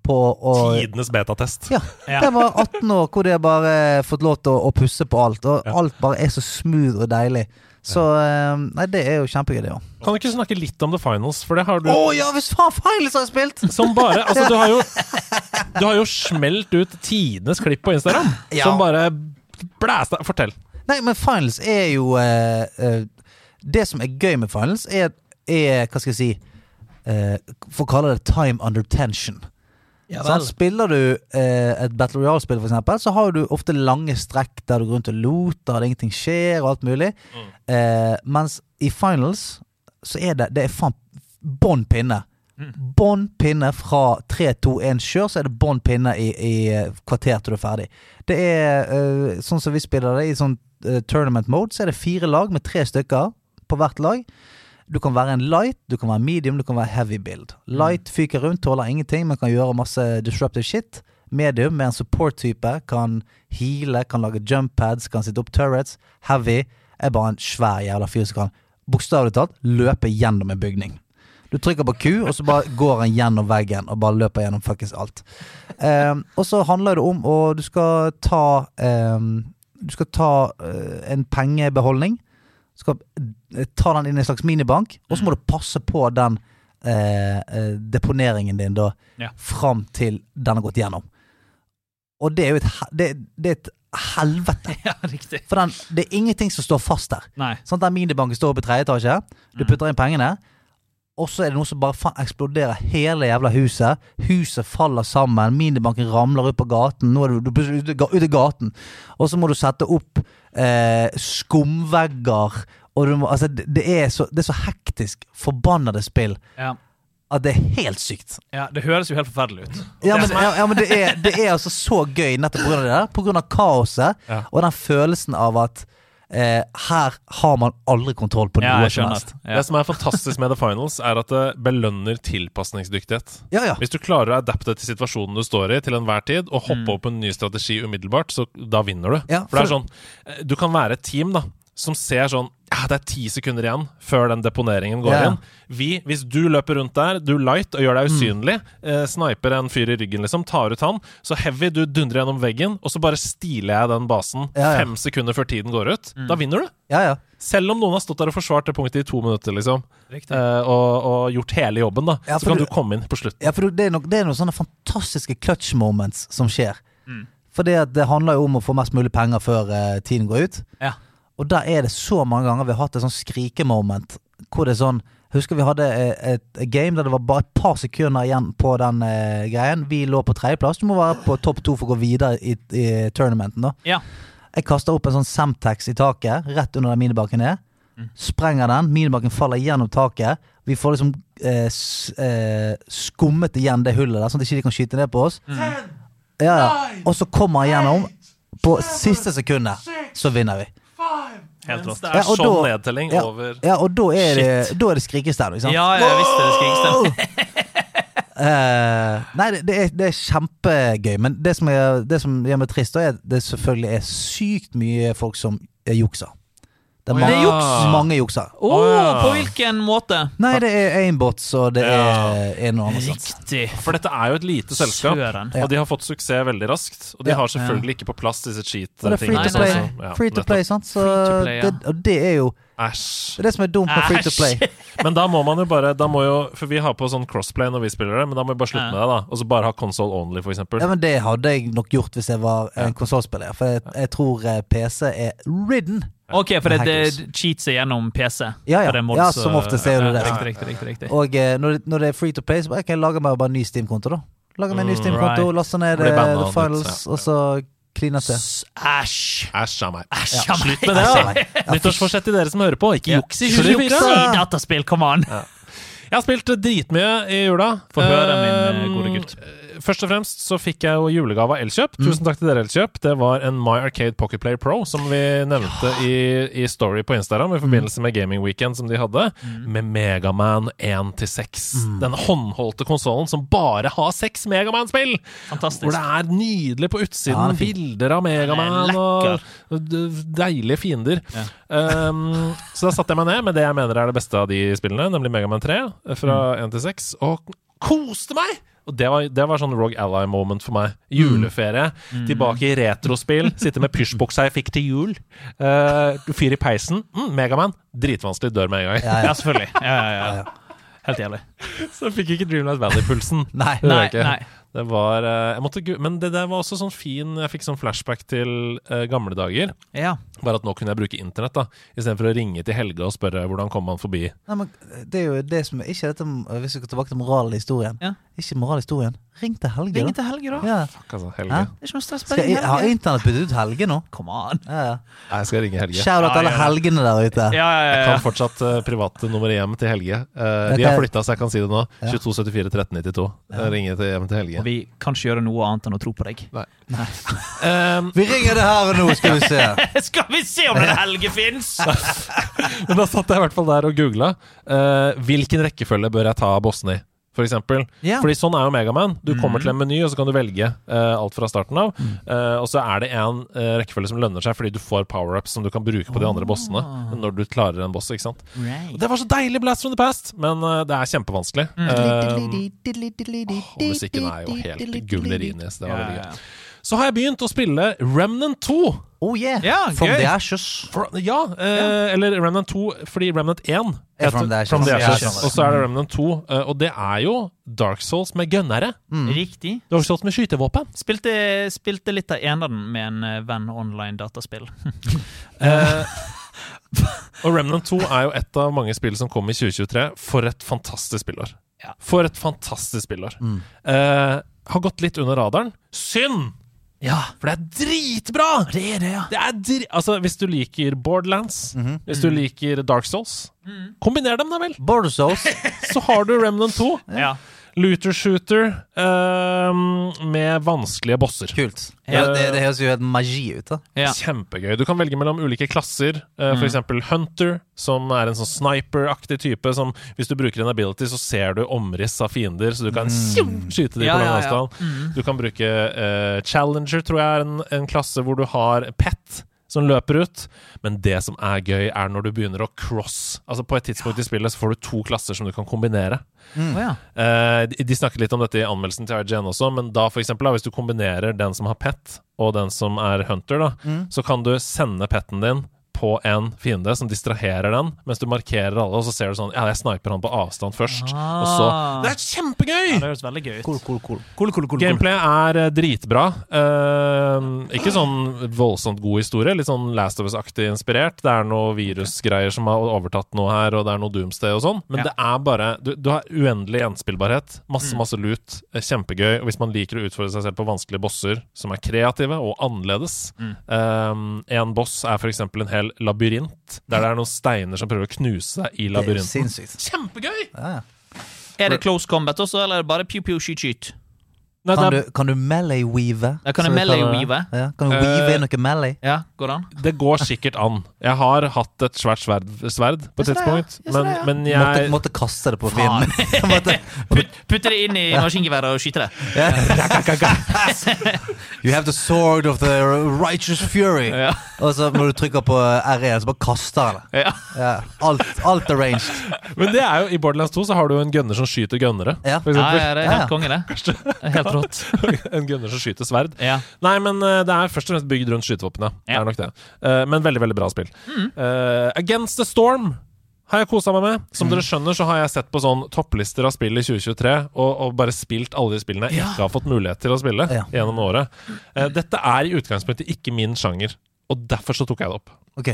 Speaker 2: på å
Speaker 4: Tidenes betatest.
Speaker 2: ja,
Speaker 3: Ja.
Speaker 2: det var 18 år hvor jeg bare eh, fått lov til å, å pusse på alt, og alt bare er så smooth og deilig. Så eh, Nei, det er jo kjempegøy, det òg.
Speaker 4: Kan du ikke snakke litt om The Finals, for det har du
Speaker 2: Å ja, hvis faen Finals har jeg spilt!
Speaker 4: Som bare Altså, du har jo Du har jo smelt ut tidenes klipp på Instagram,
Speaker 2: Ja.
Speaker 4: som bare blæsta Fortell.
Speaker 2: Nei, men finals er jo eh, eh, Det som er gøy med finals, er, er Hva skal jeg si eh, For å kalle det time under tension.
Speaker 6: Ja
Speaker 2: Sånn,
Speaker 6: vel.
Speaker 2: spiller du eh, et Battle Royale-spill, for eksempel, så har du ofte lange strekk der du går rundt og loter, og ingenting skjer, og alt mulig.
Speaker 6: Mm.
Speaker 2: Eh, mens i finals så er det Det er faen bånn pinne.
Speaker 6: Mm.
Speaker 2: Bånn pinne fra 3, 2, 1, kjør, så er det bånn pinne i, i eh, kvarter til du er ferdig. Det er eh, sånn som vi spiller det, i sånn eh, tournament mode, så er det fire lag med tre stykker på hvert lag. Du kan være en light, du kan være medium, du kan være heavy build. Light fyker rundt, tåler ingenting, men kan gjøre masse disruptive shit. Medium med en support-type kan heale, kan lage jump pads, kan sitte opp turrets. Heavy er bare en svær jævla fyr som kan bokstavelig talt løpe gjennom en bygning. Du trykker på Q, og så bare går han gjennom veggen og bare løper gjennom fuckings alt. Ehm, og så handler det om å Du skal ta ehm, Du skal ta eh, en pengebeholdning skal eh, ta den inn i en slags minibank, og så må du passe på den eh, eh, deponeringen din da,
Speaker 3: Ja.
Speaker 2: fram til den har gått gjennom. Og det er jo et, hel- det, det er et helvete,
Speaker 3: Ja, riktig.
Speaker 2: for den, det er ingenting som står fast der.
Speaker 3: Nei.
Speaker 2: Sånn at den minibanken står oppe i tredje etasje, du putter inn pengene, og så er det noe som bare faen eksploderer hele jævla huset. Huset faller sammen, minibanken ramler ut på gaten, nå er du, du er plutselig ute, ga- ute i gaten. Og så må du sette opp eh, skumvegger, og du må Altså, det, det, er så, det er så hektisk, forbannede spill,
Speaker 3: Ja.
Speaker 2: at det er helt sykt.
Speaker 3: ja, det høres jo helt forferdelig ut.
Speaker 2: Ja, men, ja, ja, men det, er, det er altså så gøy nettopp pga. det der. Pga. kaoset
Speaker 4: Ja.
Speaker 2: og den følelsen av at eh, her har man aldri kontroll på
Speaker 3: Ja,
Speaker 2: noe
Speaker 3: jeg
Speaker 2: som
Speaker 3: skjønner.
Speaker 2: helst.
Speaker 3: Ja.
Speaker 4: Det som er fantastisk med The Finals, er at det belønner tilpasningsdyktighet.
Speaker 2: Ja, ja.
Speaker 4: Hvis du klarer å adapte til situasjonen du står i til enhver tid, og hoppe opp en ny strategi umiddelbart, så da vinner du.
Speaker 2: Mm. Ja,
Speaker 4: for det er
Speaker 2: for-
Speaker 4: sånn eh, Du kan være et team da som ser sånn ja, Det er ti sekunder igjen før den deponeringen går
Speaker 2: Ja.
Speaker 4: igjen. Vi, hvis du løper rundt der, du light og gjør deg
Speaker 2: Mm.
Speaker 4: usynlig, eh, sniper en fyr i ryggen, liksom, tar ut han, så heavy, du dundrer gjennom veggen, og så bare stiler jeg den basen
Speaker 2: Ja, Mm. ja.
Speaker 4: fem sekunder før tiden går ut. Da vinner du.
Speaker 2: Ja, ja.
Speaker 4: Selv om noen har stått der og forsvart det punktet i to minutter, liksom,
Speaker 3: Riktig.
Speaker 4: eh, og, og gjort hele jobben, da,
Speaker 2: Ja,
Speaker 4: så
Speaker 2: for
Speaker 4: kan
Speaker 2: du-
Speaker 4: du komme inn på slutten.
Speaker 2: Ja, for det er, nok, det er noen sånne fantastiske clutch moments som skjer.
Speaker 3: Mm.
Speaker 2: For det, at det handler jo om å få mest mulig penger før eh, tiden går ut.
Speaker 3: Ja.
Speaker 2: Og der er det så mange ganger vi har hatt et sånn skrikemoment hvor det er sånn Husker vi hadde eh, et, et game der det var bare et par sekunder igjen på den eh, greien. Vi lå på tredjeplass. Du må være på topp to for å gå videre i, i tournamenten, da.
Speaker 3: Ja.
Speaker 2: Jeg kaster opp en sånn Semtex i taket, rett under der minibanken er. Sprenger den, minibanken faller gjennom taket. Vi får liksom eh, s eh, skummet igjen det hullet der, sånn at ikke de kan skyte ned på oss. Ja, ja. Og så kommer han gjennom. På siste sekundet så vinner vi.
Speaker 3: Helt rått.
Speaker 4: Det er
Speaker 2: Ja, og
Speaker 4: sånn
Speaker 2: da-
Speaker 4: nedtelling
Speaker 2: Ja,
Speaker 4: over
Speaker 2: ja og da er det, da er det skrikestemning, sant?
Speaker 3: Ja, jeg visste det skulle ikke stemme.
Speaker 2: Eh, nei, det, det, er, det er kjempegøy, men det som, er, det som gjør meg trist, da, er at det selvfølgelig er sykt mye folk som eh, jukser. Det er
Speaker 4: ja.
Speaker 2: mange,
Speaker 4: Det er juks.
Speaker 2: mange jukser.
Speaker 6: Å,
Speaker 4: Åh.
Speaker 6: på hvilken måte?
Speaker 2: Nei, det er aimbots, og det
Speaker 4: Ja.
Speaker 2: er en og annen sånt.
Speaker 3: Riktig.
Speaker 4: For dette er jo et lite selskap,
Speaker 3: Søren.
Speaker 4: og de har fått suksess veldig raskt. Og de
Speaker 2: Ja.
Speaker 4: har selvfølgelig ikke på plass disse
Speaker 2: Og det er free to play,
Speaker 4: cheat-tingene.
Speaker 6: Nei, nei,
Speaker 4: så- altså, ja,
Speaker 2: free to
Speaker 4: nettopp.
Speaker 2: play sant? Så
Speaker 6: Free to play, ja.
Speaker 2: det, og det er jo
Speaker 4: Æsj.
Speaker 2: det er det som er dumt med
Speaker 3: Ah,
Speaker 2: free to play.
Speaker 4: Men da må man jo bare da må jo, For vi har på sånn crossplay når vi spiller det, men da må vi bare
Speaker 3: Ja.
Speaker 4: slutte med det, da. Og så bare ha console only, for eksempel.
Speaker 2: Ja, men Det hadde jeg nok gjort hvis jeg var en konsollspiller, for jeg, jeg tror eh, PC er ridden.
Speaker 3: Ok, for det, det
Speaker 2: Hackers.
Speaker 3: cheats er gjennom PC.
Speaker 2: Ja, ja.
Speaker 3: For det er mods, eh,
Speaker 2: Ja, som
Speaker 3: og-
Speaker 2: oftest er det
Speaker 3: ja,
Speaker 2: det.
Speaker 3: Riktig, riktig, riktig, riktig.
Speaker 2: Og eh, når, det, når det er free to play, så bare, kan jeg lage meg bare en ny Steam-konto, da. Lage meg en ny Steam-konto,
Speaker 3: Mm, right.
Speaker 2: laste ned
Speaker 4: Blir
Speaker 2: eh,
Speaker 4: banna
Speaker 2: The
Speaker 4: og nytt,
Speaker 2: Finals, og så kline til.
Speaker 3: S- Æsj!
Speaker 4: Æsj av meg.
Speaker 3: Æsj a meg.
Speaker 4: Men det,
Speaker 2: Ja,
Speaker 4: da.
Speaker 2: nei. Ja,
Speaker 4: Nyttårsforsett til dere som hører på, ikke juks i
Speaker 3: Ikke juks
Speaker 4: 2024!
Speaker 3: i dataspill, come on!
Speaker 4: Jeg har spilt dritmye i jula.
Speaker 3: Få høre, min,
Speaker 4: Eh,
Speaker 3: eh, gode gutt. Mm.
Speaker 4: eh, Først og fremst så fikk jeg jo julegave av Elkjøp. Tusen takk til dere, Elkjøp. Det var en My Arcade Pocket Player Pro, som vi nevnte i, i Story på
Speaker 3: Mm.
Speaker 4: Instagram i forbindelse med Gaming Weekend som de hadde, med Megaman 1 til 6.
Speaker 3: Mm.
Speaker 4: Den håndholdte konsollen som bare har seks Megaman-spill! Hvor
Speaker 3: Fantastisk.
Speaker 4: det er nydelig på utsiden.
Speaker 2: Ja, den er fin.
Speaker 4: bilder
Speaker 3: Den
Speaker 4: av Megaman
Speaker 3: er
Speaker 4: og
Speaker 3: lekker.
Speaker 4: d- deilige fiender. Um, så da satte jeg meg ned med det jeg mener er det beste av de spillene, nemlig Megaman 3 fra 1 til 6, og koste meg! Og det var, det var sånn Rogue Ally moment for meg. Juleferie, tilbake i retrospill, sitte med pysjbuksa jeg fikk til jul. eh, fyr i peisen. Mm, Megaman. Dritvanskelig, dør med en gang.
Speaker 3: Ja, selvfølgelig. Ja, ja, ja. Helt jævlig.
Speaker 4: Så jeg fikk ikke Dreamlight Valley-pulsen.
Speaker 2: Nei.
Speaker 4: Det gjør
Speaker 3: Nei,
Speaker 4: jeg ikke.
Speaker 3: nei.
Speaker 4: Det var, eh, jeg måtte, gu- men det der var også sånn fin Jeg fikk sånn flashback til eh, gamle dager.
Speaker 3: Ja.
Speaker 4: Bare at nå kunne jeg bruke internett, da istedenfor å ringe til Helge og spørre hvordan kom han forbi.
Speaker 2: Nei, men eh, det er jo det som Ikke dette eh, Hvis vi skal tilbake til moralhistorien.
Speaker 3: Ja.
Speaker 2: Ikke moralhistorien. Ring til Helge,
Speaker 3: Ring
Speaker 2: da.
Speaker 3: til Helge, da.
Speaker 2: Ja.
Speaker 4: Fuck, altså,
Speaker 2: Hæ?
Speaker 4: Helge.
Speaker 3: Det er ikke noe stress.
Speaker 2: Skal
Speaker 3: Bare ring
Speaker 2: jeg, har
Speaker 3: Helge.
Speaker 2: internett byttet ut Helge nå?
Speaker 3: Come on.
Speaker 2: Ja, ja.
Speaker 4: Nei, jeg skal ringe Helge.
Speaker 2: Shout out
Speaker 3: Ja,
Speaker 2: alle
Speaker 3: ja, ja.
Speaker 2: helgene der ute.
Speaker 3: Ja, ja, ja,
Speaker 4: Jeg
Speaker 3: ja.
Speaker 4: kan fortsatt eh, private nummer hjem til Helge. Eh,
Speaker 2: Det
Speaker 4: de har
Speaker 2: kan-
Speaker 4: flytta, så jeg kan si det nå.
Speaker 2: Ja.
Speaker 4: 2274 1392. Eh, Ringe til hjem til Helge.
Speaker 3: Og vi kan ikke gjøre noe annet enn å tro på deg.
Speaker 4: Nei.
Speaker 3: Nei.
Speaker 4: Um,
Speaker 2: Vi ringer det her og nå, skal vi se.
Speaker 3: Skal vi se om den Helge fins?
Speaker 4: men da satt jeg i hvert fall der og googla. hvilken rekkefølge bør jeg ta bossene i? For eksempel.
Speaker 2: Ja. Mhm.
Speaker 4: Fordi sånn er jo Megaman. Du kommer til en meny, og så kan du velge eh, alt fra starten av.
Speaker 2: Mm.
Speaker 4: Eh, og så er det en eh, rekkefølge som lønner seg, fordi du får power-ups som du kan bruke på de
Speaker 2: Ah.
Speaker 4: andre bossene når du klarer en boss. ikke sant? Og Det var så deilig Blast from the Past, men eh, det er kjempevanskelig.
Speaker 2: Mm.
Speaker 4: Eh, og musikken er jo helt gullerini, så det var veldig gøy. Så har jeg begynt å spille Remnant 2.
Speaker 2: Oh yeah.
Speaker 3: Ja,
Speaker 2: From
Speaker 3: gøy.
Speaker 2: the Ashes.
Speaker 4: For, ja, eh, eller Remnant 2, fordi Remnant 1
Speaker 2: Er From the Ashes.
Speaker 4: From the
Speaker 2: Ja,
Speaker 4: Ashes.
Speaker 2: skjønner.
Speaker 4: Og så er det Remnant 2, eh, og det er jo Dark Souls med gønnere.
Speaker 2: Mm.
Speaker 3: Riktig.
Speaker 4: Dark Souls med skytevåpen.
Speaker 3: Spilte, spilte litt av eneren med en eh, venn online dataspill.
Speaker 4: Eh, Og Remnant 2 er jo et av mange spill som kom i 2023. For et fantastisk spillår.
Speaker 3: Ja.
Speaker 4: For et fantastisk spillår. Eh, har gått litt under radaren. Synd!
Speaker 3: Ja,
Speaker 4: For det er dritbra!
Speaker 3: det er det, ja.
Speaker 4: Det er dri altså, hvis du liker Borderlands,
Speaker 3: Mm.
Speaker 4: hvis du liker Dark Souls, kombiner dem da vel!
Speaker 2: Border Souls.
Speaker 4: Så har du Remnant 2,
Speaker 3: Ja,
Speaker 4: Looter Shooter, ehm, med vanskelige bosser.
Speaker 2: Kult.
Speaker 3: Ja.
Speaker 2: Det, det høres jo helt magi ut. da
Speaker 3: ja. Mm.
Speaker 4: Kjempegøy. Du kan velge mellom ulike klasser. Uh, for eksempel Hunter, som er en sånn sniper-aktig type. Som hvis du bruker en ability, så ser du omriss av fiender, så du kan sju- skyte dem
Speaker 3: Mm. Ja,
Speaker 4: på lang
Speaker 3: ja, Mm. ja.
Speaker 4: avstand. Du kan bruke eh, Challenger, tror jeg er en, en klasse hvor du har pet. Som løper ut. Men det som er gøy, er når du begynner å cross. Altså På et tidspunkt i spillet så får du to klasser som du kan kombinere.
Speaker 3: Å, ja.
Speaker 4: Eh, de, de snakket litt om dette i anmeldelsen til IGN også, men da for eksempel, da, hvis du kombinerer den som har pet, og den som er hunter, da, så kan du sende petten din på en fiende som distraherer den, mens du markerer alle, og så ser du sånn Ja, jeg sniper han på avstand først, og så
Speaker 3: Ah.
Speaker 4: Det er kjempegøy!
Speaker 3: Det høres veldig gøy ut.
Speaker 2: Cool, cool, cool.
Speaker 4: Gameplay er eh, dritbra. Eh, ikke sånn voldsomt god historie, litt sånn Last of Us-aktig inspirert. Det er noe virusgreier som har overtatt noe her, og det er noe Doomsday og sånn.
Speaker 3: Ja.
Speaker 4: Men det er bare du, du har uendelig gjenspillbarhet.
Speaker 2: Mm.
Speaker 4: Masse, masse lut. eh, Kjempegøy. Og hvis man liker å utfordre seg selv på vanskelige bosser som er kreative og annerledes
Speaker 2: Mm.
Speaker 4: eh, En boss er f.eks. en hel labyrint, der det er noen steiner som prøver å knuse deg i
Speaker 2: Det er jo
Speaker 4: labyrinten.
Speaker 2: sinnssykt.
Speaker 4: Kjempegøy!
Speaker 2: Ja, ja.
Speaker 3: Er det close combat også, eller er det bare pew pew shoot shoot?
Speaker 4: Nei,
Speaker 2: Kan
Speaker 4: det,
Speaker 2: du,
Speaker 4: er,
Speaker 2: kan du melee weave?
Speaker 3: Altså, Ja, kan
Speaker 2: som
Speaker 3: jeg
Speaker 2: vi
Speaker 3: melee
Speaker 2: kaller det?
Speaker 3: weave?
Speaker 2: Ja, kan du weave
Speaker 4: Eh,
Speaker 2: inn noe melee?
Speaker 3: Ja, går det an?
Speaker 4: det går sikkert an. Jeg har hatt et svært sverd, sverd på
Speaker 3: Jeg
Speaker 4: et
Speaker 3: ser det, ja.
Speaker 4: tidspunkt,
Speaker 3: Jeg ser
Speaker 4: men,
Speaker 3: det, ja.
Speaker 4: men
Speaker 2: Måtte,
Speaker 4: jeg
Speaker 2: måtte kaste det på
Speaker 3: Faen.
Speaker 2: fienden. Måtte-
Speaker 3: Putt, putte det inn i maskingeværet og skyte det.
Speaker 2: You have the sword of the righteous fury.
Speaker 3: Ja.
Speaker 2: Og så når du trykker på R1, så bare kaster han det.
Speaker 3: Ja.
Speaker 2: Ja. Alt, alt er ranged.
Speaker 4: Men det er jo, i Borderlands 2 så har du jo en gunner som skyter gunnere.
Speaker 2: Ja.
Speaker 4: For
Speaker 3: Ja,
Speaker 4: eksempel.
Speaker 3: ja, det er
Speaker 2: Ja, ja.
Speaker 3: helt konge, det. Det er Helt rått.
Speaker 4: en gunner som skyter sverd.
Speaker 3: Ja.
Speaker 4: Nei, men eh, det er først og fremst bygd rundt skytevåpenet. Det
Speaker 3: Ja.
Speaker 4: er nok det. Eh, men veldig, veldig bra spill.
Speaker 2: Mm.
Speaker 4: Eh, Against the Storm har jeg kosa meg med.
Speaker 2: Mm.
Speaker 4: Som dere skjønner, så har jeg sett på sånn topplister av spill i 2023, og, og bare spilt alle de spillene jeg ikke har fått mulighet til å spille
Speaker 2: Ja.
Speaker 4: gjennom året. Eh, dette er i utgangspunktet ikke min sjanger, og derfor så tok jeg det opp.
Speaker 2: Ok.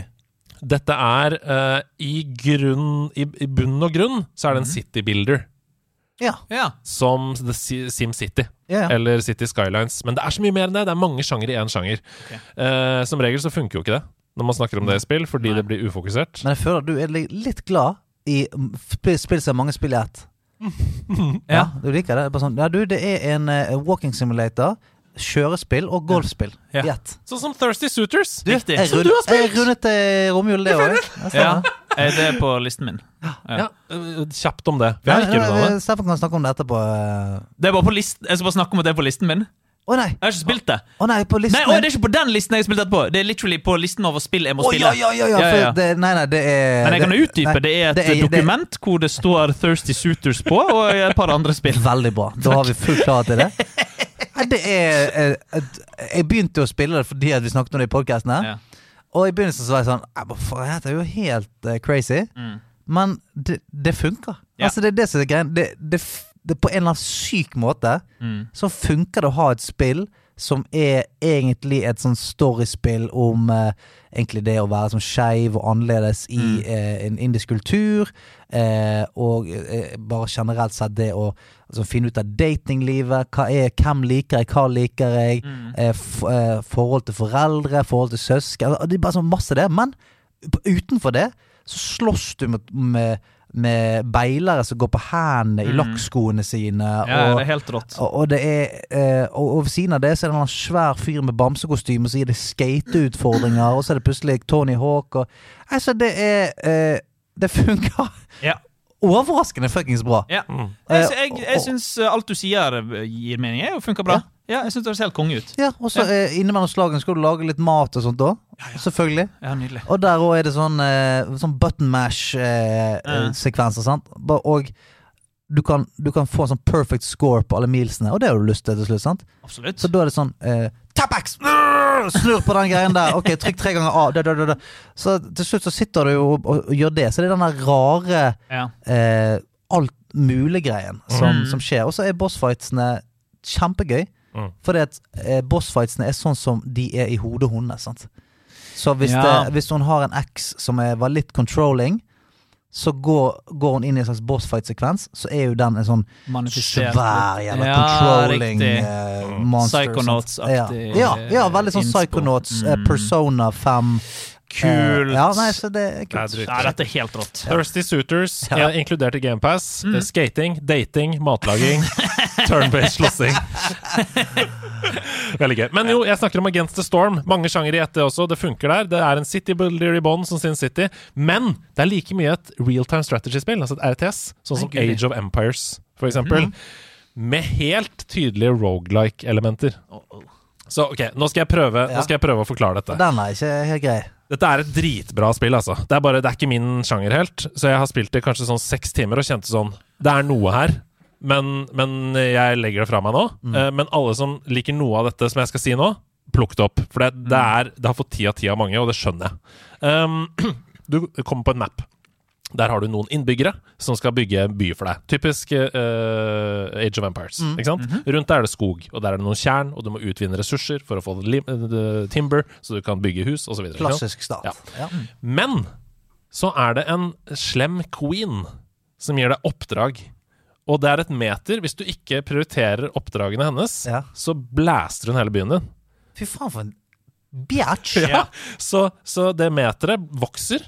Speaker 4: Dette er eh, i grunn I, i bunn og grunn så er det en city builder.
Speaker 2: Ja.
Speaker 3: Ja.
Speaker 4: Som The Si- SimCity.
Speaker 2: Ja, ja.
Speaker 4: Eller City Skylines. Men det er så mye mer enn det. Det er mange sjangere i én sjanger. Eh, som regel så funker jo ikke det når man snakker om det i spill, fordi det blir ufokusert.
Speaker 2: Men jeg føler at du er li- litt glad i mm, sp- spill som mange spill i ett.
Speaker 3: Ja.
Speaker 2: Du liker det? det er bare sånn, ja, du, det er en eh, walking simulator, kjørespill og golfspill i
Speaker 4: Ja.
Speaker 2: ett.
Speaker 4: Sånn som Thirsty Suitors.
Speaker 3: Riktig.
Speaker 2: Jeg,
Speaker 4: Som
Speaker 2: rund,
Speaker 4: du har spilt!
Speaker 2: jeg rundet det i romjulen, det òg.
Speaker 3: Ja, eh, det er på listen min.
Speaker 4: Ja, eh, kjapt om det. Vi har ikke rundet det.
Speaker 2: Steffen kan snakke om det etterpå. eh.
Speaker 3: Det er bare på listen Jeg skal bare snakke om at det er på listen min.
Speaker 2: Å nei!
Speaker 3: Jeg har ikke spilt det.
Speaker 2: Å nei, på
Speaker 3: Nei,
Speaker 2: listen
Speaker 3: å, det er ikke på den listen jeg har spilt etterpå. Det er literally på listen over spill jeg må
Speaker 2: Å,
Speaker 3: spille.
Speaker 2: ja, ja, ja, ja, for Det, nei, nei, det er
Speaker 3: Men jeg kan
Speaker 2: det-
Speaker 3: utdype.
Speaker 2: nei,
Speaker 3: det er et
Speaker 2: det-
Speaker 3: dokument hvor det står Thirsty Suitors på, og et par andre spill.
Speaker 2: Veldig bra. Da har vi full klarhet i det. Nei, det er eh, et- Jeg begynte å spille det fordi at vi snakket om det i podkasten her.
Speaker 3: Ja.
Speaker 2: Og i begynnelsen så var jeg sånn "Nei, men faen, Dette er jo helt eh, crazy.
Speaker 3: Mm,
Speaker 2: Men det, det funker.
Speaker 3: Ja.
Speaker 2: Altså Det er det som er greia. Det, det, f- det På en eller annen syk måte
Speaker 3: mm.
Speaker 2: så funker det å ha et spill som er egentlig et sånn storyspill om eh, egentlig det å være sånn skeiv og annerledes i
Speaker 3: Mm.
Speaker 2: eh, en indisk kultur, eh, og eh, bare generelt sett det å altså, finne ut av datinglivet. Hva er, hvem liker jeg, hva liker jeg?
Speaker 3: Mm.
Speaker 2: Eh, f, eh, forhold til foreldre, forhold til søsken. Altså, Det er bare sånn masse det. Men på- utenfor det så slåss du med, med, med beilere som går på hendene i lakkskoene sine.
Speaker 3: Mm. Ja,
Speaker 2: og,
Speaker 3: det er helt rått.
Speaker 2: og, og det er eh, og, og ved siden av det så er det en svær fyr med bamsekostyme, og så gir det skateutfordringer, og så er det plutselig Tony Hawk og Altså, det er eh, Det funker
Speaker 3: Ja.
Speaker 2: overraskende fuckings bra.
Speaker 3: Ja.
Speaker 2: Eh,
Speaker 3: Jeg, sy- jeg, jeg syns alt du sier, eh, gir mening jeg, og funker bra. Ja, jeg syns det høres helt konge ut.
Speaker 2: Ja, og så eh, innimellom slagene skal du lage litt mat og sånt òg. Selvfølgelig.
Speaker 3: Ja, nydelig.
Speaker 2: Og der òg er det sånn, eh, sånn button
Speaker 3: Ja.
Speaker 2: mash-sekvenser, sant. Ba- Og du kan, du kan få en sånn perfect score på alle mealsene, og det har du lyst til til slutt, sant?
Speaker 3: Absolutt.
Speaker 2: Så da er det sånn eh, Tapax! Snurr på den greien der. Ok, trykk tre ganger A. Da, da, da, da. Så til slutt så sitter du jo og, og gjør det. Så det er den der rare
Speaker 3: Ja.
Speaker 2: eh, alt mulig-greien som,
Speaker 3: Mm.
Speaker 2: som skjer. Og så er bossfightsene kjempegøy.
Speaker 4: Mm.
Speaker 2: Fordi at eh, bossfightsene er sånn som de er i hodet hennes. sant? Så hvis,
Speaker 3: Ja.
Speaker 2: det, hvis hun har en X som er, var litt controlling, så går, går hun inn i en slags bossfight-sekvens, så er jo den en sånn
Speaker 3: Manifestert.
Speaker 2: svær
Speaker 3: litt.
Speaker 2: jævla
Speaker 3: Ja,
Speaker 2: controlling
Speaker 3: riktig.
Speaker 2: eh, monster.
Speaker 3: Psychonauts-aktig,
Speaker 2: Ja. ja, ja, veldig sånn
Speaker 3: innspo.
Speaker 2: Psychonauts. eh,
Speaker 3: Mm.
Speaker 2: Persona 5. eh,
Speaker 4: Kult.
Speaker 2: ja, nei, så det er kult.
Speaker 4: Det er dritt.
Speaker 3: Nei, dette er helt rått.
Speaker 4: Thirsty Suitors,
Speaker 2: Ja. Mm.
Speaker 4: ja. inkludert i GamePass. Skating, dating, matlaging, turn-based slåssing. Veldig gøy. Men jo, jeg snakker om Against the Storm. Mange sjangere i ett, det også. Det funker der. Det er en city builder i bånn, som Sin City. Men det er like mye et real-time strategy-spill, altså et RTS, sånn som
Speaker 3: Nei, guri.
Speaker 4: Age of Empires, for
Speaker 2: Mhm.
Speaker 4: eksempel. Med helt tydelige rogelike-elementer. Så OK, nå skal, jeg prøve,
Speaker 2: Ja.
Speaker 4: nå skal jeg prøve å forklare dette.
Speaker 2: Den er ikke helt grei.
Speaker 4: Dette er et dritbra spill, altså. Det er bare, det er ikke min sjanger helt, så jeg har spilt det kanskje sånn seks timer og kjente sånn Det er noe her, men, men jeg legger det fra meg nå. Eh, Men alle som liker noe av dette som jeg skal si nå, plukk det opp. For det, det, er, det har fått ti av ti av mange, og det skjønner jeg. Um, du kommer på en map. Der har du noen innbyggere som skal bygge en by for deg. Typisk eh, Age of Empires. ikke sant? Rundt der er det skog, og der er det noen tjern, og du må utvinne ressurser for å få lim eh, timber, så du kan bygge hus, osv.
Speaker 2: Klassisk start.
Speaker 4: Ja.
Speaker 2: Ja.
Speaker 4: Men så er det en slem queen som gir deg oppdrag. Og det er et meter. Hvis du ikke prioriterer oppdragene hennes,
Speaker 2: Ja.
Speaker 4: så blæster hun hele byen din.
Speaker 2: Fy faen, for en bitch!
Speaker 4: Ja. Så, så det meteret vokser,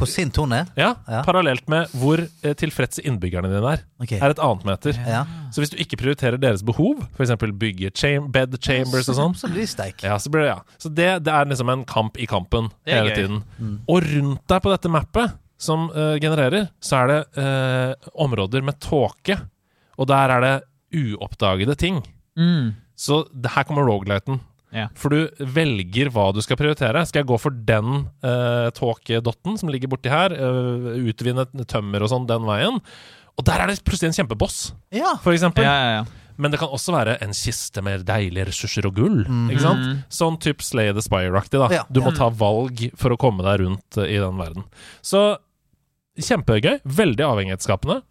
Speaker 2: Hvor sint hun er.
Speaker 4: ja,
Speaker 2: Ja.
Speaker 4: parallelt med hvor eh, tilfredse innbyggerne dine er.
Speaker 2: Ok.
Speaker 4: Er et annet meter.
Speaker 2: Ja.
Speaker 4: Så hvis du ikke prioriterer deres behov, f.eks. bygge cham bed chambers og sånn,
Speaker 2: Så blir det steik.
Speaker 4: Ja, så blir det, ja. Så det, det er liksom en kamp i kampen
Speaker 3: Det er
Speaker 4: hele
Speaker 3: gøy. Mm.
Speaker 4: tiden. Og rundt deg på dette mappet som eh, genererer, så er det eh, områder med tåke. Og der er det uoppdagede ting.
Speaker 3: Mm.
Speaker 4: Så det, her kommer rogelighten.
Speaker 3: Ja.
Speaker 4: For du velger hva du skal prioritere. Skal jeg gå for den eh, tåkedotten som ligger borti her? eh, utvinne tømmer og sånn den veien? Og der er det plutselig en kjempeboss,
Speaker 2: Ja.
Speaker 4: for eksempel.
Speaker 3: Ja, ja, ja.
Speaker 4: Men det kan også være en kiste med deilige ressurser og gull.
Speaker 3: Mm.
Speaker 4: Ikke sant? Sånn type Slay the Spire-aktig. da
Speaker 2: Ja.
Speaker 4: Du må ta valg for å komme deg rundt eh, i den verden. Så kjempegøy. Veldig avhengighetsskapende.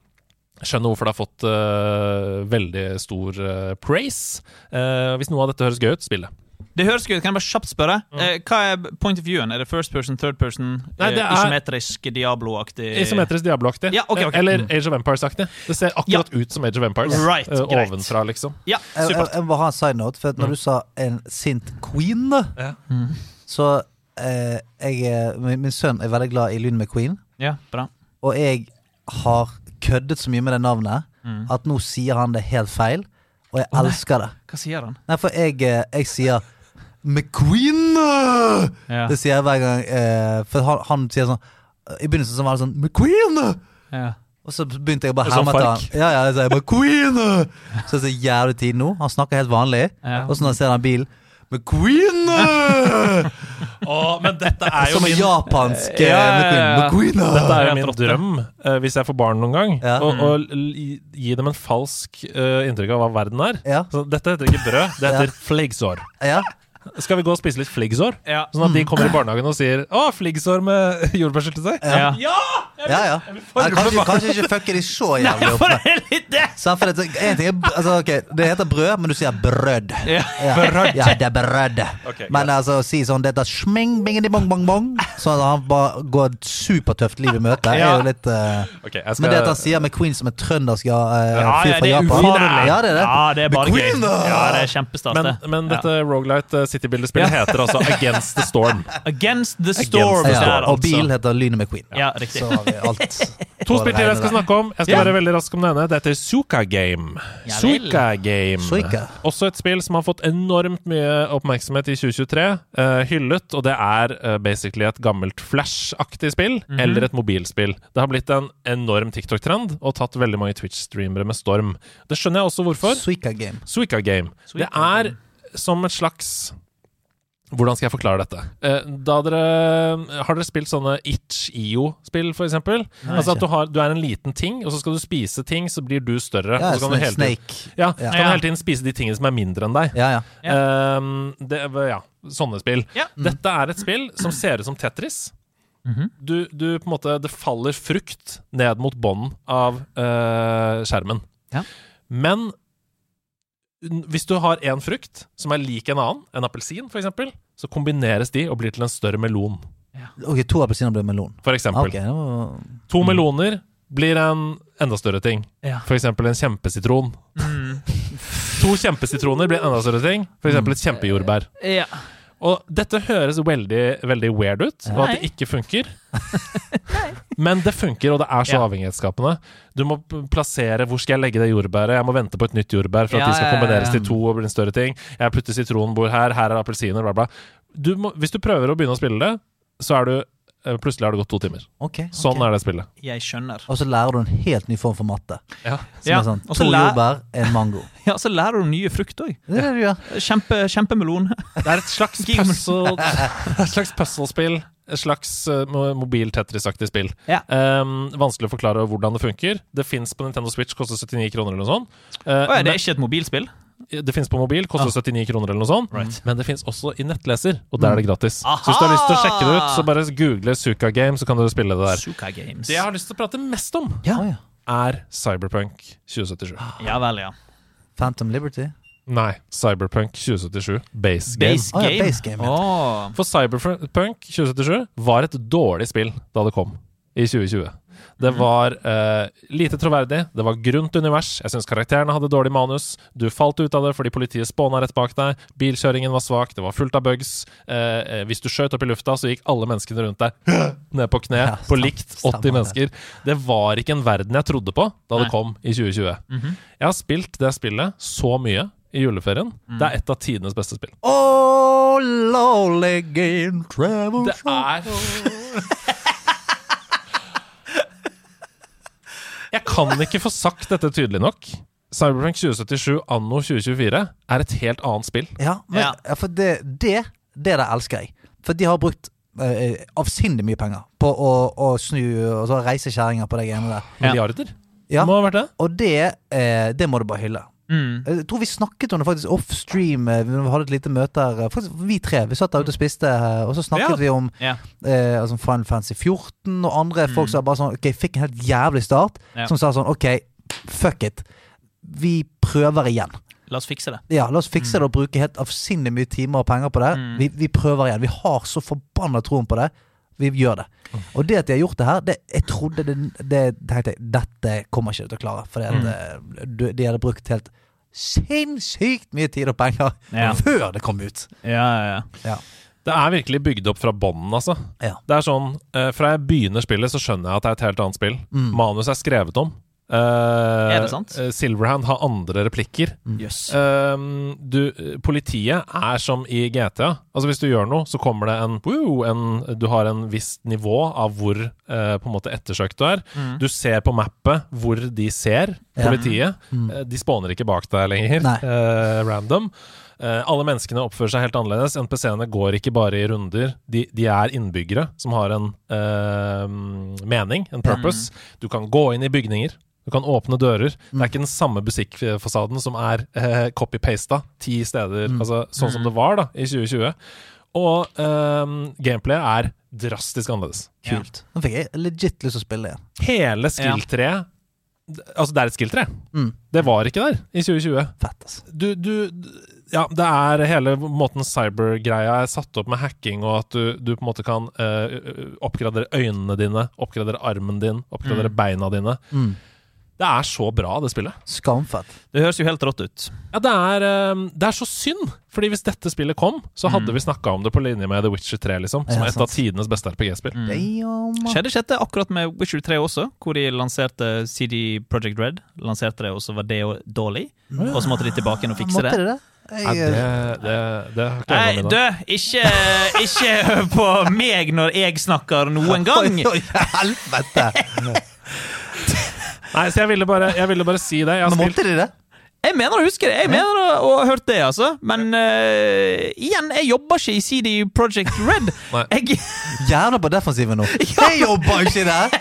Speaker 4: Skjønner hvorfor det har fått eh, veldig stor eh, praise. Eh, hvis noe av dette høres gøy ut, spill det.
Speaker 3: Det høres gøy ut. Kan jeg bare kjapt spørre? Eh, hva er point of viewen? Er det first person, third person,
Speaker 4: Nei,
Speaker 3: eh,
Speaker 4: det er-
Speaker 3: isometrisk Diablo-aktig
Speaker 4: Isometrisk Diablo-aktig. Eh,
Speaker 3: Ja, ok, ok.
Speaker 4: Eller Age of Empires-aktig. Det ser akkurat ut som Age of Empires.
Speaker 3: Right,
Speaker 4: eh,
Speaker 3: greit.
Speaker 4: ovenfra, liksom.
Speaker 3: Ja,
Speaker 2: Jeg, jeg,
Speaker 3: supert.
Speaker 2: jeg må ha en side note, for at når du sa en sint queen,
Speaker 4: Mm. Ja.
Speaker 2: så eh, jeg, er- min, min sønn er veldig glad i Lyn med Queen,
Speaker 3: Ja, bra.
Speaker 2: og jeg har køddet så mye med det navnet
Speaker 3: Mm.
Speaker 2: at nå sier han det helt feil, og jeg elsker det.
Speaker 3: Hva sier han?
Speaker 2: Nei, for jeg, eh, jeg sier McQueen!
Speaker 3: Ja.
Speaker 2: Det sier jeg hver gang. Eh, for han, han sier sånn I begynnelsen så var det sånn McQueen!
Speaker 3: Ja.
Speaker 2: Og Og så begynte jeg å bare
Speaker 3: sånn
Speaker 4: Som
Speaker 2: herme etter han.
Speaker 4: Fark.
Speaker 2: Ja, ja, så jeg bare, Queen! eh!» Så det er så jævlig tid nå. Han snakker helt vanlig.
Speaker 3: Ja.
Speaker 2: Og så når jeg ser den bilen med Queen! eh!»
Speaker 4: Å, men dette er jo
Speaker 2: Som en
Speaker 4: min
Speaker 2: japansk
Speaker 3: Ja, ja, ja.
Speaker 2: med Queen. eh!»
Speaker 4: Dette er jo
Speaker 3: Jeg
Speaker 4: min
Speaker 3: trodde.
Speaker 4: drøm, eh, hvis jeg får barn noen gang.
Speaker 2: Ja.
Speaker 4: Å å l- gi- gi dem en falsk eh, inntrykk av hva verden er.
Speaker 2: Ja.
Speaker 4: Så dette heter ikke brød, det heter
Speaker 2: Ja.
Speaker 4: fleggsår.
Speaker 2: Ja.
Speaker 4: Skal vi gå og spise litt fleggsår?
Speaker 3: Ja.
Speaker 4: Sånn at de kommer i barnehagen og sier 'Å, fleggsår med jordbærsyltetøy'.
Speaker 3: Ja.
Speaker 2: Ja, ja. Nei, kanskje, kanskje ikke fucke de så jævlig opp.
Speaker 3: for det er litt det!
Speaker 2: Sant, for det, en ting er, altså, ok, det heter brød, men du sier brød.
Speaker 3: Ja.
Speaker 2: Brød. Ja, det er brød.
Speaker 4: Ok,
Speaker 2: men altså, å si sånn dette sming, bingedi, bong, bong, bong, sånn at han bare går et supertøft liv i møte, er
Speaker 3: Ja.
Speaker 2: jo litt eh,
Speaker 4: Ok, jeg skal-
Speaker 2: Men det at han sier med Queen som en trøndersk ja, eh,
Speaker 3: Ja,
Speaker 2: fyr
Speaker 3: ja,
Speaker 2: fra
Speaker 3: det er
Speaker 2: Japan
Speaker 3: ufarlig.
Speaker 2: Ja, det er det.
Speaker 3: Ja, det er bare gøy.
Speaker 2: Queen, da!
Speaker 3: Ja, det er kjempestas,
Speaker 4: men,
Speaker 3: det.
Speaker 4: men dette Roguelite City-bildespillet heter altså Against the Storm.
Speaker 3: Against the storm,
Speaker 4: the
Speaker 3: det
Speaker 4: storm.
Speaker 3: er
Speaker 2: ja, og bil
Speaker 3: altså.
Speaker 2: heter Lynet med Queen.
Speaker 3: Ja, riktig.
Speaker 2: Så har vi alt.
Speaker 4: To spill til jeg skal snakke om. Jeg skal
Speaker 3: Ja.
Speaker 4: være veldig rask om det ene. Det heter Suka Game.
Speaker 3: Ja vel.
Speaker 4: Suika Game.
Speaker 2: Suika.
Speaker 4: Også et spill som har fått enormt mye oppmerksomhet i 2023. eh, hyllet, og det er eh, basically et gammelt Flash-aktig spill,
Speaker 3: Mhm.
Speaker 4: eller et mobilspill. Det har blitt en enorm TikTok-trend og tatt veldig mange Twitch-streamere med storm. Det skjønner jeg også hvorfor.
Speaker 2: Suika Game.
Speaker 4: Suika Game.
Speaker 3: Suika
Speaker 4: det er som et slags hvordan skal jeg forklare dette? Eh, Da dere, har dere spilt sånne Itch.io-spill, for eksempel? altså at du, har, du er en liten ting, og så skal du spise ting, så blir du større.
Speaker 2: Ja,
Speaker 4: og så kan
Speaker 2: som
Speaker 4: du
Speaker 2: en
Speaker 4: hele tiden,
Speaker 2: snake.
Speaker 4: ja, så kan
Speaker 3: Ja.
Speaker 4: du hele tiden spise de tingene som er mindre enn deg.
Speaker 2: Ja, ja.
Speaker 4: Um, det, ja, sånne spill.
Speaker 3: Ja.
Speaker 4: Dette er et spill som ser ut som Tetris.
Speaker 3: Mhm.
Speaker 4: du, du på en måte Det faller frukt ned mot bånden av eh, skjermen.
Speaker 3: Ja.
Speaker 4: Men n- hvis du har én frukt som er lik en annen, en appelsin f.eks., så kombineres de og blir til en større melon,
Speaker 2: Ok, to appelsiner blir melon.
Speaker 4: f.eks.
Speaker 2: Ah, Ok, det var...
Speaker 4: To meloner blir en enda større ting.
Speaker 3: Mm. Ja.
Speaker 4: For eksempel en kjempesitron.
Speaker 3: Mm.
Speaker 4: to kjempesitroner blir en enda større ting. For eksempel et kjempejordbær.
Speaker 3: Ja.
Speaker 4: Og dette høres veldig, veldig weird ut, og at det ikke funker. Men det funker, og det er så
Speaker 3: Ja.
Speaker 4: avhengighetsskapende. Du må p- plassere hvor skal jeg legge det jordbæret. Jeg må vente på et nytt jordbær for at
Speaker 3: Ja,
Speaker 4: de skal
Speaker 3: ja, ja,
Speaker 4: kombineres
Speaker 3: ja.
Speaker 4: til to og bli en større ting. Jeg putter sitronbord her, her er appelsiner, bla, bla. Du må, hvis du prøver å begynne å spille det, så er du eh, Plutselig har det gått to timer.
Speaker 2: Ok.
Speaker 4: Sånn er det spillet.
Speaker 3: Jeg skjønner.
Speaker 2: Og så lærer du en helt ny form for matte.
Speaker 4: Ja.
Speaker 2: Som
Speaker 3: Ja,
Speaker 2: er sånn
Speaker 3: og
Speaker 2: to
Speaker 3: så læ-
Speaker 2: jordbær, en mango.
Speaker 3: Ja, så lærer du nye frukt òg.
Speaker 2: Det er det du gjør.
Speaker 3: Kjempe, kjempemelon.
Speaker 4: Det er et slags
Speaker 3: Gimmel.
Speaker 4: puzzle Et slags puzzlespill. Et slags eh, mo- mobil Tetris-aktig spill.
Speaker 3: Ja.
Speaker 4: Ehm, vanskelig å forklare hvordan det funker. Det fins på Nintendo Switch, koster 79 kroner eller noe sånt. Eh,
Speaker 3: Å ja, det
Speaker 4: men-
Speaker 3: er ikke et mobilspill?
Speaker 4: det fins på mobil, koster 79 kroner eller noe sånt.
Speaker 3: Right.
Speaker 4: Men det fins også i nettleser, og der er det gratis.
Speaker 3: Aha!
Speaker 4: Så hvis du har lyst til å sjekke det ut, så bare google Suka Game, så kan du spille det der.
Speaker 3: Suka Games.
Speaker 4: Det jeg har lyst til å prate mest om, Ah.
Speaker 2: Å, ja.
Speaker 4: er Cyberpunk 2077.
Speaker 3: Ja vel, ja.
Speaker 2: Phantom Liberty.
Speaker 4: Nei, Cyberpunk 2077 Base Game.
Speaker 3: Base
Speaker 2: Å, ja,
Speaker 3: Game.
Speaker 2: base game, ja.
Speaker 3: Å.
Speaker 4: For Cyberpunk 2077 var et dårlig spill da det kom i 2020. Det var eh, lite troverdig, det var grunt univers, jeg syns karakterene hadde dårlig manus, du falt ut av det fordi politiet spåna rett bak deg, bilkjøringen var svak, det var fullt av bugs, eh, eh, hvis du skjøt opp i lufta, så gikk alle menneskene rundt deg ned på kne,
Speaker 2: Ja,
Speaker 4: på
Speaker 2: stemmer,
Speaker 4: likt 80
Speaker 2: stemmer
Speaker 4: mennesker. Det var ikke en verden jeg trodde på da
Speaker 3: Nei.
Speaker 4: det kom i 2020. Jeg har spilt det spillet så mye i juleferien. Det er et av tidenes beste spill.
Speaker 2: Oh, lonely game travel
Speaker 4: Det er Jeg kan ikke få sagt dette tydelig nok. Cyberprank 2077 anno 2024 er et helt annet spill.
Speaker 2: Ja, men,
Speaker 3: Ja.
Speaker 2: ja. for det, det, det der elsker jeg. For de har brukt eh, avsindig mye penger på å, å snu og så reise kjerringer på det greiene der.
Speaker 3: Ja.
Speaker 4: Milliarder.
Speaker 2: Ja.
Speaker 4: Må ha vært det.
Speaker 2: Og det, eh, det må du bare hylle.
Speaker 3: Mm.
Speaker 2: Jeg tror vi snakket om det faktisk offstream. eh, Vi hadde et lite møte her. eh, Faktisk, vi tre. Vi satt der ute og spiste, eh, og så snakket
Speaker 3: Ja.
Speaker 2: vi om
Speaker 3: Ja. Mm.
Speaker 2: eh, altså Final Fantasy 14 og andre folk som bare sånn Ok, fikk en helt jævlig start,
Speaker 3: Ja.
Speaker 2: som sa sånn Ok, fuck it. Vi prøver igjen.
Speaker 3: La oss fikse det.
Speaker 2: Ja, la oss fikse det og bruke helt avsindig mye timer og penger på det. Vi, vi prøver igjen. Vi har så forbanna troen på det. Vi gjør det. Og det at de har gjort det her, det, jeg trodde det, det tenkte jeg, Dette kommer ikke du til å klare. For de, de hadde brukt helt sinnssykt mye tid og penger
Speaker 3: Ja.
Speaker 2: før det kom ut.
Speaker 3: Ja, ja,
Speaker 2: Ja.
Speaker 3: ja.
Speaker 4: Det er virkelig bygd opp fra bånden, altså.
Speaker 2: Ja.
Speaker 4: Det er sånn, eh, Fra jeg begynner spillet, så skjønner jeg at det er et helt annet spill. Manus er skrevet om. Eh,
Speaker 3: Mm. Er det sant?
Speaker 4: eh, Silverhand har andre replikker.
Speaker 3: Jøss.
Speaker 4: Ehm, du, politiet er som i GTA. Altså Hvis du gjør noe, så kommer det en, wow, en Du har en visst nivå av hvor eh, på en måte ettersøkt du er. Du ser på mappet hvor de ser politiet. Eh, de spåner ikke bak deg lenger,
Speaker 2: Nei.
Speaker 4: eh, random. Eh, alle menneskene oppfører seg helt annerledes. NPC-ene går ikke bare i runder. De, de er innbyggere som har en eh, mening, en purpose. Du kan gå inn i bygninger. Du kan åpne dører. Det er ikke den samme butikkfasaden som er eh, copy-pasta ti steder, altså sånn som det var da, i 2020. Og eh, gameplayet er drastisk annerledes.
Speaker 3: Kult.
Speaker 2: Nå fikk jeg legit lyst til å spille igjen.
Speaker 4: Hele skill-treet Altså, det er et skill-tre. Det var ikke der i 2020
Speaker 2: Fett, altså.
Speaker 4: du, du Ja, det er hele måten cybergreia er satt opp med hacking, og at du, du på en måte kan eh, oppgradere øynene dine, oppgradere armen din, oppgradere beina dine.
Speaker 2: Mm.
Speaker 4: Det er så bra, det spillet.
Speaker 2: Skamfett.
Speaker 3: Det høres jo helt rått ut.
Speaker 4: Ja, det er, eh, det er så synd, fordi hvis dette spillet kom, så hadde vi snakka om det på linje med The Witcher 3, liksom, som
Speaker 2: Mm. Ja,
Speaker 4: er et
Speaker 2: sant. Mm.
Speaker 4: av tidenes beste RPG-spill.
Speaker 2: Damn.
Speaker 3: Skjedde ikke dette akkurat med Witcher 3 også, hvor de lanserte CD Project Red? Lanserte det, og så var det jo dårlig? Og så måtte de tilbake igjen og fikse
Speaker 2: Måtte det
Speaker 3: det?
Speaker 2: det?
Speaker 4: Nei,
Speaker 2: Jeg,
Speaker 4: det, det, det har ikke
Speaker 3: Nei,
Speaker 4: jeg
Speaker 3: du, ikke, ikke hør på meg når jeg snakker noen gang!
Speaker 2: Oi, oi, helvete!
Speaker 4: Nei, så jeg ville bare, jeg ville bare si det. Jeg har
Speaker 2: Men
Speaker 4: spilt
Speaker 2: måtte de det?
Speaker 3: Jeg mener å huske det, jeg mener å å ha hørt det, altså. Men eh, igjen, jeg jobber ikke i CD Project Red.
Speaker 4: Nei.
Speaker 3: Jeg,
Speaker 2: Gjerne på defensiven nå. Jeg jobber ikke der!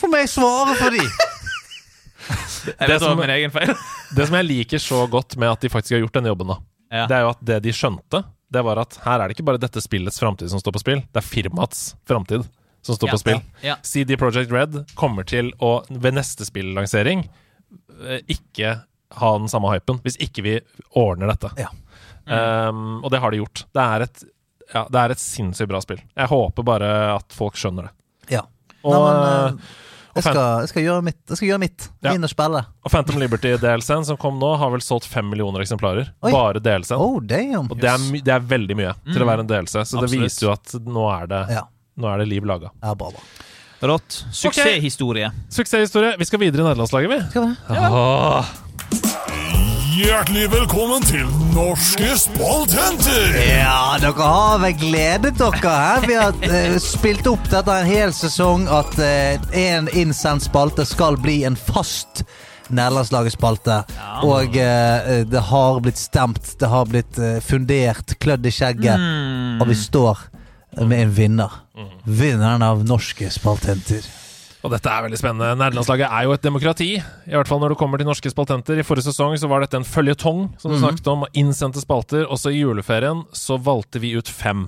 Speaker 2: For meg svare for de.
Speaker 3: jeg vet det
Speaker 4: som-
Speaker 3: var min egen feil.
Speaker 4: Det som jeg liker så godt med at de faktisk har gjort denne jobben, da,
Speaker 3: Ja.
Speaker 4: det er jo at det de skjønte, det var at her er det ikke bare dette spillets framtid som står på spill, det er firmaets framtid som står
Speaker 3: Ja,
Speaker 4: på spill.
Speaker 3: ja, ja.
Speaker 4: CD Project Red kommer til å, ved neste spillansering, eh, ikke ha den samme hypen, hvis ikke vi ordner dette.
Speaker 2: Ja.
Speaker 4: Um, og det har de gjort. Det er et ja, det er et sinnssykt bra spill. Jeg håper bare at folk skjønner det.
Speaker 2: Ja.
Speaker 4: Og,
Speaker 2: Nei, men, eh,
Speaker 4: og
Speaker 2: jeg, skal, jeg skal gjøre mitt. Jeg skal gjøre mitt.
Speaker 4: Ja.
Speaker 2: Inn og spille.
Speaker 4: Og Phantom Liberty-DLC-en som kom nå, har vel solgt fem millioner eksemplarer.
Speaker 2: Oi.
Speaker 4: Bare DLC-en.
Speaker 2: Oh, damn.
Speaker 4: Og det er, my- det er veldig mye til å være en delelse, så det
Speaker 3: Absolutt.
Speaker 4: viser jo at nå er det,
Speaker 2: Ja.
Speaker 4: nå er det liv laga.
Speaker 2: Ja, bra, bra.
Speaker 3: Rått. Suksesshistorie.
Speaker 4: Suksesshistorie. Vi skal videre i nederlandslaget, vi.
Speaker 2: Skal vi det?
Speaker 4: Åh.
Speaker 1: Hjertelig velkommen til Norske spalthenter!
Speaker 2: Ja, dere har vel gledet dere her. Vi har eh, spilt opp dette en hel sesong at én innsendt spalte skal bli en fast nederlandslaget-spalte. Og eh, det har blitt stemt, det har blitt eh, fundert, klødd i skjegget, og vi står med en vinner. Vinneren av norske spalthenter.
Speaker 4: Og dette er veldig spennende. Nederlandslaget er jo et demokrati. I hvert fall når det kommer til norske spaltenter. I forrige sesong så var dette en føljetong som
Speaker 2: Mhm.
Speaker 4: du snakket om, og innsendte spalter. Også i juleferien så valgte vi ut fem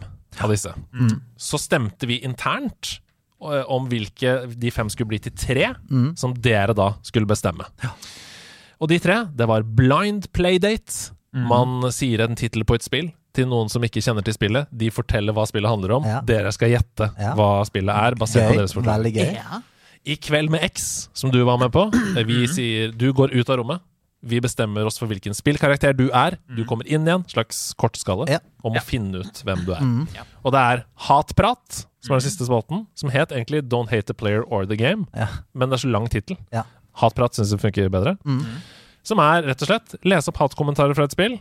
Speaker 4: av disse.
Speaker 2: Mm.
Speaker 4: Så stemte vi internt eh, om hvilke de fem skulle bli til tre,
Speaker 2: Mm.
Speaker 4: som dere da skulle bestemme. Og de tre, det var blind playdate.
Speaker 2: Mhm.
Speaker 4: Man sier en tittel på et spill til noen som ikke kjenner til spillet. De forteller hva spillet handler om.
Speaker 2: Ja.
Speaker 4: Dere skal gjette
Speaker 2: Ja.
Speaker 4: hva spillet er, basert på
Speaker 2: Gøy.
Speaker 4: deres
Speaker 2: Veldig
Speaker 4: fortelling.
Speaker 2: gøy.
Speaker 4: I kveld med X, som du var med på. eh,
Speaker 2: Mhm.
Speaker 4: Vi sier du går ut av rommet. Vi bestemmer oss for hvilken spillkarakter du er. Du kommer inn igjen, slags kortskalle,
Speaker 2: Mhm. Ja. Mhm.
Speaker 4: og må finne ut hvem du er.
Speaker 3: Ja.
Speaker 4: Og det er Hatprat, som er den siste spalten, som het egentlig Don't hate the player or the game,
Speaker 2: Ja.
Speaker 4: men det er så lang tittel.
Speaker 2: Ja. Mhm.
Speaker 4: Hatprat syns jeg funker bedre. Som er rett og slett lese opp hatkommentarer fra et spill.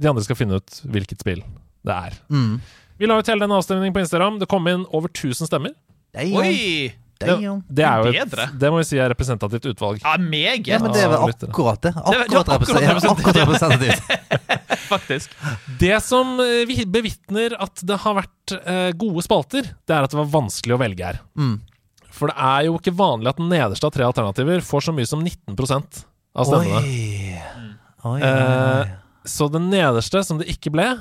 Speaker 4: De andre skal finne ut hvilket spill det er.
Speaker 2: Mm.
Speaker 4: Vi la ut hele den avstemningen på Instagram. Det kom inn over 1000 stemmer.
Speaker 2: Damn,
Speaker 3: Oi!
Speaker 4: Det,
Speaker 2: damn.
Speaker 4: det er jo et,
Speaker 3: Bedre.
Speaker 4: det må vi si er representativt utvalg.
Speaker 3: Ja, meget,
Speaker 2: Ja, men det er vel
Speaker 4: lytter.
Speaker 2: akkurat det.
Speaker 3: det var
Speaker 2: Akkurat
Speaker 3: akkurat
Speaker 2: representativt. Akkurat representativt.
Speaker 3: faktisk.
Speaker 4: Det som eh, vi bevitner at det har vært eh, gode spalter, det er at det var vanskelig å velge her.
Speaker 2: Mm.
Speaker 4: For det er jo ikke vanlig at den nederste av tre alternativer får så mye som 19 av stemmene.
Speaker 2: Oi. Oi.
Speaker 4: Eh, så den nederste, som det ikke ble,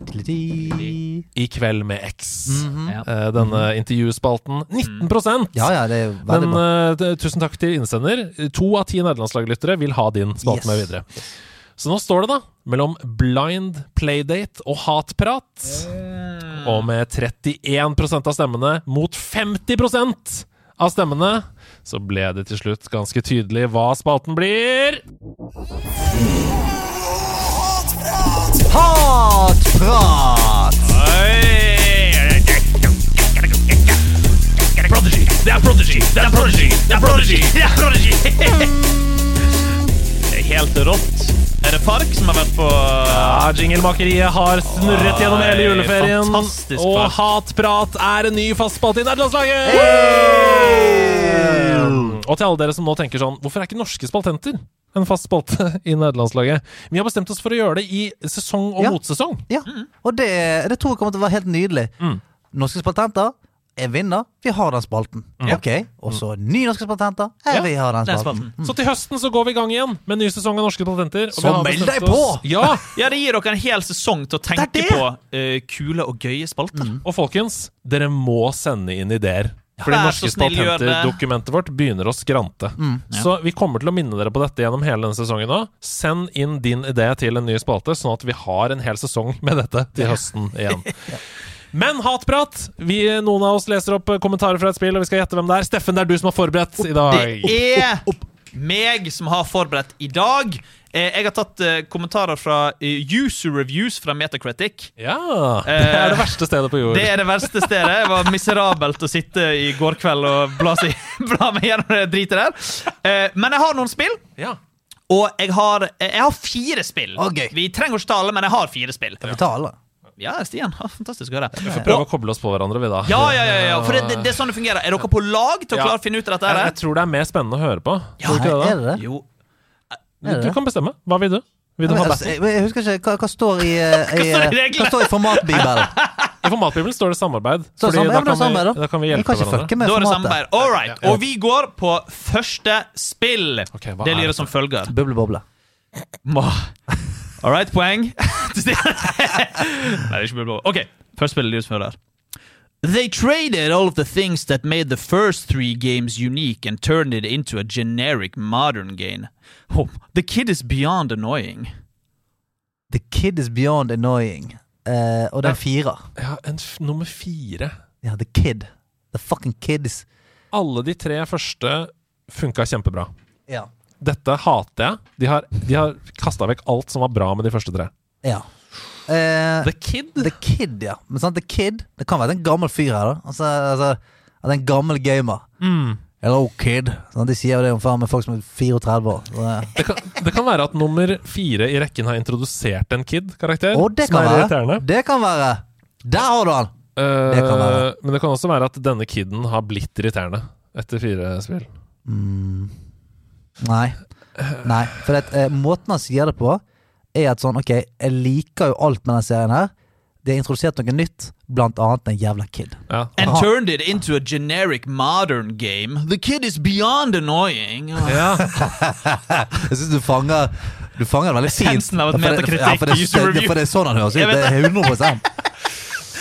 Speaker 2: Di-di-di-di.
Speaker 4: I kveld med X.
Speaker 2: Mhm.
Speaker 3: Ja. Mm.
Speaker 4: Eh, denne intervjuspalten. 19
Speaker 2: Ja, ja, det er veldig
Speaker 4: Men
Speaker 2: bra.
Speaker 4: eh, t- tusen takk til innsender. To av ti nederlandslaglyttere vil ha din spalte
Speaker 2: Yes.
Speaker 4: med videre. Så nå står det, da, mellom blind playdate og hatprat. Og med 31 av stemmene mot 50 av stemmene, så ble det til slutt ganske tydelig hva spalten blir. eh,
Speaker 2: Hatprat!
Speaker 1: Prodigy, det er Prodigy, det er Prodigy, det er Prodigy.
Speaker 3: Prodigy! Ja, Prodigy! Det er helt rått. Er det Park som har vært på
Speaker 4: Ja, Jinglemakeriet har snurret gjennom hele
Speaker 3: Oi,
Speaker 4: juleferien.
Speaker 3: fantastisk
Speaker 4: Og
Speaker 3: Park.
Speaker 4: Hatprat er en ny fast spalte i nederlandslaget! Og til alle dere som nå tenker sånn Hvorfor er ikke norske spaltenter en fast spalte i nederlandslaget? Vi har bestemt oss for å gjøre det i sesong og
Speaker 2: Ja.
Speaker 4: motsesong.
Speaker 2: Ja, og det, det tror jeg kommer til å være helt nydelig.
Speaker 4: Mm.
Speaker 2: Norske spaltenter jeg vinner. Vi har den spalten.
Speaker 4: Mm.
Speaker 2: Ok, Og så ny norske spaltenter. Jeg
Speaker 3: Ja,
Speaker 2: vil ha den
Speaker 3: den
Speaker 2: spalten.
Speaker 3: spalten.
Speaker 4: Så til høsten så går vi i gang igjen med en ny sesong av Norske spaltenter. og
Speaker 2: Så
Speaker 4: vi har
Speaker 2: meld
Speaker 4: bestemt
Speaker 2: deg på!
Speaker 4: oss- Ja,
Speaker 3: Ja, det gir dere en hel sesong til å tenke
Speaker 2: Det Mm. er det!
Speaker 3: på eh, kule og gøye spalter.
Speaker 4: Og folkens, dere må sende inn ideer.
Speaker 3: Vær
Speaker 4: Fordi
Speaker 3: så
Speaker 4: norske
Speaker 3: snill, gjør det. Mm,
Speaker 4: spaltenter-dokumentet vårt begynner å skrante. Så vi kommer til å minne dere på dette gjennom hele denne sesongen òg. Send inn din idé til en ny spalte, sånn at vi har en hel sesong med dette til høsten igjen. Men hatprat! Vi, noen av oss leser opp eh, kommentarer fra et spill, og vi skal gjette hvem det er. Steffen, det er du som har forberedt i dag.
Speaker 3: Det er meg som har forberedt i dag. Eh, Jeg har tatt eh, kommentarer fra eh, user reviews fra Metacritic.
Speaker 4: Ja! Det er det verste stedet på jord.
Speaker 3: Eh, Det er det verste stedet. Det var miserabelt å sitte i går kveld og bla, seg, bla meg gjennom det dritet der. Eh, Men jeg har noen spill,
Speaker 4: Ja.
Speaker 3: og jeg har, eh, jeg har fire spill.
Speaker 2: Å, gøy.
Speaker 3: Vi trenger ikke tale, men jeg har fire spill.
Speaker 2: Betale.
Speaker 3: Ja, Stian. ah, Fantastisk å høre.
Speaker 4: Prøv å koble oss på hverandre, vi, da.
Speaker 3: Ja, ja, ja, ja, for det, det, det er sånn det fungerer. Er dere på lag til å
Speaker 4: Ja.
Speaker 3: klare å finne ut av dette?
Speaker 4: Jeg, jeg
Speaker 3: her?
Speaker 4: tror det er mer spennende å høre på. Tror du ikke
Speaker 2: Er
Speaker 4: det,
Speaker 2: det
Speaker 4: da?
Speaker 2: det?
Speaker 3: Jo.
Speaker 2: Er det
Speaker 4: Du
Speaker 2: det?
Speaker 4: kan bestemme. Hva vil du? Vil du ha
Speaker 2: Altså,
Speaker 4: battle?
Speaker 2: jeg, jeg husker ikke hva, hva står i, eh, i,
Speaker 3: står i
Speaker 2: eh,
Speaker 3: reglene?
Speaker 2: hva står i formatbibelen.
Speaker 4: I Formatbibelen står det samarbeid.
Speaker 2: Så
Speaker 4: fordi
Speaker 2: samarbeid,
Speaker 4: da,
Speaker 2: men samarbeid,
Speaker 4: kan
Speaker 2: da.
Speaker 4: vi, da kan vi
Speaker 2: Vi
Speaker 4: hjelpe
Speaker 2: kan ikke
Speaker 4: hverandre.
Speaker 2: fucke med
Speaker 3: Da er det
Speaker 2: formatet.
Speaker 3: samarbeid. All right. Og vi går på første spill.
Speaker 4: Ok, hva
Speaker 3: det
Speaker 4: er
Speaker 3: lyder
Speaker 4: det?
Speaker 3: som følger.
Speaker 2: Buble, boble.
Speaker 3: All right, poeng. Til Stian. Nei, det er ikke mulig. å- Ok, først spiller lyden som følger. They traded all of the things that made the first three games unique and turned it into a generic modern game. Oh, the kid is beyond annoying.
Speaker 2: The kid is beyond annoying. Eh, og den firer.
Speaker 4: Ja, en f nummer fire.
Speaker 2: Ja, the kid. The fucking kids.
Speaker 4: Alle de tre første funka kjempebra.
Speaker 2: Ja.
Speaker 4: Dette hater jeg. De har, de har kasta vekk alt som var bra med de første tre.
Speaker 2: ja. Eh,
Speaker 4: The Kid?
Speaker 2: The Kid, ja. Men sant, The Kid Det kan være en gammel fyr her, da. Altså, altså at en gammel gamer. Hello, kid. Sånn, de sier jo det om faen med folk som er 34 år. Så, eh,
Speaker 4: Det kan, det kan være at nummer fire i rekken har introdusert en kid-karakter.
Speaker 2: og det
Speaker 4: som
Speaker 2: kan
Speaker 4: er
Speaker 2: være.
Speaker 4: irriterende.
Speaker 2: Det kan være. Der har du han!
Speaker 4: Eh,
Speaker 2: det kan være.
Speaker 4: Men det kan også være at denne kiden har blitt irriterende etter fire spill.
Speaker 2: Nei. Nei. For det, at, eh, måten han sier det på, er at sånn Ok, jeg liker jo alt med den serien her. De har introdusert noe nytt, blant annet en jævla kid.
Speaker 4: Ja.
Speaker 3: And
Speaker 2: Aha.
Speaker 3: turned it into a generic modern game. The kid is beyond annoying. Oh.
Speaker 2: Jeg syns du fanger Du fanger det veldig fint.
Speaker 3: Essensen av et
Speaker 2: Ja, for det-
Speaker 3: metakritikk
Speaker 2: ja, for det-
Speaker 3: user
Speaker 2: det-
Speaker 3: review.
Speaker 2: For det er sånn han høres ut.
Speaker 3: Jeg
Speaker 2: Det
Speaker 3: vet
Speaker 2: er 100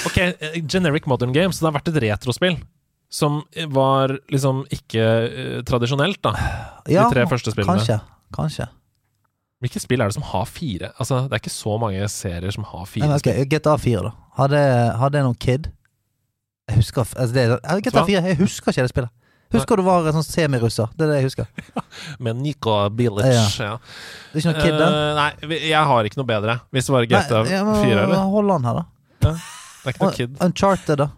Speaker 4: Ok, eh, generic modern game, så det har vært et retrospill. Som var liksom ikke eh, tradisjonelt, da.
Speaker 2: Ja,
Speaker 4: tre første spillene.
Speaker 2: Kanskje. kanskje.
Speaker 4: Hvilke spill er det som har fire? Altså, Det er ikke så mange serier som har
Speaker 2: Nei,
Speaker 4: fire.
Speaker 2: men, ok, GTA 4, da. Hadde, hadde jeg noen kid? Jeg husker altså det, er- GTA 4, jeg husker ikke det spillet. Husker du var en sånn semirusser. Det er det jeg husker. Det
Speaker 4: spill. Med Nico Bilic. Ja.
Speaker 2: er ikke noen kid der.
Speaker 4: Eh, nei, vi- jeg har ikke noe bedre. Hvis det var GTA
Speaker 2: Nei, ja, men
Speaker 4: 4, eller?
Speaker 2: Hold han her, da.
Speaker 4: Det er ikke noe kid.
Speaker 2: Og Uncharted, da.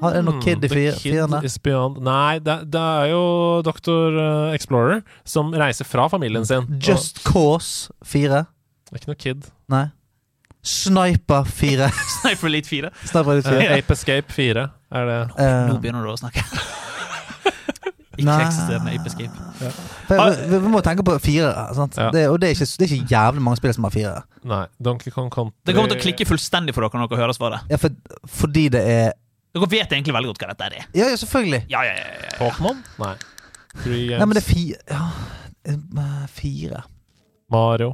Speaker 2: har jeg noe kid i
Speaker 4: Mm, The
Speaker 2: fire- firene?
Speaker 4: is beyond Nei, det, det er jo Dr. Explorer som reiser fra familien sin.
Speaker 2: Mm. Just Cause 4.
Speaker 4: Og, det er ikke noe kid.
Speaker 2: Nei. Sniper 4.
Speaker 3: Sniper Elite 4.
Speaker 2: Sniper Elite 4.
Speaker 4: Eh, Ape Escape 4 er det.
Speaker 2: Eh,
Speaker 3: Nå begynner du å snakke. Ikke
Speaker 2: Nei.
Speaker 3: eksisterende Ape Escape.
Speaker 2: for vi, vi må tenke på fire, sant?
Speaker 4: Ja.
Speaker 2: Det, og det er, ikke, det er ikke jævlig mange spill som har fire.
Speaker 4: Nei. Donkey Kong Country
Speaker 3: Det kommer til å klikke fullstendig for dere når dere hører svaret.
Speaker 2: Ja, for, fordi det er
Speaker 3: Dere vet egentlig veldig godt hva dette er.
Speaker 2: Ja, ja, selvfølgelig.
Speaker 3: Ja, ja, ja, ja.
Speaker 4: Pokémon? Nei. Three Games.
Speaker 2: Nei, men det er fire ja, eh, Fire
Speaker 4: Mario.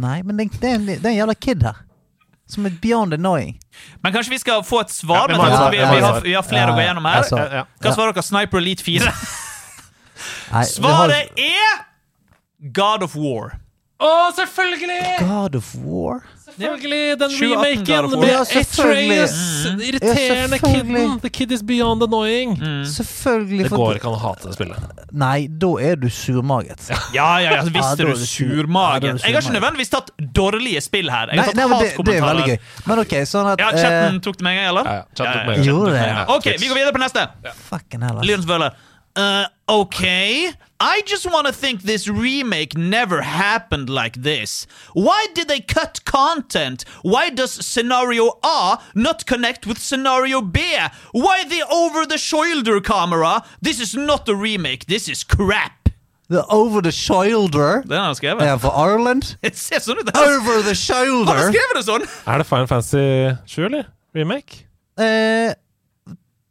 Speaker 2: Nei, men det, det, er en, det er en jævla kid her. Som er beyond annoying.
Speaker 3: Men kanskje vi skal få et svar?
Speaker 4: Ja, vi
Speaker 3: men
Speaker 4: må
Speaker 3: altså,
Speaker 4: ha et
Speaker 3: vi,
Speaker 4: svar.
Speaker 3: vi, har, vi har flere å gå gjennom her.
Speaker 2: Altså,
Speaker 4: Ja, ja.
Speaker 3: Hva svarer dere? Sniper Elite 4?
Speaker 2: nei, vi har-
Speaker 3: Svaret er God of War.
Speaker 4: Å, selvfølgelig!
Speaker 2: God of War?
Speaker 4: Selvfølgelig! Den
Speaker 3: 2018
Speaker 4: remaken
Speaker 3: God of War.
Speaker 4: med
Speaker 2: Ja, selvfølgelig. Mm.
Speaker 4: Atreus! Irriterende
Speaker 2: Ja, selvfølgelig.
Speaker 4: kidden! The kid is beyond annoying!
Speaker 3: Mm.
Speaker 2: Selvfølgelig.
Speaker 4: Det går ikke an å hate det spillet.
Speaker 2: Nei, da er du surmaget.
Speaker 3: Ja, ja, ja,
Speaker 2: Ja, da
Speaker 3: Altså, Visste
Speaker 2: er
Speaker 3: du
Speaker 2: du sur. Ja, da er
Speaker 3: surmagen?
Speaker 2: du
Speaker 3: Jeg har ikke
Speaker 2: surmaget.
Speaker 3: nødvendigvis tatt dårlige spill her. Jeg
Speaker 2: Nei,
Speaker 3: har tatt
Speaker 2: nei, men det, det er veldig gøy.
Speaker 3: hatkommentarer.
Speaker 2: Men ok, sånn at
Speaker 3: Ja,
Speaker 2: eh,
Speaker 3: chatten tok det med en gang, eller?
Speaker 4: Ja, ja, chatten tok det med en gang.
Speaker 2: Gjorde det?
Speaker 3: Ok, vi går videre på neste.
Speaker 2: Fucking hell. ass.
Speaker 3: Lyden som følger. Uh, okay. I just want to think this remake never happened like this. Why did they cut content? Why does scenario A not connect with scenario B? Why the over the shoulder camera? This is not a remake, this is crap.
Speaker 2: The Over the Shoulder.
Speaker 3: Den har han skrevet.
Speaker 2: Er han fra Ireland?
Speaker 3: Det ser sånn ut. Han
Speaker 2: Over the
Speaker 3: har
Speaker 2: Shoulder?
Speaker 3: skrevet det sånn!
Speaker 4: Er det Final Fantasy 7, eller? Remake?
Speaker 2: Eh,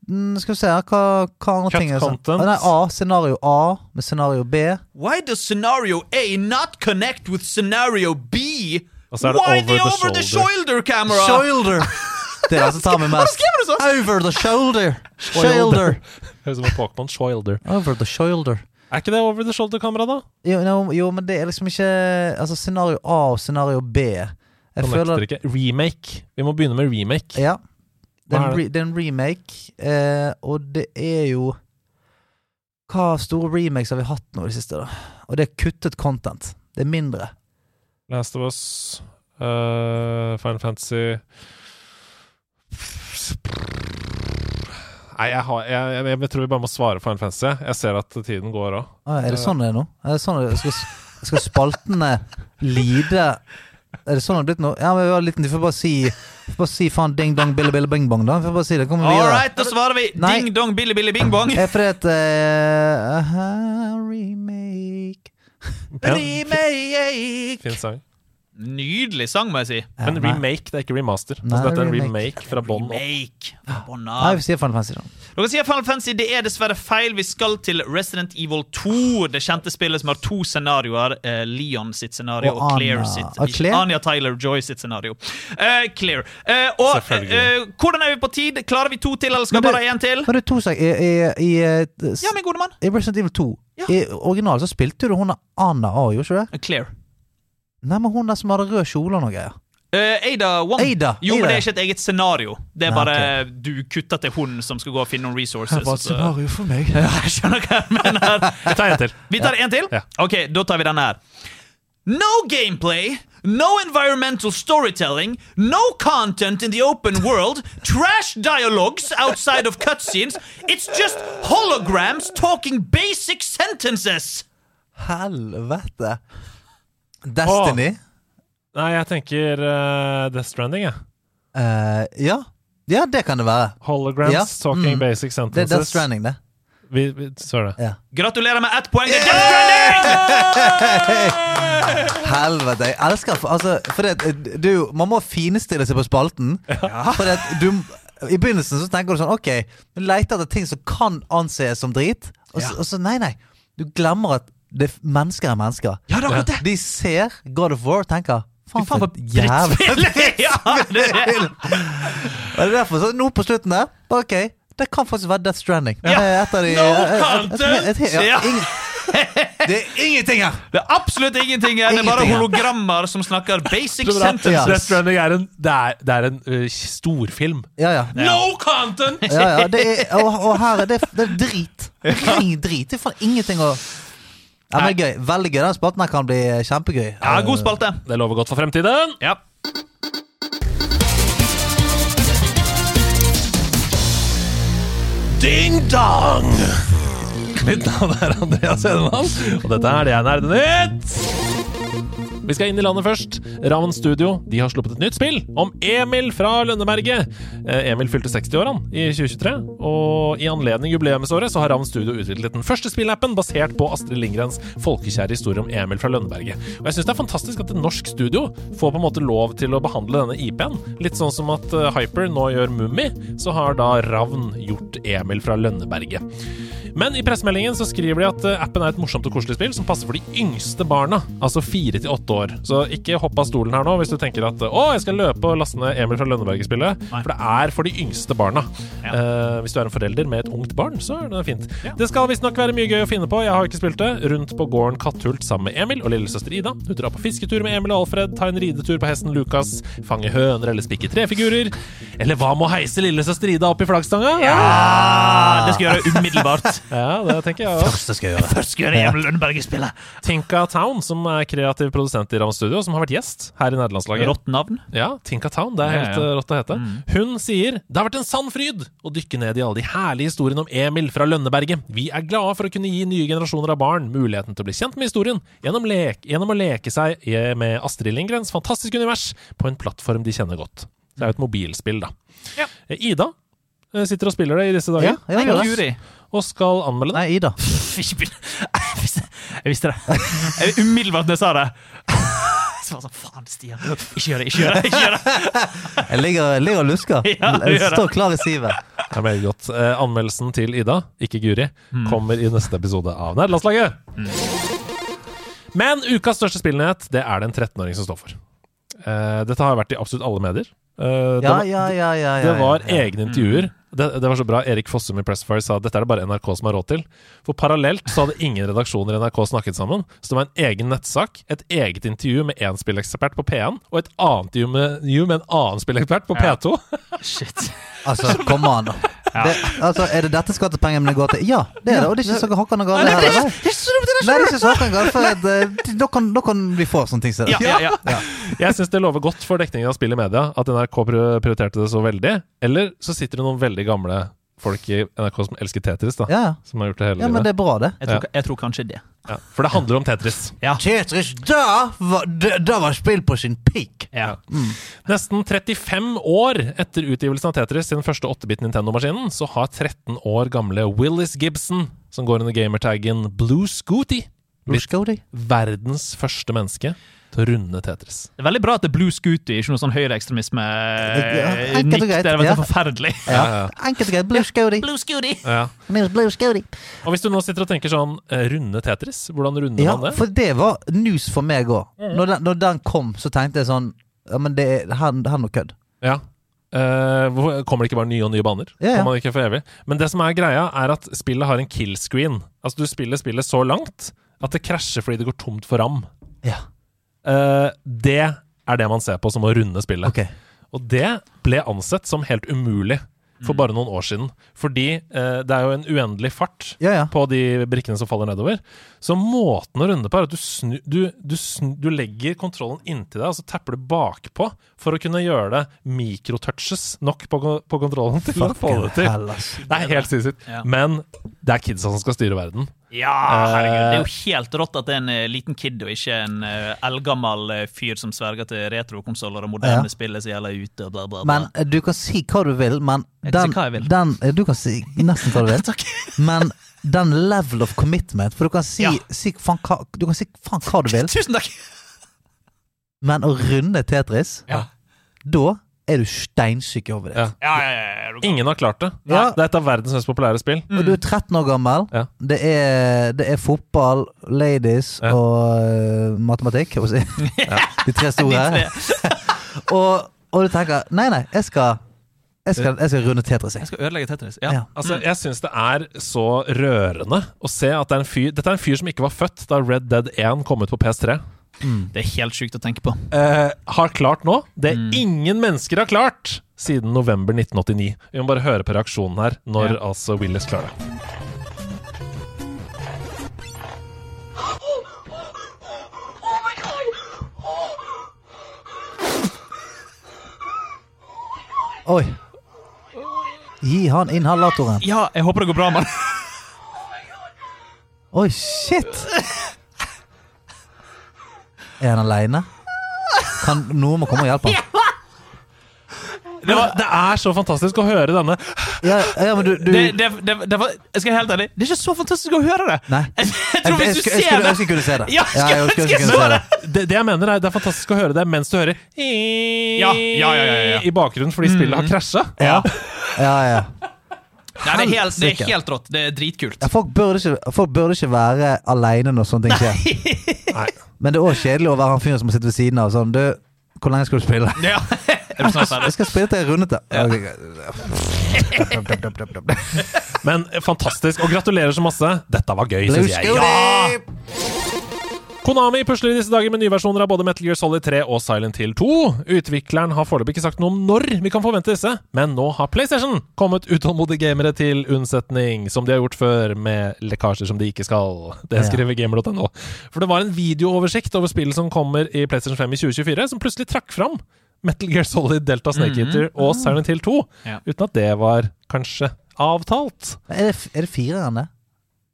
Speaker 2: mm, skal vi se her, hva, hva andre
Speaker 4: Cut
Speaker 2: ting er sånn?
Speaker 4: content.
Speaker 2: Ah, Nei, A, scenario A med scenario B.
Speaker 3: Why does scenario A not connect with scenario B?
Speaker 4: Og så er det
Speaker 3: Why
Speaker 4: over
Speaker 3: the
Speaker 4: the
Speaker 3: over the shoulder
Speaker 4: shoulder.
Speaker 3: camera?
Speaker 2: Shoulder! Det er det som tar meg mest.
Speaker 3: skrevet det
Speaker 2: Over the shoulder. Shoulder.
Speaker 4: Høres ut som en Pokémon Shoilder.
Speaker 2: Over the shoulder.
Speaker 4: Er ikke det over the shoulder-kamera, da?
Speaker 2: Jo, no, jo, men det er liksom ikke Altså, scenario A og scenario B Jeg
Speaker 4: Connecter ikke. Remake. Vi må begynne med remake.
Speaker 2: Ja. Det er
Speaker 4: Hva er
Speaker 2: en, re, det er en remake, eh, og det er jo Hva store remakes har vi hatt nå i det siste, da? Og det er kuttet content. Det er mindre.
Speaker 4: Last of Us, eh, Final Fantasy Nei, jeg, har, jeg, jeg, jeg tror vi bare må svare Final Fantasy. Jeg ser at tiden går òg.
Speaker 2: Ah, er det sånn det er nå? Er det sånn det, skal, skal spaltene lide Er det sånn det er blitt nå? Ja, men vi har en liten, vi får bare si vi får bare si faen ding dong bille bille bing bong, da. Vi får bare si det. Kommer vi
Speaker 3: All
Speaker 2: videre?
Speaker 3: right, da svarer vi
Speaker 2: Nei.
Speaker 3: ding dong billy billy bing bong.
Speaker 2: Eh, fordi at eh, aha, Remake Remake!
Speaker 4: Fin sang.
Speaker 3: Nydelig sang, må jeg si.
Speaker 2: Ja,
Speaker 4: Men
Speaker 2: nei.
Speaker 4: remake, det er ikke remaster.
Speaker 2: Nei,
Speaker 4: altså, dette er en
Speaker 2: remake.
Speaker 4: remake fra bånn opp.
Speaker 3: Make. Bånn
Speaker 2: Nei,
Speaker 3: av.
Speaker 2: vi sier Final Fantasy, da.
Speaker 3: Dere sier Final Fantasy, det er dessverre feil. Vi skal til Resident Evil 2. Det kjente spillet som har to scenarioer. eh, Leon sitt scenario
Speaker 2: Og
Speaker 3: og, Claire
Speaker 2: Anna.
Speaker 3: sitt.
Speaker 2: Og Claire?
Speaker 3: Anja Tyler Joy sitt scenario. Eh, Claire. Eh, og
Speaker 4: Selvfølgelig.
Speaker 3: eh, hvordan er vi på tid? Klarer vi to til, eller skal
Speaker 2: Men
Speaker 3: bare én til?
Speaker 2: Men det er to saker. I, i, i, eh, s-
Speaker 3: Ja, min gode mann.
Speaker 2: I Resident Evil 2
Speaker 3: Ja.
Speaker 2: I originalen så spilte du hun der Anna A, gjorde ikke du det?
Speaker 3: Claire.
Speaker 2: Nei, men hun der som hadde rød kjole og noe greier.
Speaker 3: Eh, Ada Wong.
Speaker 2: Ada,
Speaker 3: Jo, men
Speaker 2: Ada.
Speaker 3: det er ikke et eget scenario. Det er
Speaker 2: Nei,
Speaker 3: bare du kutter til hun som skal gå og finne noen resources. og så-
Speaker 2: Altså, for meg.
Speaker 3: Ja, jeg skjønner hva jeg mener.
Speaker 4: Jeg tar en til.
Speaker 3: Vi tar en til?
Speaker 4: Ja.
Speaker 3: Ok, da tar vi denne her. No gameplay, no environmental storytelling, no content in the open world, trash dialogues outside of cutscenes. It's just holograms talking basic sentences.
Speaker 2: Helvete. Destiny?
Speaker 4: Nei, jeg tenker eh, Death Stranding, jeg.
Speaker 2: Eh, ja. ja, det kan det være.
Speaker 4: Holograms,
Speaker 2: Ja,
Speaker 4: talking
Speaker 2: mm.
Speaker 4: basic
Speaker 2: Det er
Speaker 4: sentences.
Speaker 2: Death Stranding, det.
Speaker 4: Vi, vi, så er det.
Speaker 2: Ja.
Speaker 3: Gratulerer med ett poeng. Det er Death Stranding!
Speaker 2: Helvete. Jeg elsker for, altså, for det, at du, Man må finstille seg på spalten. For det, at du, I begynnelsen så tenker du sånn OK, du leter etter ting som kan anses som drit. Og, så- og så nei, nei. Du glemmer at det, mennesker er mennesker.
Speaker 3: Ja, det er akkurat det.
Speaker 2: De ser God of War og tenker Faen, for
Speaker 3: Faen, for
Speaker 2: et jævlig
Speaker 3: drittspill! Ja, det er det.
Speaker 2: Og det er derfor så nå på slutten der bare, OK, det kan faktisk være Death Stranding.
Speaker 3: Ja.
Speaker 2: Det er et av de- eh,
Speaker 3: No
Speaker 2: et- et-
Speaker 3: content!
Speaker 2: et- et- ja,
Speaker 3: Ja.
Speaker 2: ingen- Det er ingenting her!
Speaker 3: Det er absolutt ingenting her. Det er bare
Speaker 2: Ingenting her.
Speaker 3: hologrammer som snakker basic
Speaker 4: Så bra.
Speaker 2: Ja.
Speaker 4: Death
Speaker 3: sentences.
Speaker 4: Stranding er en, det er, det er en eh, storfilm.
Speaker 2: Ja, ja.
Speaker 3: No content!
Speaker 2: ja, ja det er, og, og her er det, det er drit. Ren drit. Det er faen ingenting å ja, men det er gøy. Veldig gøy. Den spalten her kan bli eh, kjempegøy.
Speaker 3: Ja, god spalte.
Speaker 4: Det lover godt for fremtiden.
Speaker 3: Ja.
Speaker 4: Ding dong! Mitt navn er Andreas Hedemann, og dette er det jeg nerder nytt. Vi skal inn i landet først. Ravn Studio de har sluppet et nytt spill om Emil fra Lønneberget. Eh, Emil fylte 60 år han, i 2023, og i anledning jubileumsåret så har Ravn Studio utviklet den første spillappen basert på Astrid Lindgrens folkekjære historie om Emil fra Lønneberget. Og jeg syns det er fantastisk at et norsk studio får på en måte lov til å behandle denne IP-en. Litt sånn som at eh, Hyper nå gjør Mummi, så har da Ravn gjort Emil fra Lønneberget. Men i pressemeldingen så skriver de at eh, appen er et morsomt og koselig spill som passer for de yngste barna, altså fire til åtte år. Så ikke hopp av stolen her nå hvis du tenker at eh, å, jeg skal løpe og laste ned Emil fra Lønneberget-spillet. For det er for de yngste barna. Eh, hvis du er en forelder med et ungt barn, så er det fint. Det skal visstnok være mye gøy å finne på, jeg har ikke spilt det. Rundt på gården Katthult sammen med Emil og lillesøster Ida. Du drar på fisketur med Emil og Alfred, ta en ridetur på hesten Lukas, fange høner eller spikke trefigurer. Eller hva med å heise lillesøster Ida opp i flaggstanga? Ja!
Speaker 3: Ah, det skal jeg gjøre umiddelbart.
Speaker 4: Ja, det tenker jeg også.
Speaker 2: Første skal jeg gjøre.
Speaker 3: Først skal jeg gjøre Emil Lønneberget spille.
Speaker 4: Tinka Town, som er kreativ produsent i Ram Studio, som har vært gjest her i nederlandslaget.
Speaker 3: Rått navn.
Speaker 4: Ja, Tinka Town. Det er helt
Speaker 3: Ja, Mm. ja.
Speaker 4: eh, rått å hete. Hun sier det har vært en sann fryd å dykke ned i alle de herlige historiene om Emil fra Lønneberget. Vi er glade for å kunne gi nye generasjoner av barn muligheten til å bli kjent med historien gjennom, lek, gjennom å leke seg i- med Astrid Lindgrens fantastiske univers på en plattform de kjenner godt. Det er jo et mobilspill, da.
Speaker 3: Ja.
Speaker 4: Eh, Ida eh, sitter og spiller det i disse
Speaker 2: Ja,
Speaker 4: dager,
Speaker 2: jeg gjør det.
Speaker 3: Guri.
Speaker 4: og skal anmelde det.
Speaker 2: Nei, Ida.
Speaker 3: Pff, ikke begynn. Jeg visste- Jeg visste det. Jeg- Umiddelbart når jeg sa det. Så var det sånn, faen, Stian. Ikke gjør det, ikke gjør det. ikke gjør det.
Speaker 2: Jeg ligger, ligger og lusker.
Speaker 3: Ja, du gjør
Speaker 2: Jeg
Speaker 3: det.
Speaker 2: står klar i sivet.
Speaker 4: Det er veldig godt. Eh, Anmeldelsen til Ida, ikke Guri, kommer i neste episode av Nederlandslaget. Men ukas største spillnyhet, det er det en 13-åring som står for. Eh, dette har vært i absolutt alle medier. Eh, det,
Speaker 2: Ja,
Speaker 4: var-
Speaker 2: ja, ja, ja, ja,
Speaker 4: det var
Speaker 2: ja.
Speaker 4: egne intervjuer. Det, det var så bra. Erik Fossum i Pressfire sa at dette er det bare NRK som har råd til. For parallelt så hadde ingen redaksjoner i NRK snakket sammen. Så det var en egen nettsak, et eget intervju med én spillekspert på P1, og et annet intervju med, intervju med en annen spillekspert på P2.
Speaker 3: Shit.
Speaker 2: Altså, kom an. Det, altså, er det dette skattepengene går til? Ja, det er det. Og det er ikke så hakkende galt
Speaker 3: Nei, det
Speaker 2: heller.
Speaker 3: er
Speaker 2: Nei. Nei, det er ikke så hakkende galt, for at, eh, da kan, da kan vi få sånne ting som det.
Speaker 3: Ja, ja, ja.
Speaker 4: Jeg syns det lover godt for dekningen av spill i media at NRK pri- prioriterte det så veldig. Eller så sitter det noen veldig gamle folk i NRK som elsker Tetris, da.
Speaker 2: Ja, ja.
Speaker 4: Som har gjort det hele
Speaker 2: ja, men
Speaker 4: livet.
Speaker 2: det er bra, det.
Speaker 3: Jeg tror, jeg tror kanskje det.
Speaker 4: Ja. For det handler om Tetris.
Speaker 2: Tetris, da var, da- da var spill på sin peak.
Speaker 3: Ja.
Speaker 4: Nesten 35 år etter utgivelsen av Tetris i den første 8-bit Nintendo-maskinen, så har 13 år gamle Willis Gibson, som går under gamertaggen Blue Scooty, blitt
Speaker 2: Skådig.
Speaker 4: verdens første menneske til å runde Tetris.
Speaker 3: Det er veldig bra at det er blue scooty, ikke noe sånn høyreekstremisme.
Speaker 2: Ja, enkelt og
Speaker 3: Nikk, det
Speaker 2: greit,
Speaker 3: er veldig
Speaker 2: ja.
Speaker 3: forferdelig.
Speaker 2: Ja. Enkelt og greit. Blue Skådig.
Speaker 3: Blue scooty.
Speaker 4: Ja.
Speaker 2: Blue Skådig.
Speaker 4: Og hvis du nå sitter og tenker sånn eh, Runde Tetris? Hvordan runder
Speaker 2: Ja,
Speaker 4: man det?
Speaker 2: for det var news for meg òg.
Speaker 3: Mhm.
Speaker 2: Når, den- når den kom, så tenkte jeg sånn Ja, men det er her, her er noe kødd.
Speaker 4: Ja. Eh, hvorfor kommer det ikke bare nye og nye baner?
Speaker 2: Ja, ja.
Speaker 4: Kan man ikke for evig? Men det som er greia, er at spillet har en kill screen. Altså, du spiller spillet så langt at det krasjer fordi det går tomt for ram.
Speaker 2: Ja,
Speaker 4: Eh, det er det man ser på som å runde spillet.
Speaker 2: ok.
Speaker 4: Og det ble ansett som helt umulig for bare noen år siden. Fordi eh, det er jo en uendelig fart
Speaker 2: Ja, ja.
Speaker 4: på de brikkene som faller nedover. Så måten å runde på er at du, snu, du, du, snu, du legger kontrollen inntil deg, og så tapper du bakpå for å kunne gjøre det mikrotouches nok på, kon- på kontrollen til å få det til.
Speaker 2: Hell, ass.
Speaker 4: Det er helt sinnssykt.
Speaker 3: Ja.
Speaker 4: Men det er kidsa som skal styre verden.
Speaker 3: Ja, herregud. Det er jo helt rått at det er en eh, liten kid og ikke en eh, eldgammel eh, fyr som sverger til retrokonsoller og moderne
Speaker 2: Ja.
Speaker 3: spill som gjelder ute og bla, bla, bla.
Speaker 2: Men eh, du kan si hva du vil, men
Speaker 3: Jeg
Speaker 2: den,
Speaker 3: kan si hva jeg vil.
Speaker 2: den eh, Du kan si nesten hva du vil. Men den level of commitment For du kan si,
Speaker 3: Ja.
Speaker 2: si, faen, hva, du kan si faen hva du vil,
Speaker 3: Tusen takk!
Speaker 2: men å runde Tetris,
Speaker 3: Ja.
Speaker 2: da er du steinsyk i hodet ditt.
Speaker 4: Ja.
Speaker 3: Ja, ja, ja, ja. er du gal?
Speaker 4: Ingen har klart det.
Speaker 2: Ja.
Speaker 4: Det er et av verdens mest populære spill.
Speaker 2: Og du
Speaker 3: Mm.
Speaker 2: er 13 år gammel.
Speaker 4: Ja.
Speaker 2: Det, er, det er fotball, ladies
Speaker 4: Ja.
Speaker 2: og eh, matematikk. Jeg må si. De tre store. og, og du tenker Nei, nei, jeg skal Jeg skal, jeg skal runde Tetris. jeg."
Speaker 3: Jeg skal ødelegge Tetris.
Speaker 2: Ja.
Speaker 3: Ja.
Speaker 4: Altså, Jeg syns det er så rørende å se at det er en fyr Dette er en fyr som ikke var født da Red Dead 1 kom ut på PS3.
Speaker 3: Det er helt sjukt å tenke på.
Speaker 4: Eh, har klart nå det
Speaker 3: Mm.
Speaker 4: ingen mennesker har klart siden november 1989. Vi må bare høre på reaksjonen her når altså Willis klarer det.
Speaker 2: Oi. Gi han inhalatoren.
Speaker 3: Ja, jeg håper det går bra med det.
Speaker 2: Oi, shit! Er han aleine? Kan noen må komme og hjelpe ham?
Speaker 4: Det, var, det er så fantastisk å høre denne.
Speaker 2: Ja, ja, men du, du
Speaker 3: Det, det, det, det var, jeg skal være helt ærlig, det er ikke så fantastisk å høre det.
Speaker 2: Nei.
Speaker 3: Jeg, tror hvis du
Speaker 2: skulle- jeg
Speaker 3: ser
Speaker 2: skulle
Speaker 3: det
Speaker 2: ønske jeg kunne se det.
Speaker 3: Ja, skulle
Speaker 2: jeg
Speaker 3: ønske jeg
Speaker 2: kunne
Speaker 3: så
Speaker 2: se
Speaker 3: det.
Speaker 4: Det, det jeg mener er Det er fantastisk å høre det mens du hører
Speaker 3: Ja, ja, ja, ja, ja. Mm.
Speaker 4: i bakgrunnen fordi spillet har krasja.
Speaker 2: Ja, ja, ja.
Speaker 3: Nei, det er helt, det
Speaker 2: Helsike.
Speaker 3: er helt rått. Det er dritkult.
Speaker 2: Ja, folk, burde ikke, folk burde ikke være aleine når sånne ting skjer.
Speaker 4: Nei.
Speaker 2: Men det er òg kjedelig å være han fyren som sitter ved siden av og sånn Du, hvor lenge skal du spille?
Speaker 3: Ja. Er du snart ferdig?
Speaker 2: Jeg skal spille til jeg er rundet, da. Ok, greit.
Speaker 4: Men eh, fantastisk. Og gratulerer så masse. Dette var gøy,
Speaker 2: Blue
Speaker 4: syns jeg. Ja!
Speaker 2: Scooty!
Speaker 4: Konami pusler i disse dager med nye versjoner av både Metal Gear Solid 3 og Silent Hill 2. Utvikleren har foreløpig ikke sagt noe om når vi kan forvente disse, men nå har PlayStation kommet utålmodige gamere til unnsetning, som de har gjort før, med lekkasjer som de ikke skal. Det skriver gamer.no. For det var en videooversikt over spillet som kommer i PlayStation 5 i 2024, som plutselig trakk fram Metal Gear Solid, Delta Snake
Speaker 2: Mhm.
Speaker 4: Eater og Silent Hill 2,
Speaker 3: Ja.
Speaker 4: uten at det var kanskje avtalt.
Speaker 2: Er det, er det fireren, det?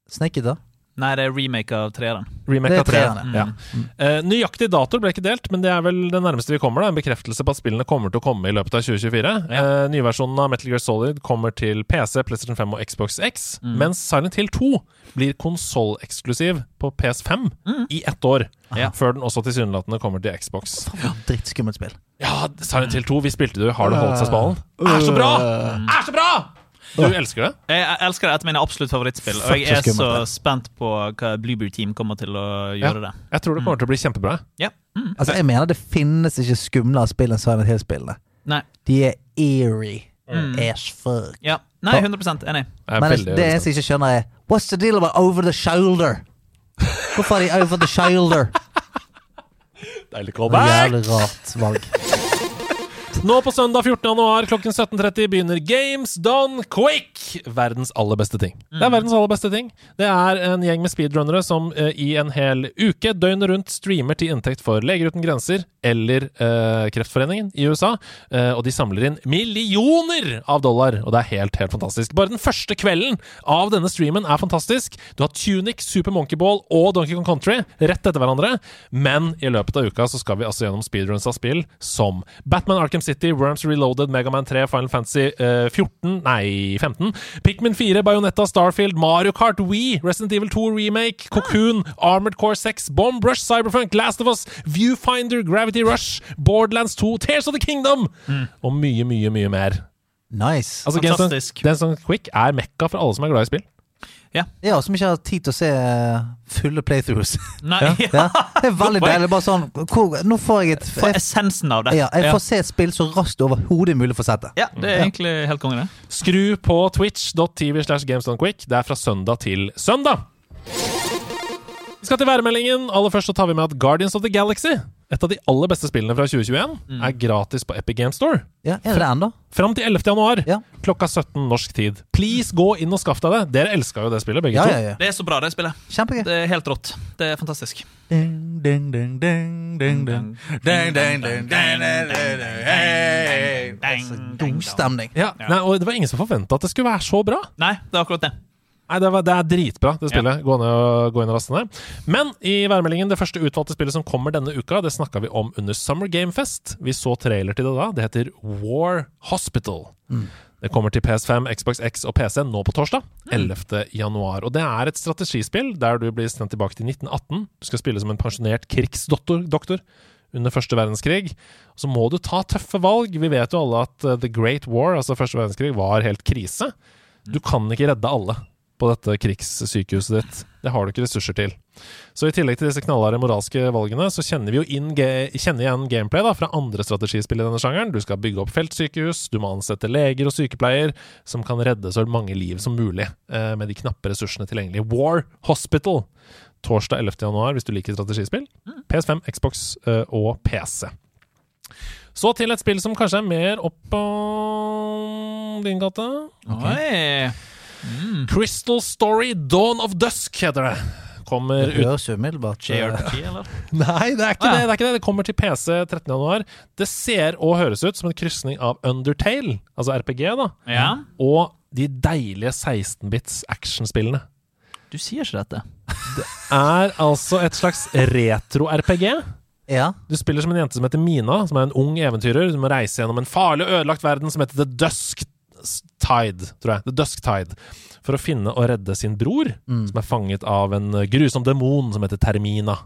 Speaker 2: Sneket, da?
Speaker 3: Nei, det er remake av treeren. Mm.
Speaker 4: Remake
Speaker 2: Det er
Speaker 4: av tre.
Speaker 2: treeren,
Speaker 4: Ja. Eh, nøyaktig dato ble ikke delt, men det er vel det nærmeste vi kommer. da En bekreftelse på at spillene kommer til å komme i løpet av 2024. Eh, nyversjonen av Metal Gear Solid kommer til PC, PlayStation 5 og Xbox X, mens Silent Hill 2 blir konsolleksklusiv på PS5 i ett år.
Speaker 3: Ja.
Speaker 4: Før den også tilsynelatende kommer til Xbox.
Speaker 2: Drittskummelt spill.
Speaker 4: Ja, Silent Hill 2, vi spilte det, har det holdt seg spallen? Er så bra!
Speaker 2: Øh.
Speaker 4: Er så bra! Du elsker det?
Speaker 3: Jeg jeg elsker det. Et av mine absolutt favorittspill. Og jeg
Speaker 2: Fuck, så
Speaker 3: er så
Speaker 2: skummelt,
Speaker 3: spent på hva Blueberry Team kommer til å gjøre det.
Speaker 4: Jeg tror det kommer til å bli kjempebra.
Speaker 3: Ja. Mm.
Speaker 2: Altså, jeg mener det finnes ikke skumlere spill enn Silent Hill-spillene.
Speaker 3: Nei.
Speaker 2: De er eerie
Speaker 4: Mm.
Speaker 2: as fuck.
Speaker 3: Ja. Nei, 100 enig.
Speaker 4: Jeg er
Speaker 2: Men
Speaker 4: veldig-
Speaker 2: det det eneste jeg ikke skjønner, er What's the deal about over the shoulder? Hvorfor er de over the shoulder?
Speaker 4: Deilig
Speaker 2: Det er
Speaker 4: callback!
Speaker 2: Jævlig rart valg.
Speaker 4: Nå på søndag 14. januar klokken 17.30 begynner Games Done Quick! Verdens aller beste ting. Det er verdens aller beste ting. Det er en gjeng med speedrunnere som eh, i en hel uke, døgnet rundt, streamer til inntekt for Leger uten grenser eller eh, Kreftforeningen i USA. Eh, og de samler inn millioner av dollar, og det er helt, helt fantastisk. Bare den første kvelden av denne streamen er fantastisk. Du har Tunic, Super Monkey Ball og Donkey Kong Country rett etter hverandre, men i løpet av uka så skal vi altså gjennom speedruns av spill som Batman Arkham City, Worms Reloaded, Megaman 3, Final Fantasy eh, 14, nei 15, Pikmin 4, Bayonetta, Starfield, Mario Kart, Wii, Resident Evil 2 Remake, Cocoon, Armored Core 6, Bomb Rush, Cyberpunk, Last of Us, Viewfinder, Gravity Rush, Borderlands 2, Tears of the Kingdom og mye, mye, mye mer.
Speaker 2: Nice.
Speaker 4: Altså, Games Done-
Speaker 3: Fantastisk.
Speaker 4: Games Done Quick er mekka for alle som er glad i spill.
Speaker 2: Ja, som ikke har tid til å se eh, fulle playthroughs.
Speaker 3: Nei, ja.
Speaker 2: Ja, det er veldig
Speaker 3: poeng.
Speaker 2: deilig. Bare sånn hvor, Nå får jeg et
Speaker 3: For
Speaker 2: jeg,
Speaker 3: essensen av det.
Speaker 2: ja, jeg får se et spill så raskt overhodet mulig for settet.
Speaker 3: Ja, det er egentlig helt konge, det.
Speaker 4: Skru på twitch.tv slash gamesdonquick. Det er fra søndag til søndag. Vi skal til værmeldingen. Aller først så tar vi med at Guardians of the Galaxy, et av de aller beste spillene fra 2021, er gratis på Epic Game Store.
Speaker 2: Ja, er det det ennå?
Speaker 4: Fram til 11. januar
Speaker 2: Ja.
Speaker 4: klokka 17 norsk tid. Please gå inn og skaff deg det. Dere elska jo det spillet, begge
Speaker 2: Ja,
Speaker 4: to.
Speaker 2: ja, ja.
Speaker 3: Det er så bra, det spillet.
Speaker 2: Kjempegøy.
Speaker 3: Det er helt rått. Det er fantastisk.
Speaker 2: Ding, ding, ding, ding, ding, ding. Ding, ding, ding, ding, ding, ding, ding. Hey. Altså, God stemning.
Speaker 4: Ja, Nei, og Det var ingen som forventa at det skulle være så bra.
Speaker 3: Nei, det er akkurat det.
Speaker 4: Nei, det, var, det er dritbra, det spillet. Gå, ned og, gå inn og laste ned. Men i værmeldingen, det første utvalgte spillet som kommer denne uka, det snakka vi om under Summer Game Fest. Vi så trailer til det da. Det heter War Hospital. Det kommer til PS5, Xbox X og PC nå på torsdag. 11. januar. Og det er et strategispill der du blir sendt tilbake til 1918. Du skal spille som en pensjonert krigsdoktor doktor, under første verdenskrig. Så må du ta tøffe valg. Vi vet jo alle at eh, The Great War, altså første verdenskrig, var helt krise. Du kan ikke redde alle på dette krigssykehuset ditt. Det har du ikke ressurser til. Så i tillegg til disse knallharde moralske valgene, så kjenner vi jo inn ge kjenner igjen gameplay da, fra andre strategispill i denne sjangeren. Du skal bygge opp feltsykehus, du må ansette leger og sykepleier som kan redde så mange liv som mulig eh, med de knappe ressursene tilgjengelig. War Hospital! Torsdag 11. januar, hvis du liker strategispill. PS5, Xbox eh, og PC. Så til et spill som kanskje er mer opp på din gate.
Speaker 3: Oi.
Speaker 4: Crystal Story Dawn of Dusk heter det. Kommer
Speaker 2: Det
Speaker 4: ut
Speaker 2: høres umiddelbart eh,
Speaker 3: JRPG, eller?
Speaker 4: Nei, det er ikke
Speaker 3: Ah, ja.
Speaker 4: det. Det er ikke det Det kommer til PC 13.1. Det ser og høres ut som en krysning av Undertale, altså RPG, da,
Speaker 3: Ja.
Speaker 4: og de deilige 16-bits actionspillene.
Speaker 3: Du sier ikke dette.
Speaker 4: Er altså et slags retro-RPG.
Speaker 2: eh, Ja.
Speaker 4: Du spiller som en jente som heter Mina, som er en ung eventyrer. Du må reise gjennom en farlig og ødelagt verden som heter The Dusk Tide, tror jeg. The Dusk Tide. For å finne og redde sin bror, som er fanget av en eh, grusom demon som heter Termina.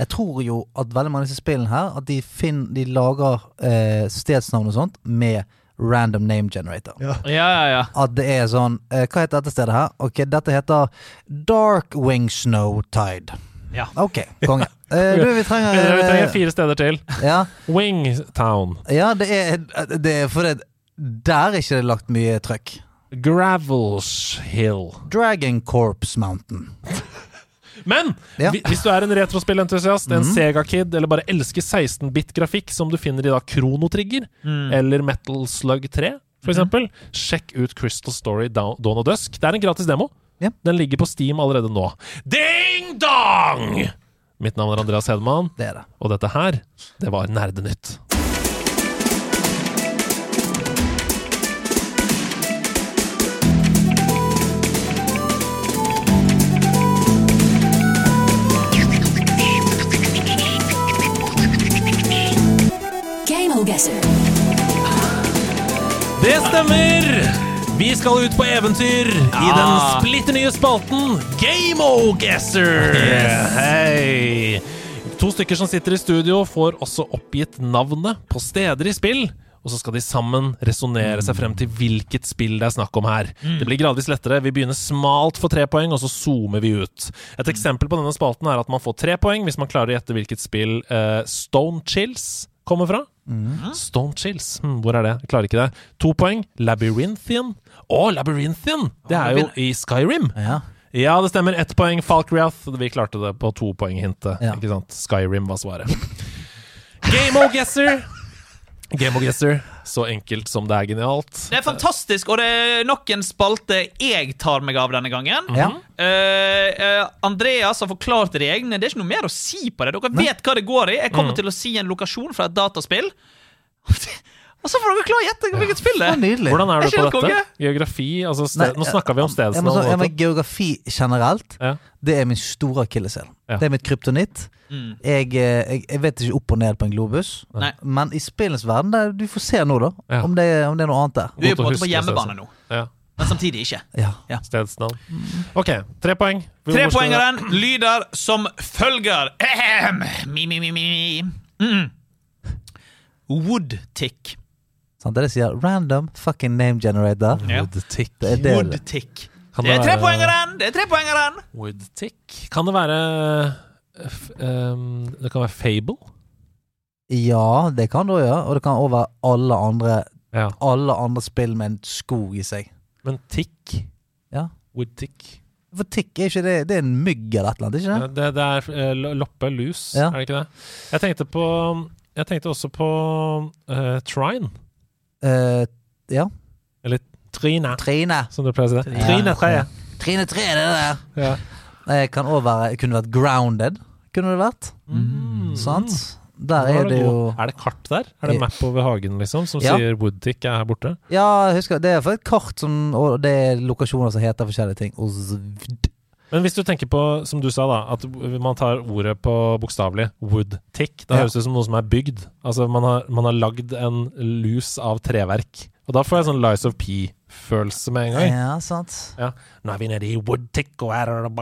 Speaker 2: Jeg tror jo at veldig mange av disse spillene her At de, finn, de lager eh, stedsnavn og sånt med random name generator.
Speaker 3: Ja, ja, ja.
Speaker 2: At det er sånn eh, Hva heter dette stedet her? Ok, dette heter Dark Wing Snow Tide.
Speaker 3: Ja.
Speaker 2: Ok, konge. Eh, du, vi trenger,
Speaker 4: Vi trenger
Speaker 2: eh,
Speaker 4: fire steder til.
Speaker 2: ja,
Speaker 4: Wingtown.
Speaker 2: ja, det er, det er For det, der er ikke det lagt mye trøkk.
Speaker 4: Gravels Hill.
Speaker 2: Dragon Corps Mountain.
Speaker 4: Men
Speaker 2: Ja. Mm.
Speaker 4: hvi- hvis du er en retrospillentusiast, en Sega-kid, eller bare elsker 16-bit-grafikk, som du finner i da Kronotrigger
Speaker 2: Mm.
Speaker 4: eller Metal Slug 3, for eksempel, sjekk ut Crystal Story Down- Dawn og Dusk. Det er en gratis demo.
Speaker 2: Ja.
Speaker 4: Den ligger på Steam allerede nå. Ding dong! Mitt navn er Andreas Hedman,
Speaker 2: Det er det.
Speaker 4: og dette her, det var Nerdenytt.
Speaker 6: Game Guesser.
Speaker 4: Det stemmer! Vi skal ut på eventyr i den splitter nye spalten Game-O-Guesser! Hei! To stykker som sitter i studio, får også oppgitt navnet på steder i spill. Og så skal de sammen resonnere seg frem til hvilket spill det er snakk om her. Det blir gradvis lettere. Vi begynner smalt for tre poeng, og så zoomer vi ut. Et eksempel på denne spalten er at man får tre poeng hvis man klarer å gjette hvilket spill eh, Stone Chills kommer fra. Stone Chills. Hm, hvor er det? Jeg klarer ikke det. To poeng. Labyrinthian. Å, Labyrinthian! Det er jo i Skyrim.
Speaker 2: Ja.
Speaker 4: Ja, det stemmer. Ett poeng Falkreath. Vi klarte det på to poeng-hintet.
Speaker 2: Ja.
Speaker 4: Ikke sant? Skyrim var svaret. Game of Guesser. Game of Guesser. Så enkelt som det er genialt.
Speaker 3: Det er fantastisk, og det er nok en spalte jeg tar meg av denne gangen.
Speaker 2: Ja.
Speaker 4: Mhm.
Speaker 3: Eh, eh, Andreas har forklart reglene. Det er ikke noe mer å si på det. Dere vet hva det går i. Jeg kommer til å si en lokasjon fra et dataspill. Og så får dere klare å gjette hvilket spill det
Speaker 2: Det var
Speaker 3: er.
Speaker 2: nydelig.
Speaker 4: Hvordan er
Speaker 3: Er
Speaker 4: du på
Speaker 3: ikke det
Speaker 4: dette?
Speaker 3: konge?
Speaker 4: Geografi? Altså
Speaker 2: Nei,
Speaker 4: sted, nå snakka vi om
Speaker 2: jeg må, så, jeg
Speaker 4: stedsnavn.
Speaker 2: må, geografi generelt,
Speaker 4: Ja.
Speaker 2: det er min store akilleshæl.
Speaker 4: Ja. Mm.
Speaker 2: Det er mitt kryptonitt. Jeg, eh, jeg, jeg vet ikke opp og ned på en globus,
Speaker 3: Nei.
Speaker 2: men i spillens verden det, er- Du får se nå, da,
Speaker 4: Ja.
Speaker 2: om, det, om det er noe annet der.
Speaker 3: Du er
Speaker 4: Godt
Speaker 3: jo på en
Speaker 4: å
Speaker 3: måte på
Speaker 4: huske,
Speaker 3: hjemmebane
Speaker 4: Stasen.
Speaker 3: nå,
Speaker 4: Ja.
Speaker 3: men samtidig ikke.
Speaker 2: Ja.
Speaker 4: Stedsnavn. OK, tre poeng. Hvor skal vi-
Speaker 3: Trepoengeren lyder som følger Ahem. Mi, mi, mi, mi. Mm. Woodtick.
Speaker 2: Sant? Det er det jeg sier. Random fucking name generator.
Speaker 3: Ja.
Speaker 4: Woodtick.
Speaker 2: Det er det. det.
Speaker 3: Woodtick.
Speaker 4: Kan
Speaker 3: Det er
Speaker 4: være-
Speaker 3: trepoengeren! Det er trepoengeren!
Speaker 4: Woodtick? Kan det være eh, f- ehm, Det kan være Fable?
Speaker 2: Ja, det kan du gjøre, og det kan over alle andre
Speaker 4: Ja.
Speaker 2: Alle andre spill med en skog i seg.
Speaker 4: Men tick?
Speaker 2: Ja.
Speaker 4: Woodtick?
Speaker 2: For tikk er ikke det Det er en mygg eller et eller annet, ikke det?
Speaker 4: Ja, Det, det er eh, lo- loppe, lus,
Speaker 2: Ja.
Speaker 4: er det ikke det? Jeg tenkte på Jeg tenkte også på eh, Trine.
Speaker 2: Eh, ja.
Speaker 4: Eller Trina,
Speaker 2: Trine.
Speaker 4: som du pleier å si. det.
Speaker 2: Ja.
Speaker 4: Trine, tre.
Speaker 2: Trine 3, det der.
Speaker 4: Ja.
Speaker 2: Jeg kan også være Kunne vært grounded. Kunne det vært. Mm. Sant? Der
Speaker 4: Mm. Nå
Speaker 2: Mhm. er det jo
Speaker 4: god- er det kart der? Er det map over hagen liksom som
Speaker 2: Ja.
Speaker 4: sier Woodtick er her borte?
Speaker 2: Ja, jeg husker, det er for et kart som Og det er lokasjoner som heter forskjellige ting. Og zvd.
Speaker 4: Men hvis du tenker på, som du sa, da at man tar ordet på bokstavelig woodtick, da
Speaker 2: Ja.
Speaker 4: høres det ut som noe som er bygd. Altså man har, man har lagd en lus av treverk. Og da får jeg sånn Lies of P-følelse med en gang.
Speaker 2: Ja, sant.
Speaker 4: Ja. Nå er vi nede i woodtick, og her er det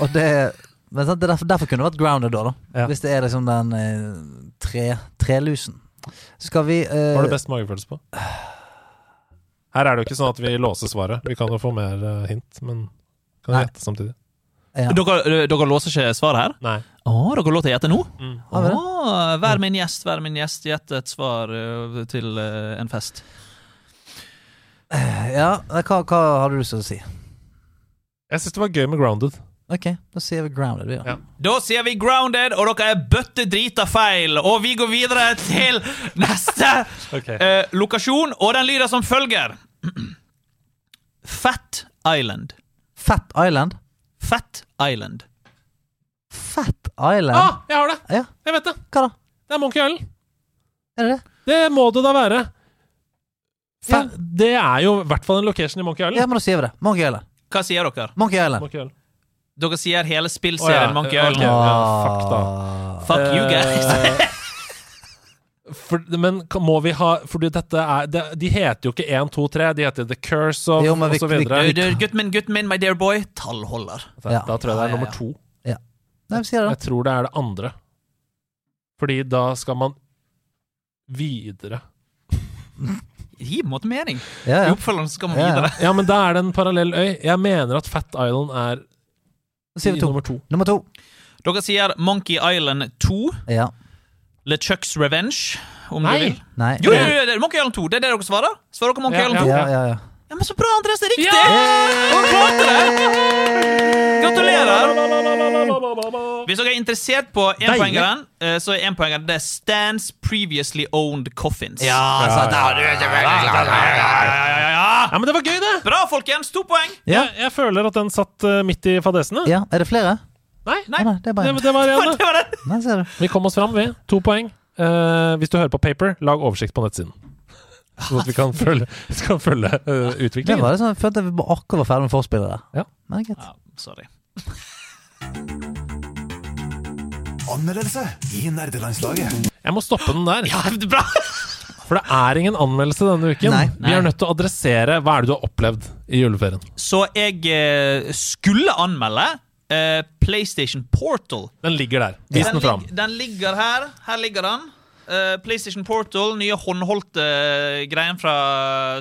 Speaker 2: Og det men sant, det er derfor, derfor kunne det vært grounded, da. da.
Speaker 4: Ja.
Speaker 2: Hvis det er liksom den eh, tre, trelusen. Skal vi eh,
Speaker 4: Hva har du best magefølelse på? Her er det jo ikke sånn at vi låser svaret. Vi kan jo få mer eh, hint, men kan
Speaker 2: Nei.
Speaker 4: vi gjette samtidig?
Speaker 2: Ja.
Speaker 3: Dere, dere låser ikke svaret her?
Speaker 4: Nei.
Speaker 3: Å, dere går lov til å gjette nå?
Speaker 2: Har vi det?
Speaker 3: Å, vær min gjest, vær min gjest. Gjett et svar ø, til ø, en fest.
Speaker 2: Ja, nei, hva, hva har du lyst til å si?
Speaker 4: Jeg syns det var gøy med grounded.
Speaker 2: Ok, da sier vi grounded, vi, da.
Speaker 4: Ja.
Speaker 3: Da sier vi grounded, og dere er bøtte drita feil. Og vi går videre til neste ø, Eh, lokasjon, og den lyder som følger. Fat Island.
Speaker 2: Fat Island.
Speaker 3: Fat Island.
Speaker 2: Fat Island?
Speaker 4: Ah, jeg har det!
Speaker 2: Ja,
Speaker 4: Jeg vet det!
Speaker 2: hva da?
Speaker 4: Det er Monkey Island.
Speaker 2: Er det det?
Speaker 4: Det må det da være. Fa
Speaker 2: Ja.
Speaker 4: Det er jo i hvert fall en location i Monkey Island.
Speaker 2: Ja, men da sier vi det. Monkey Island.
Speaker 3: Hva sier dere?
Speaker 2: Monkey Island.
Speaker 4: Monkey Island.
Speaker 3: Dere sier hele
Speaker 4: Å,
Speaker 3: spillserien
Speaker 4: ja.
Speaker 3: Monkey
Speaker 4: Ok.
Speaker 3: Island.
Speaker 4: ja, fuck da.
Speaker 2: Ah.
Speaker 3: Fuck you guys.
Speaker 4: Eh, For, men kan- må vi ha Fordi dette er De, de heter jo ikke 1, 2, 3. De heter The Curse of
Speaker 2: Jo, men vi-
Speaker 4: og så videre.
Speaker 3: Du, du, Gutten min, gutten min, my dear boy. Tallholder.
Speaker 4: Da,
Speaker 2: Ja.
Speaker 4: da tror jeg det er
Speaker 3: Ja, ja,
Speaker 4: nummer
Speaker 3: ja.
Speaker 4: to.
Speaker 2: Nei, vi sier det.
Speaker 4: Jeg tror det er det andre. Fordi da skal man videre.
Speaker 3: Det gir på en måte mening.
Speaker 2: Ja,
Speaker 3: I
Speaker 2: ja.
Speaker 3: oppfølgeren skal man
Speaker 2: Ja, ja.
Speaker 3: videre.
Speaker 4: Ja, men da er det en parallell øy. Jeg mener at Fat Island er
Speaker 2: Da sier
Speaker 4: i
Speaker 2: vi to.
Speaker 4: nummer to.
Speaker 2: Nummer to.
Speaker 3: Dere sier Monkey Island 2,
Speaker 2: Ja.
Speaker 3: LeChucks Revenge, om
Speaker 4: Nei.
Speaker 3: du vil.
Speaker 2: Nei.
Speaker 3: Jo, jo, jo, det er Monkey Island 2, det er det dere svarer? Svarer dere Monkey
Speaker 4: Ja,
Speaker 3: Island 2?
Speaker 2: Ja, ja, ja.
Speaker 3: Ja, Men så bra, Andreas! Det er riktig!
Speaker 2: Hey!
Speaker 3: Hun klarte det! Gratulerer! Hvis dere er interessert på enpoengeren, eh, så er enpoengeren det stands previously owned coffins.
Speaker 2: Ja, sant. Ja, du vet det.
Speaker 4: Ja, men det var gøy, det!
Speaker 3: Bra, folkens! To poeng!
Speaker 2: Ja.
Speaker 4: Jeg, jeg føler at den satt eh, midt i fadesene.
Speaker 2: ja, er det flere?
Speaker 4: Nei,
Speaker 3: Nei.
Speaker 2: Å, nei, det er bare
Speaker 4: Det,
Speaker 2: en.
Speaker 4: det var
Speaker 3: Det
Speaker 4: igjen, det.
Speaker 3: var det.
Speaker 2: Nei, ser du.
Speaker 4: Vi kom oss fram, vi. To poeng. Eh, hvis du hører på Paper, lag oversikt på nettsiden. Sånn at vi kan følge, kan følge eh,
Speaker 2: Det
Speaker 4: utviklingen.
Speaker 2: var det sånn, jeg følte vi bare akkurat var ferdig med forspillet der.
Speaker 4: Ja.
Speaker 2: Men det er greit.
Speaker 3: Ja, sorry.
Speaker 7: Anmeldelse i nerdelandslaget.
Speaker 4: Jeg må stoppe den der.
Speaker 3: Ja, det er bra!
Speaker 4: For det er ingen anmeldelse denne uken.
Speaker 2: Nei.
Speaker 4: Vi er nødt til å adressere hva er det du har opplevd i juleferien.
Speaker 3: Så jeg eh, skulle anmelde eh, PlayStation Portal.
Speaker 4: Den ligger der. Vis den
Speaker 3: lig-
Speaker 4: fram.
Speaker 3: den ligger her. Her ligger den. Eh, PlayStation Portal, nye håndholdte eh, greien fra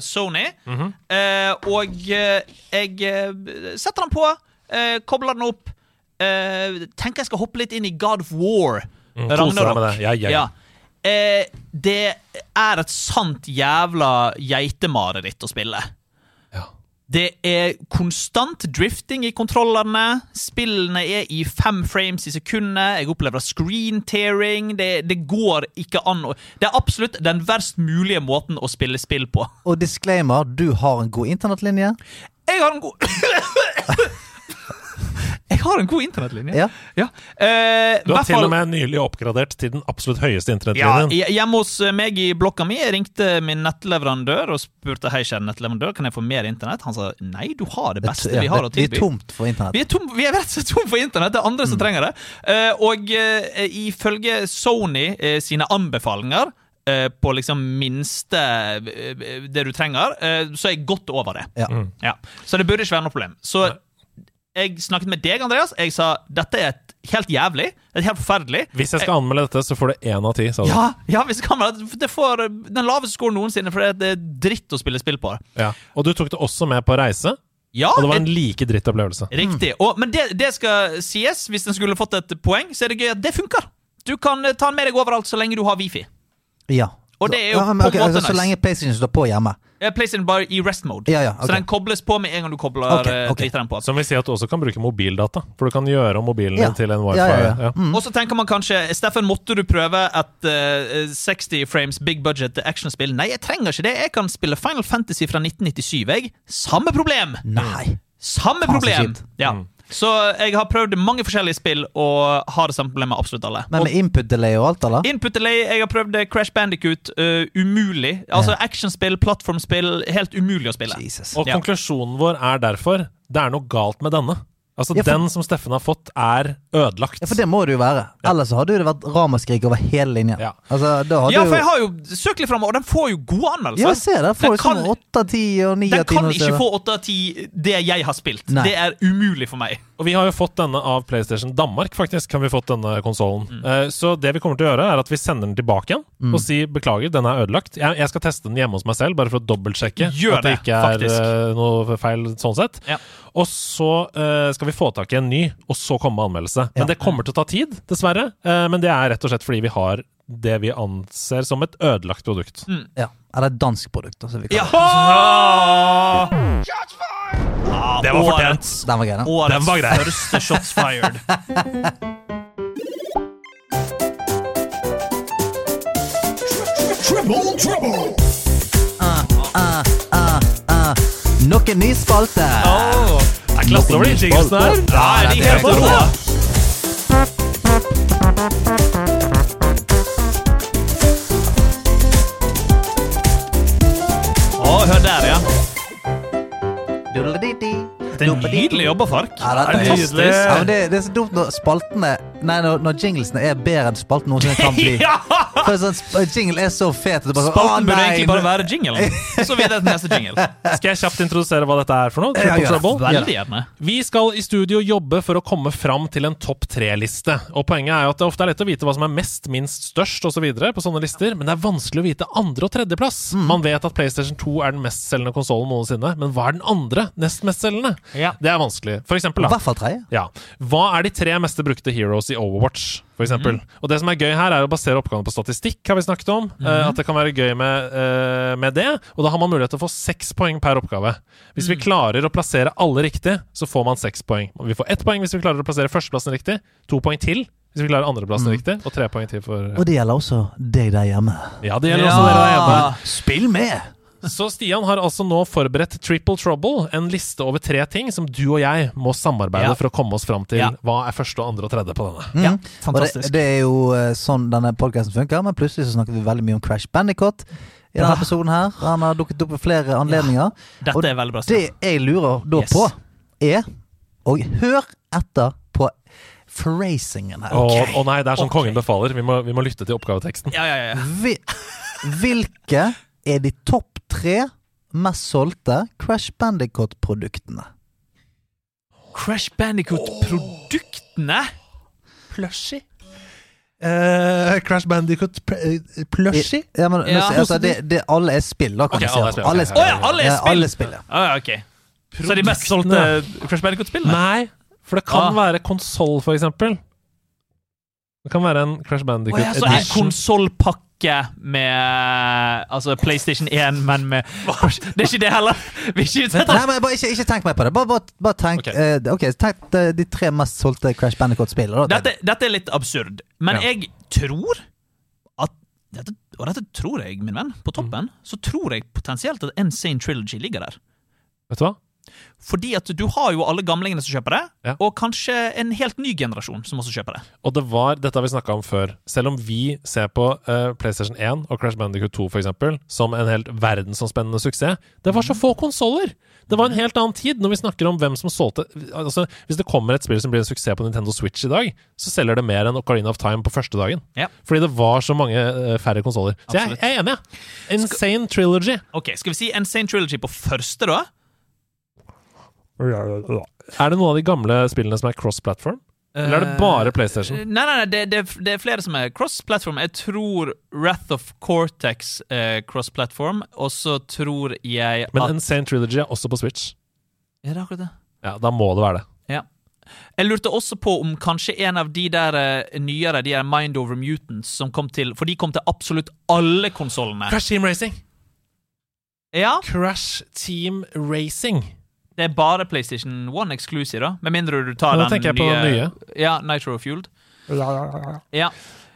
Speaker 3: Sony.
Speaker 4: Mhm.
Speaker 3: Eh, og eh, jeg eh, setter den på, eh, kobler den opp. eh, tenker jeg skal hoppe litt inn i God of War.
Speaker 4: Kos deg med det. Ja, ja, ja.
Speaker 3: Ja. Eh, det er et sant jævla geitemareritt å spille.
Speaker 4: Ja.
Speaker 3: Det er konstant drifting i kontrollene. Spillene er i fem frames i sekundet. Jeg opplever screen tearing. Det, det går ikke an å Det er absolutt den verst mulige måten å spille spill på.
Speaker 2: Og disclaimer, du har en god internettlinje.
Speaker 3: Jeg har en god Jeg har en god internettlinje.
Speaker 2: Ja.
Speaker 3: Eh,
Speaker 4: Du har
Speaker 3: hvert
Speaker 4: til
Speaker 3: fall-
Speaker 4: og med nylig oppgradert til den absolutt høyeste
Speaker 3: Ja,
Speaker 4: internettlinjen.
Speaker 3: hj- hjemme hos eh, meg i blokka mi jeg ringte min nettleverandør og spurte hei, kjære nettleverandør, kan jeg få mer internett. Han sa nei, du har det beste vi har å
Speaker 2: det
Speaker 3: tilby.
Speaker 2: er tomt for internett.
Speaker 3: Vi er, tom, vi er rett og slett tom for internett. Det er andre som trenger det. Eh, og eh, ifølge Sony eh, sine anbefalinger eh, på liksom minste eh, det du trenger, eh, så er jeg godt over det.
Speaker 2: Ja.
Speaker 3: Ja. Så det burde ikke være noe problem. Så jeg snakket med deg, Andreas. Jeg sa dette er et helt jævlig. Et helt forferdelig.
Speaker 4: Hvis jeg skal anmelde dette, så får du én av ti, sa du.
Speaker 3: Ja, ja hvis det kan være Det får eh, den laveste skolen noensinne, for det er dritt å spille spill på.
Speaker 4: Ja. Og du tok det også med på reise,
Speaker 3: Ja,
Speaker 4: og det var
Speaker 2: Ah,
Speaker 3: et-
Speaker 4: en like dritt opplevelse.
Speaker 3: Riktig. Og, men det, det skal sies, hvis den skulle fått et poeng, så er det gøy at det funker. Du kan eh, ta den med deg overalt så lenge du har wifi.
Speaker 2: Ja.
Speaker 3: Og det er jo
Speaker 2: Ja, men
Speaker 3: på en
Speaker 2: ok,
Speaker 3: måte
Speaker 2: altså, Så
Speaker 3: nice.
Speaker 2: lenge PlayStation står på hjemme.
Speaker 3: Eh, Place den bare i rest mode.
Speaker 2: Ja, ja, ok.
Speaker 3: Så den kobles på med en gang du kobler
Speaker 2: Ok,
Speaker 3: eh,
Speaker 2: ok.
Speaker 3: driter den på.
Speaker 4: Som vil si at du også kan bruke mobildata, for du kan gjøre om mobilen
Speaker 2: Ja.
Speaker 4: din til en wifi.
Speaker 2: Ja, ja, ja.
Speaker 4: Ja.
Speaker 3: Og så tenker man kanskje Steffen, måtte du prøve et eh, 60 frames big budget actionspill? Nei, jeg trenger ikke det. Jeg kan spille Final Fantasy fra 1997, jeg. Samme problem!
Speaker 2: Nei.
Speaker 3: Samme
Speaker 2: Faen, så
Speaker 3: problem!
Speaker 2: kjipt.
Speaker 3: Ja.
Speaker 4: Mm.
Speaker 3: Så jeg har prøvd mange forskjellige spill og har det samme problemet med absolutt alle.
Speaker 2: Men
Speaker 3: Og
Speaker 2: med input delay og alt, eller?
Speaker 3: Input delay, jeg har prøvd Crash Bandicoot. eh, umulig. Altså actionspill, plattformspill, helt umulig å spille.
Speaker 2: Jesus.
Speaker 4: Og
Speaker 3: Ja.
Speaker 4: konklusjonen vår er derfor det er noe galt med denne. Altså,
Speaker 2: Ja, for-
Speaker 4: den som Steffen har fått, er ødelagt.
Speaker 2: Ja, for det må det jo være. Ellers så hadde jo det vært ramaskrik over hele linja.
Speaker 4: Ja.
Speaker 2: Altså, da hadde
Speaker 3: Ja,
Speaker 2: jo...
Speaker 3: for jeg har jo søkt litt fram, og den får jo gode anmeldelser.
Speaker 2: Ja, se der. Får
Speaker 3: den
Speaker 2: liksom
Speaker 3: kan,
Speaker 2: 8 av 10 og 9
Speaker 3: den
Speaker 2: av 10.
Speaker 3: kan
Speaker 2: noen
Speaker 3: ikke
Speaker 2: steder.
Speaker 3: få 8 av 10 det jeg har spilt.
Speaker 2: Nei.
Speaker 3: Det er umulig for meg.
Speaker 4: Og vi har jo fått denne av PlayStation Danmark, faktisk. kan vi fått denne konsolen.
Speaker 3: Mm.
Speaker 4: Eh, Så det vi kommer til å gjøre, er at vi sender den tilbake igjen og sier beklager, den er ødelagt. Jeg, jeg skal teste den hjemme hos meg selv, bare for å dobbeltsjekke
Speaker 3: Gjør
Speaker 4: at det
Speaker 3: det,
Speaker 4: ikke er
Speaker 3: faktisk.
Speaker 4: eh, noe feil sånn sett.
Speaker 3: Ja.
Speaker 4: Og så eh, skal vi få tak i en ny, og så komme med anmeldelse. Men det kommer til å ta tid, dessverre. Eh, men det er rett og slett fordi vi har det vi anser som et ødelagt produkt.
Speaker 2: Ja, Eller et dansk produkt. Altså, vi kan.
Speaker 3: Ja. Ah!
Speaker 4: Det var fortjent.
Speaker 3: årets
Speaker 2: Den var grei, den.
Speaker 3: årets
Speaker 4: Den var grei.
Speaker 3: første shots fired.
Speaker 2: Nok en ny spalte!
Speaker 3: Oh.
Speaker 4: Det er klasse over de jinglesene her.
Speaker 3: Ja,
Speaker 2: Ja,
Speaker 3: er de
Speaker 2: det er
Speaker 3: helt
Speaker 2: helt
Speaker 3: rå? Å, hør der, ja.
Speaker 2: Dudelididi.
Speaker 3: Det er nydelig jobba, Fark.
Speaker 2: Ja, dette er
Speaker 3: Fantastisk.
Speaker 2: nydelig. Ja, men det, det er så dumt når spaltene Nei, når, når jinglesene er bedre enn spalten noensinne kan bli.
Speaker 3: Ja!
Speaker 2: For en sånn, sp- jingle er så fet. at du bare sånn, «Å,
Speaker 3: Spalten burde
Speaker 2: nei,
Speaker 3: egentlig
Speaker 2: nå-
Speaker 3: bare være jinglen. Så videre til neste jingle.
Speaker 4: Skal jeg kjapt introdusere hva dette er for noe?
Speaker 2: Ja, gjør
Speaker 4: Triple
Speaker 2: det.
Speaker 4: Trouble?
Speaker 3: Veldig gjerne.
Speaker 4: Vi skal i studio jobbe for å komme fram til en topp tre-liste. Og Poenget er jo at det ofte er lett å vite hva som er mest, minst, størst osv. på sånne lister, men det er vanskelig å vite andre- og Mm. tredjeplass. Man vet at PlayStation 2 er den mestselgende konsollen noensinne, men hva er den andre nest mestselgende?
Speaker 3: Ja.
Speaker 4: Det er vanskelig. For eksempel,
Speaker 2: I
Speaker 4: da.
Speaker 2: hvert fall tredje.
Speaker 4: Ja. Hva er de tre meste brukte heroes i Overwatch, for eksempel?
Speaker 3: Mhm.
Speaker 4: Og det som er gøy her, er å basere oppgavene på statistikk, har vi snakket om. eh,
Speaker 3: Mhm.
Speaker 4: at det kan være gøy med, eh, med det. Og da har man mulighet til å få seks poeng per oppgave. Hvis vi
Speaker 3: Mhm.
Speaker 4: klarer å plassere alle riktig, så får man seks poeng. Vi får ett poeng hvis vi klarer å plassere førsteplassen riktig, to poeng til hvis vi klarer andreplassen
Speaker 3: Mhm.
Speaker 4: riktig, og tre poeng til for
Speaker 2: Og det gjelder også deg der hjemme.
Speaker 4: Ja, det gjelder også dere der hjemme.
Speaker 2: Spill med!
Speaker 4: Så Stian har altså nå forberedt Triple Trouble, en liste over tre ting som du og jeg må samarbeide
Speaker 3: Ja.
Speaker 4: for å komme oss fram til.
Speaker 3: Ja.
Speaker 4: Hva er første, andre og tredje på denne?
Speaker 3: Ja,
Speaker 2: Mm. Og det,
Speaker 3: fantastisk.
Speaker 2: det er jo eh, sånn denne podkasten funker, men plutselig så snakker vi veldig mye om Crash Bandicoot i denne
Speaker 3: Bra.
Speaker 2: episoden her. og Han har dukket opp ved flere anledninger. og
Speaker 3: Dette er veldig bra.
Speaker 2: Det
Speaker 3: Stian.
Speaker 2: jeg lurer da
Speaker 3: Yes.
Speaker 2: på, er Og hør etter på phrasingen her.
Speaker 4: Å å nei, det er som kongen befaler. Vi må, vi må lytte til oppgaveteksten.
Speaker 3: Ja, ja, ja.
Speaker 2: Vi- Hvilke er de topp tre mest solgte Crash Bandicoot-produktene?
Speaker 3: Crash Bandicoot-produktene!
Speaker 4: Plushy? Eh, Crash Bandicoot eh, plushy?
Speaker 2: Ja, men,
Speaker 3: Ja.
Speaker 2: Altså, det, det, alle er spill, da, kan
Speaker 4: Ok,
Speaker 2: vi
Speaker 4: alle
Speaker 2: si. Alle er
Speaker 4: er spill, ok.
Speaker 2: spill.
Speaker 3: Å ja, alle er
Speaker 2: Ja,
Speaker 3: spill.
Speaker 2: alle spill, ja.
Speaker 3: Ah, ja, ok. Så de mest solgte Crash Bandicoot-spillene?
Speaker 4: Nei, for det kan
Speaker 3: Ah.
Speaker 4: være konsoll, for eksempel. Det kan være en Crash
Speaker 3: Å
Speaker 4: Bandicoot
Speaker 3: ja, så en
Speaker 4: edition.
Speaker 3: konsollpakke med Altså PlayStation 1, men med Det er ikke det heller! Vi er ikke ute etter
Speaker 2: Nei, men bare ikke, ikke tenk mer på det. Bare, bare, bare tenk
Speaker 4: Ok.
Speaker 2: eh, Ok, tenk de, de tre mest solgte Crash Bandicoot-spillene. da.
Speaker 3: dette, dette er litt absurd, men
Speaker 4: Ja.
Speaker 3: jeg tror at dette, Og dette tror jeg, min venn. På
Speaker 4: Mm.
Speaker 3: toppen så tror jeg potensielt at Insane Trilogy ligger der.
Speaker 4: Vet du hva?
Speaker 3: Fordi at du har jo alle gamlingene som kjøper det,
Speaker 4: Ja.
Speaker 3: og kanskje en helt ny generasjon som også kjøper det.
Speaker 4: Og det var, dette har vi snakka om før, selv om vi ser på eh, PlayStation 1 og Crash Bandicoot 2 for eksempel, som en helt verdensomspennende suksess, det var så få konsoller! Det var en helt annen tid, når vi snakker om hvem som solgte altså, Hvis det kommer et spill som blir en suksess på Nintendo Switch i dag, så selger det mer enn Ocarina of Time på første dagen.
Speaker 3: Ja.
Speaker 4: Fordi det var så mange eh, færre konsoller. Så jeg,
Speaker 3: Absolutt.
Speaker 4: jeg er enig, jeg. Insane Trilogy.
Speaker 3: Ok, Skal vi si Insane Trilogy på første, da?
Speaker 4: Er det noen av de gamle spillene som er cross-platform? Eller sånn? er det bare PlayStation?
Speaker 3: Nei, nei, nei det, det, det er flere som er cross-platform. Jeg tror Wrath of Cortex er cross-platform, og så tror jeg
Speaker 4: Men
Speaker 3: at
Speaker 4: Insane Trilogy er også på Switch.
Speaker 3: Er det akkurat det?
Speaker 4: Ja, da må det være det.
Speaker 3: Ja. Jeg lurte også på om kanskje en av de der eh, nyere, de der Mind Over Mutants, som kom til For de kom til absolutt alle konsollene.
Speaker 4: Crash Team Racing.
Speaker 3: Ja,
Speaker 4: Crash Team Racing.
Speaker 3: det er bare PlayStation 1 exclusive, da. Med mindre du tar
Speaker 4: Ja, da
Speaker 3: den
Speaker 4: tenker jeg på den nye.
Speaker 3: Ja, Nitro Fueled. Ja.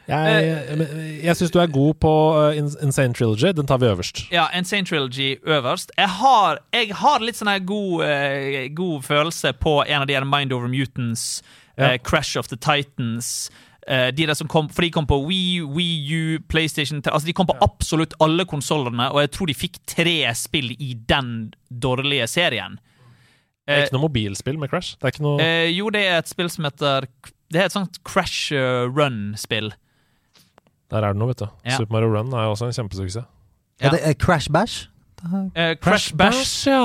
Speaker 3: Eh,
Speaker 4: Jeg, men jeg syns du er god på uh, In- Insane Trilogy. Den tar vi øverst.
Speaker 3: Ja, Insane Trilogy øverst. Jeg har, jeg har litt sånn her god, eh, god følelse på en av de her Mind Over Mutants, eh, Crash of the Titans eh, de der som kom, For de kom på Wii, Wii U, PlayStation tre- Altså De kom på absolutt alle konsollene, og jeg tror de fikk tre spill i den dårlige serien.
Speaker 4: Det er ikke noe mobilspill med Crash. Det er ikke noe
Speaker 3: Eh, jo, det er et spill som heter Det er et sånt Crash eh, Run-spill.
Speaker 4: Der er det noe, vet du.
Speaker 3: ja.
Speaker 4: Super Mario Run er jo også en kjempesuksess.
Speaker 2: Er det eh, Crash Bash?
Speaker 3: Eh, Crash Bash.
Speaker 4: ja.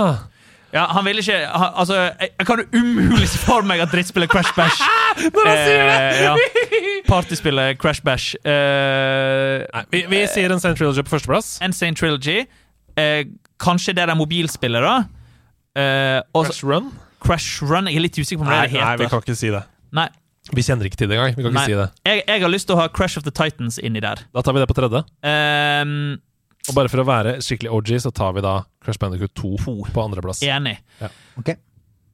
Speaker 3: Ja, han vil ikke han, Altså, jeg, jeg kan jo umulig se for meg at drittspillet Crash Bash Når han sier det! ja. Partyspillet Crash Bash. Eh,
Speaker 4: Nei, vi, vi sier Insane Trilogy på førsteplass.
Speaker 3: Insane Trilogy. Eh, kanskje det der mobilspillet, da. Eh, og så
Speaker 4: Crash Run?
Speaker 3: Crash Run. Jeg er litt usikker på om det
Speaker 4: Nei,
Speaker 3: er det heter.
Speaker 4: vi kan ikke si det.
Speaker 3: Nei,
Speaker 4: Vi kjenner ikke til det engang. Vi kan ikke
Speaker 3: nei.
Speaker 4: si det.
Speaker 3: Jeg, jeg har lyst til å ha Crash of the Titans inni der.
Speaker 4: Da tar vi det på tredje.
Speaker 3: Ehm,
Speaker 4: Og bare for å være skikkelig OG, så tar vi da Crash Bandicoot 2 på andreplass.
Speaker 3: enig.
Speaker 2: Ok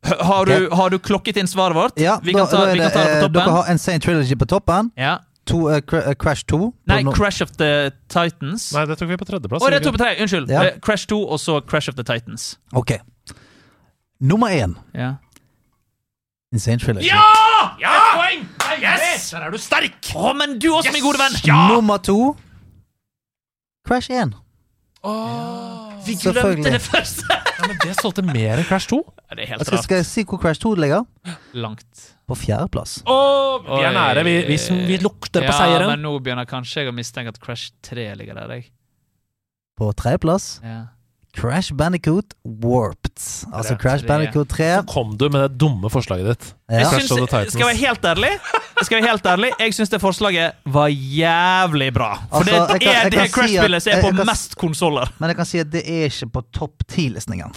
Speaker 3: H- Har du, har du klokket inn svaret vårt?
Speaker 2: Ja,
Speaker 3: vi kan ta,
Speaker 2: er
Speaker 3: vi kan
Speaker 2: det,
Speaker 3: ta det
Speaker 2: eh,
Speaker 3: på
Speaker 2: Dere
Speaker 3: toppen.
Speaker 2: har Insane Trilogy på toppen.
Speaker 3: Ja.
Speaker 2: To, eh, Cra- eh, Crash 2. på
Speaker 3: Nei,
Speaker 2: no-
Speaker 3: Crash of the Titans.
Speaker 4: Nei, det tok vi på tredjeplass.
Speaker 3: Å, det er
Speaker 4: gjorde
Speaker 3: to
Speaker 4: vi
Speaker 3: på tre. Unnskyld.
Speaker 2: Ja.
Speaker 3: Eh, Crash 2 og så Crash of the Titans.
Speaker 2: Ok. Nummer én.
Speaker 3: Ja!
Speaker 2: Insane Trilogy.
Speaker 3: ja! poeng!
Speaker 4: Ah,
Speaker 3: Yes! Der er du sterk! Å, men du også, min gode venn.
Speaker 2: Nummer to Crash 1.
Speaker 3: Vi
Speaker 2: Selvfølgelig.
Speaker 3: glemte det første.
Speaker 4: ikke? Men det solgte mer enn Crash 2.
Speaker 3: Ja, det er
Speaker 2: Jeg skal,
Speaker 3: helt rart.
Speaker 2: Altså, skal jeg si hvor Crash 2 ligger?
Speaker 3: Langt.
Speaker 2: På fjerdeplass.
Speaker 4: vi er nære. Vi, vi, vi lukter på seieren.
Speaker 3: Ja, men nå begynner kanskje jeg å mistenke at Crash 3 ligger der. Jeg.
Speaker 2: På tredjeplass
Speaker 3: Ja.
Speaker 2: Crash Bandicoot Warped. ut. Altså Crash Bandicoot 3.
Speaker 4: Kom du med det dumme forslaget ditt?
Speaker 2: Ja.
Speaker 3: Jeg
Speaker 4: Clash of the
Speaker 3: syns, skal
Speaker 4: Titans.
Speaker 3: jeg være helt ærlig, skal jeg være helt ærlig Jeg syns det forslaget var jævlig bra. For
Speaker 2: Altså, jeg
Speaker 3: det
Speaker 2: kan-
Speaker 3: er
Speaker 2: jeg kan
Speaker 3: det
Speaker 2: si
Speaker 3: Crash-spillet
Speaker 2: at-
Speaker 3: som er
Speaker 2: jeg-
Speaker 3: på
Speaker 2: jeg kan s-
Speaker 3: mest konsoller.
Speaker 2: Men jeg kan si at det er ikke på topp ti-listingen.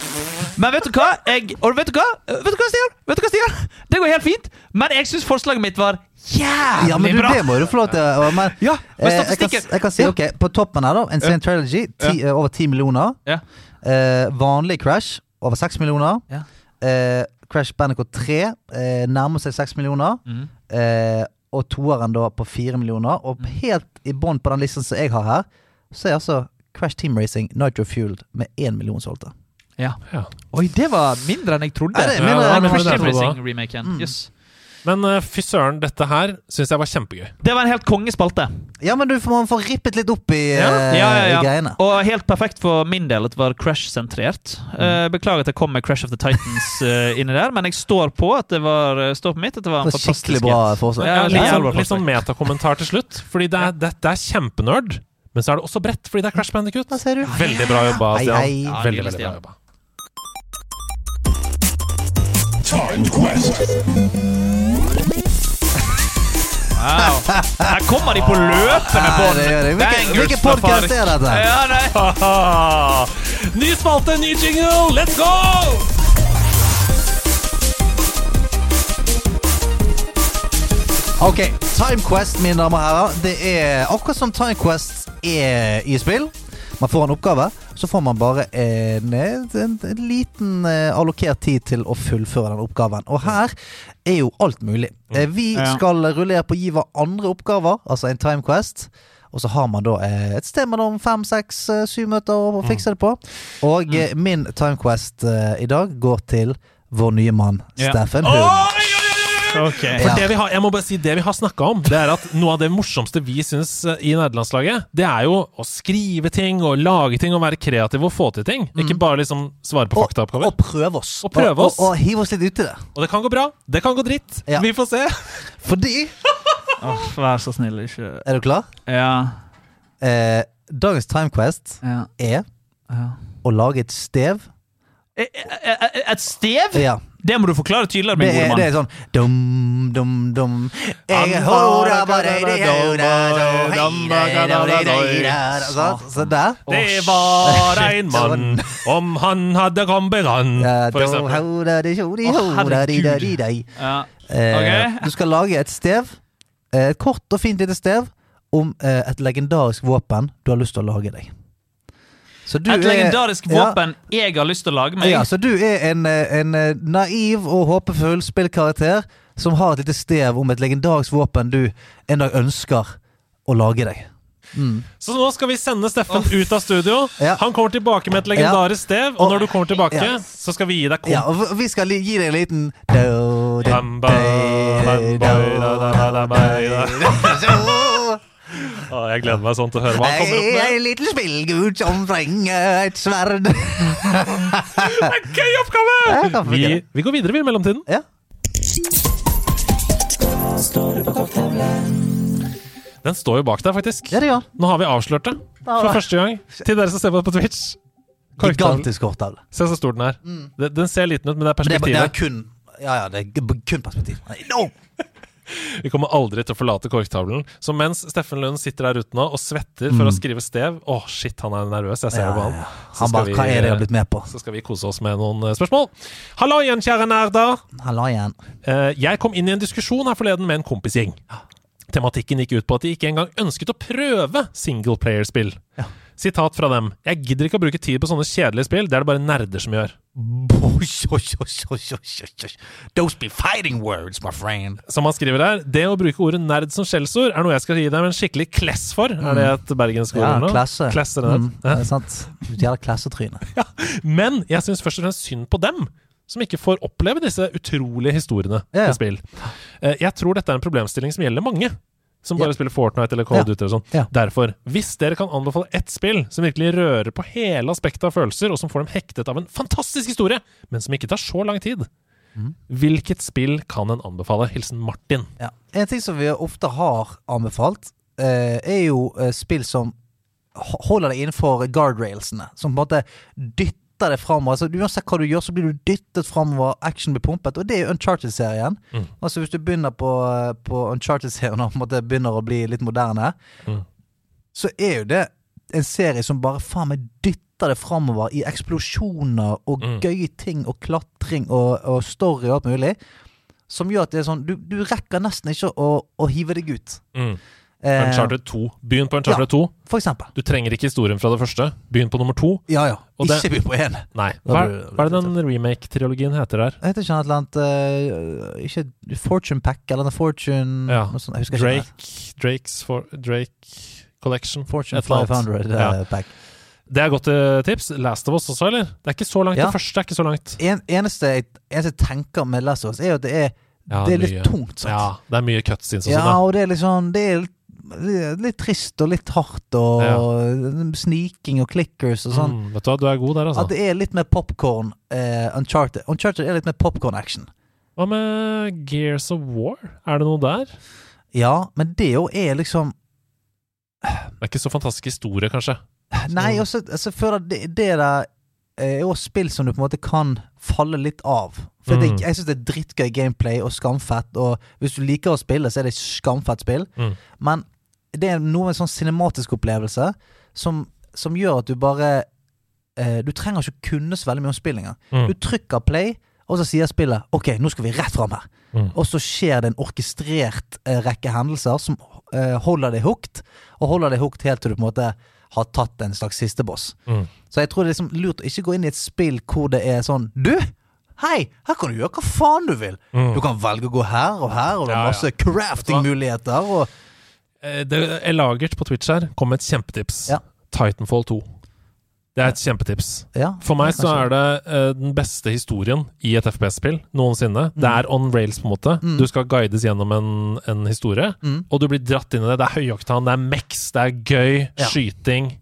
Speaker 3: Men vet du hva? Jeg, og vet du hva? Vet du hva, Stian? Vet du hva, Stian? Det går helt fint, men jeg syns forslaget mitt var jævlig
Speaker 2: Ja, men du,
Speaker 3: bra.
Speaker 2: det må du få lov til. å- Men,
Speaker 3: Ja, men
Speaker 2: eh, jeg, kan,
Speaker 3: statistikken-
Speaker 2: jeg kan si
Speaker 3: Ja.
Speaker 2: ok, på toppen her, da. Insane Trilogy, ti, eh, over 10 millioner.
Speaker 3: Ja.
Speaker 2: Eh, vanlig Crash, over 6 millioner.
Speaker 3: Ja.
Speaker 2: Eh, Crash Bandicoot 3 eh, nærmer seg 6 millioner. Eh, og toeren da på 4 millioner. Og
Speaker 3: Mm.
Speaker 2: helt i bånn på den listen som jeg har her, så er altså Crash Team Racing Nitro Fueled med 1 million solgte.
Speaker 4: Ja.
Speaker 3: Oi, det var mindre enn jeg trodde.
Speaker 2: Ja, det er
Speaker 4: Ja,
Speaker 2: mindre enn
Speaker 4: det var mindre
Speaker 2: jeg
Speaker 4: enn jeg
Speaker 2: trodde. Mm.
Speaker 4: trodde.
Speaker 3: Racing-remaken. Yes.
Speaker 4: Men eh, fy søren, dette her syns jeg var kjempegøy.
Speaker 3: Det var en helt kongespalte.
Speaker 2: Ja, men du får- man får rippet litt opp i,
Speaker 3: Ja,
Speaker 2: eh,
Speaker 3: ja, ja,
Speaker 2: i
Speaker 3: ja.
Speaker 2: greiene.
Speaker 3: Og helt perfekt for min del at det var Crash-sentrert.
Speaker 2: Mm.
Speaker 3: Eh, Beklager at jeg kom med Crash of the Titans eh, inni der, men jeg står på at det var, eh, står på mitt at det var en
Speaker 2: Det var skikkelig
Speaker 3: fantastisk
Speaker 2: bra
Speaker 3: hit.
Speaker 2: forslag.
Speaker 3: Ja,
Speaker 4: Ja, litt,
Speaker 3: det er
Speaker 4: sånn,
Speaker 3: bra
Speaker 4: litt sånn
Speaker 3: forslag.
Speaker 4: metakommentar til slutt. Fordi det er, det, det er kjempenerd, men så er det også bredt fordi det er Crash Bandicoot.
Speaker 2: Hva sier du?
Speaker 4: Veldig bra jobba,
Speaker 2: Hei,
Speaker 4: Stian.
Speaker 2: hei.
Speaker 3: Ja,
Speaker 4: Veldig,
Speaker 3: nydelig, Stian.
Speaker 4: veldig bra jobba.
Speaker 1: Time Quest.
Speaker 3: Wow. Her kommer de på løpende
Speaker 2: Ja,
Speaker 3: bånd!
Speaker 2: det gjør de. Hvilken,
Speaker 3: Bangers,
Speaker 2: hvilken podkast
Speaker 3: for
Speaker 2: er dette?
Speaker 3: faen. Ja, nei.
Speaker 4: Haha. Ny spalte, ny jingle, let's go!
Speaker 2: Ok, Time Quest, mine damer og herrer. Det er akkurat som Time Quest er i spill. Man får en oppgave, så får man bare en, en, en liten eh, allokert tid til å fullføre den oppgaven. Og her er jo alt mulig. Eh, vi
Speaker 3: Mm. Ja.
Speaker 2: skal rullere på å gi hverandre oppgaver, altså en Time Quest. Og så har man da eh, et sted mellom fem, seks, eh, syv møter å
Speaker 3: Mm.
Speaker 2: å fikse det på. Og eh, min Time Quest eh, i dag går til vår nye mann
Speaker 3: Ja.
Speaker 2: Steffen Hund.
Speaker 4: For
Speaker 2: Ja.
Speaker 4: det vi har, jeg må bare si det vi har snakka om, det er at noe av det morsomste vi syns i nederlandslaget, det er jo å skrive ting og lage ting og være kreativ og få til ting. Ikke bare liksom svare på
Speaker 2: Mm. Og,
Speaker 4: faktaoppgaver.
Speaker 2: og prøve oss.
Speaker 4: Og prøve oss.
Speaker 2: Og, og, og hive oss litt uti det.
Speaker 4: Og det kan gå bra, det kan gå dritt.
Speaker 2: Ja.
Speaker 4: Vi får se.
Speaker 2: Fordi
Speaker 3: Åh, vær så snill, ikke
Speaker 2: Er du klar?
Speaker 3: Ja.
Speaker 2: Eh, dagens Time Quest
Speaker 3: ja.
Speaker 2: er å lage et stev.
Speaker 3: Et, et, eh, et stev?
Speaker 2: Ja,
Speaker 3: Det må du forklare tydeligere,
Speaker 2: det
Speaker 3: min gode
Speaker 2: er, det
Speaker 3: mann.
Speaker 2: er sånn dum, dum, dum. Jeg hora bare de hora, så heira, da, da, da, da. Så- Så der.
Speaker 4: Det var en mann, om han hadde kommet an,
Speaker 2: Ja,
Speaker 4: for
Speaker 2: da
Speaker 4: eksempel.
Speaker 2: hora de hori,
Speaker 3: Å,
Speaker 2: hora de da, de da.
Speaker 3: Ja.
Speaker 2: Eh,
Speaker 3: Ok.
Speaker 2: Du skal lage et stev. eh, Et kort og fint lite stev om eh, et legendarisk våpen du har lyst til å lage deg. Så du
Speaker 3: Et
Speaker 2: er-
Speaker 3: legendarisk
Speaker 2: Ja.
Speaker 3: våpen jeg har lyst til å lage meg.
Speaker 2: Ja, så du er en, eh, en eh, naiv og håpefull spillkarakter som har et lite stev om et legendarisk våpen du en dag ønsker å lage deg.
Speaker 4: Så nå skal vi sende Steffen ut av studio.
Speaker 2: Ja.
Speaker 4: Han kommer tilbake med et legendarisk stev, og når du kommer tilbake,
Speaker 2: Ja.
Speaker 4: så skal vi gi deg
Speaker 2: Ja,
Speaker 4: komp.
Speaker 2: og vi skal li- gi deg en liten do, de,
Speaker 4: Bam, ba,
Speaker 2: de,
Speaker 4: bam, ba, da, da, da, da, ba, da.
Speaker 2: do.
Speaker 4: Å, Jeg gleder meg sånn til å høre hva han
Speaker 2: Jeg
Speaker 4: kommer opp
Speaker 2: er
Speaker 4: med.
Speaker 2: en liten spillgud som trenger et sverd.
Speaker 4: Gøy
Speaker 2: Jeg
Speaker 4: oppgave!
Speaker 2: kan
Speaker 4: Vi,
Speaker 2: funke.
Speaker 4: vi går videre, vi, i mellomtiden.
Speaker 2: Ja.
Speaker 4: Den står jo bak deg, faktisk.
Speaker 2: Ja, det gjør han.
Speaker 4: Nå har vi avslørt det for første gang. Til dere som ser på på Twitch. Korktavlen.
Speaker 2: Gigantisk korttavle.
Speaker 4: Se så stor den er. Den- Den ser liten ut, men det er
Speaker 2: Men det, er- det er
Speaker 4: perspektivet.
Speaker 2: kun Ja, ja, det er g- kun perspektiv. Nei, No!
Speaker 4: Vi kommer aldri til å forlate korktavlen. Så mens Steffen Lund sitter der ute nå og svetter for å skrive stev Å, shit, han er nervøs. Jeg ser
Speaker 2: Mm. Ja,
Speaker 4: det på
Speaker 2: ja, ja.
Speaker 4: han.
Speaker 2: Han bare Hva er det jeg
Speaker 4: eh,
Speaker 2: har blitt med på?
Speaker 4: så skal vi kose oss med noen eh, spørsmål. Hallo igjen, kjære nerder.
Speaker 2: Han la igjen.
Speaker 4: Eh, Jeg kom inn i en diskusjon her forleden med en kompisgjeng. Tematikken gikk ut på at de ikke engang ønsket å prøve singleplayerspill. Sitat fra dem. Jeg gidder ikke å bruke tid på sånne kjedelige spill, det er det bare nerder som gjør.
Speaker 2: Bosh, osh, osh, osh, osh, osh, osh. Those be fighting words, my friend.
Speaker 4: Som han skriver her, det å bruke ordet nerd som skjellsord er noe jeg skal gi dem en skikkelig kless for. Er det et bergensk
Speaker 2: Mm.
Speaker 4: ord?
Speaker 2: Ja,
Speaker 4: eller noe?
Speaker 2: klasse.
Speaker 4: Klasse, det er det.
Speaker 2: Mm, det er sant. Du gjelder klassetryne.
Speaker 4: Men jeg syns først og fremst synd på dem som ikke får oppleve disse utrolige historiene
Speaker 2: Ja, ja.
Speaker 4: til spill. Eh, Jeg tror dette er en problemstilling som gjelder mange. Som bare
Speaker 2: Ja.
Speaker 4: spiller Fortnite eller Call of
Speaker 2: Ja.
Speaker 4: Duty. og sånn.
Speaker 2: Ja.
Speaker 4: Derfor, hvis dere kan anbefale ett spill som virkelig rører på hele aspektet av følelser, og som får dem hektet av en fantastisk historie, men som ikke tar så lang tid,
Speaker 2: Mm.
Speaker 4: hvilket spill kan en anbefale? Hilsen Martin.
Speaker 2: Ja. En ting som vi ofte har anbefalt, eh, er jo eh, spill som ho- holder deg innenfor guardrailsene. Som på en måte dytter dytter det framover. Altså, uansett hva du gjør, så blir du dyttet framover. Action blir pumpet. Og det er jo Uncharted-serien. Altså Hvis du begynner på, eh, på Uncharted-serien og på en måte begynner å bli litt moderne, så er jo det en serie som bare faen meg dytter det framover i eksplosjoner og gøye ting og klatring og, og story og alt mulig. Som gjør at det er sånn du, du rekker nesten ikke å, å hive deg ut.
Speaker 4: Mm.
Speaker 2: Eh,
Speaker 4: Uncharted 2. Begynn på Uncharted
Speaker 2: ja.
Speaker 4: 2.
Speaker 2: For eksempel.
Speaker 4: Du trenger ikke historien fra det første. Begynn på nummer to.
Speaker 2: Ja ja.
Speaker 4: Og det-
Speaker 2: ikke begynn på én.
Speaker 4: Nei.
Speaker 2: Da
Speaker 4: Hva er,
Speaker 2: blir-
Speaker 4: hva er det den remake-trilogien heter der?
Speaker 2: Jeg heter ikke han et eller annet eh, Ikke Fortune Pack eller noe Fortune
Speaker 4: Ja.
Speaker 2: noe sånt, Jeg husker ikke.
Speaker 4: Drake, Drake's for, Drake Collection.
Speaker 2: det. Fortune
Speaker 4: et eller
Speaker 2: 500 eh,
Speaker 4: annet. Ja.
Speaker 2: Pack.
Speaker 4: Det er godt eh, tips. Last of Us også, eller? Det er ikke så langt.
Speaker 2: Ja.
Speaker 4: Det første er ikke så langt.
Speaker 2: En, eneste, jeg, eneste jeg tenker med Last of Us, altså, er jo at det er,
Speaker 4: Ja,
Speaker 2: det er litt
Speaker 4: mye-
Speaker 2: tungt. Sant?
Speaker 4: Ja, det er mye cutscenes og
Speaker 2: Ja,
Speaker 4: sånn.
Speaker 2: og det er litt sånn Det er litt, litt trist og litt hardt og sniking og clickers og
Speaker 4: Ja.
Speaker 2: sånn.
Speaker 4: Mm, vet du hva, du er god
Speaker 2: At
Speaker 4: der, altså.
Speaker 2: det er litt mer popcorn eh, Uncharted. Uncharted er litt mer popcorn-action.
Speaker 4: Hva med Gears of War? Er det noe der?
Speaker 2: Ja, men det jo er liksom
Speaker 4: Det er ikke så fantastisk historie, kanskje.
Speaker 2: Nei, også, altså, jeg føler at det, det der eh, er også spill som du på en måte kan falle litt av. For det,
Speaker 4: Mm.
Speaker 2: jeg syns det er drittgøy gameplay og skamfett, og hvis du liker å spille, så er det skamfett spill.
Speaker 4: Mm.
Speaker 2: Men det er noe med en sånn cinematisk opplevelse som, som gjør at du bare eh, Du trenger ikke kunne så veldig mye om spill engang.
Speaker 4: Mm.
Speaker 2: Du trykker play, og så sier spillet OK, nå skal vi rett fram her.
Speaker 4: Mm.
Speaker 2: Og så skjer det en orkestrert eh, rekke hendelser som eh, holder deg hooked, og holder deg hooked helt til du på en måte har tatt en slags siste boss.
Speaker 4: Mm.
Speaker 2: Så jeg tror det er liksom lurt å ikke gå inn i et spill hvor det er sånn Du! Hei! Her kan du gjøre hva faen du vil!
Speaker 4: Mm.
Speaker 2: Du kan velge å gå her og her, og det
Speaker 4: Ja,
Speaker 2: er
Speaker 4: ja.
Speaker 2: masse crafting-muligheter. Og
Speaker 4: Eh, Det er lagert på Twitch her. Kom med et kjempetips.
Speaker 2: Ja.
Speaker 4: Titanfall 2. Det er et kjempetips.
Speaker 2: ja,
Speaker 4: For meg så
Speaker 2: kanskje. sånn.
Speaker 4: er det eh, den beste historien i et FPS-spill noensinne. Det
Speaker 2: Mm.
Speaker 4: er on rails, på en måte. Du skal guides gjennom en, en historie,
Speaker 2: Mm.
Speaker 4: og du blir dratt inn i det. Det er høyoktan, det er mex, det er gøy,
Speaker 2: Ja. Mm.
Speaker 4: skyting.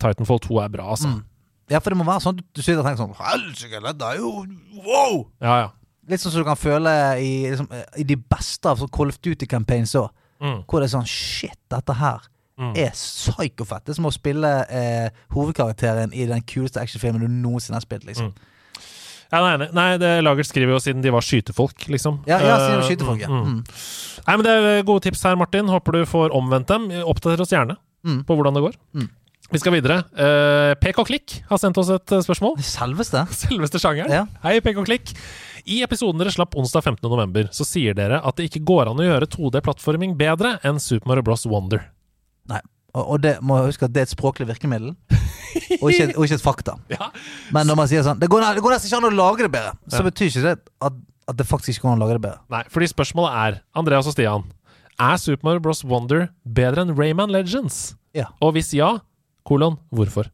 Speaker 4: Titanfall 2 er bra, altså.
Speaker 2: Ja, for det må være sånn at du sitter og tenker sånn Helsike, dette er jo wow!
Speaker 4: Ja, ja.
Speaker 2: Litt sånn som du kan føle i, liksom, i de beste av sånn Call of Duty-campaigns òg.
Speaker 4: Mm.
Speaker 2: Hvor det er sånn Shit, dette her er psykofett. Det er som å spille eh, hovedkarakteren i den kuleste actionfilmen du noensinne har spilt.
Speaker 4: Mm.
Speaker 2: liksom
Speaker 4: Ja, nei, nei, nei, det Lagert skriver jo siden de var skytefolk, liksom.
Speaker 2: Ja, ja siden
Speaker 4: Eh,
Speaker 2: du skyter folk, ja.
Speaker 4: mm, mm.
Speaker 2: Mm.
Speaker 4: Nei, men Det er eh, gode tips her, Martin. Håper du får omvendt dem. Oppdater oss gjerne
Speaker 2: Mm.
Speaker 4: på hvordan det går.
Speaker 2: Mm.
Speaker 4: Vi skal videre. Eh, PK Klikk har sendt oss et eh, spørsmål.
Speaker 2: Selveste?
Speaker 4: Selveste sjangeren.
Speaker 2: Ja.
Speaker 4: Hei, Pek og Klikk. I episoden dere slapp onsdag 15. november, så sier dere at det ikke går an å gjøre 2D-plattforming bedre enn Super Mario Bros. Wonder.
Speaker 2: Nei. Og, og det må jeg huske at det er et språklig virkemiddel, og ikke, et- og ikke et fakta.
Speaker 4: Ja.
Speaker 2: Men når man sier sånn Det går, det går nesten ikke an å lage det bedre, så betyr ikke det at, at det faktisk ikke går an å lage det bedre.
Speaker 4: Nei, fordi spørsmålet er, Andreas og Stian, er Super Mario Bros. Wonder bedre enn Rayman Legends?
Speaker 2: Ja.
Speaker 4: Og hvis ja, kolon, hvorfor?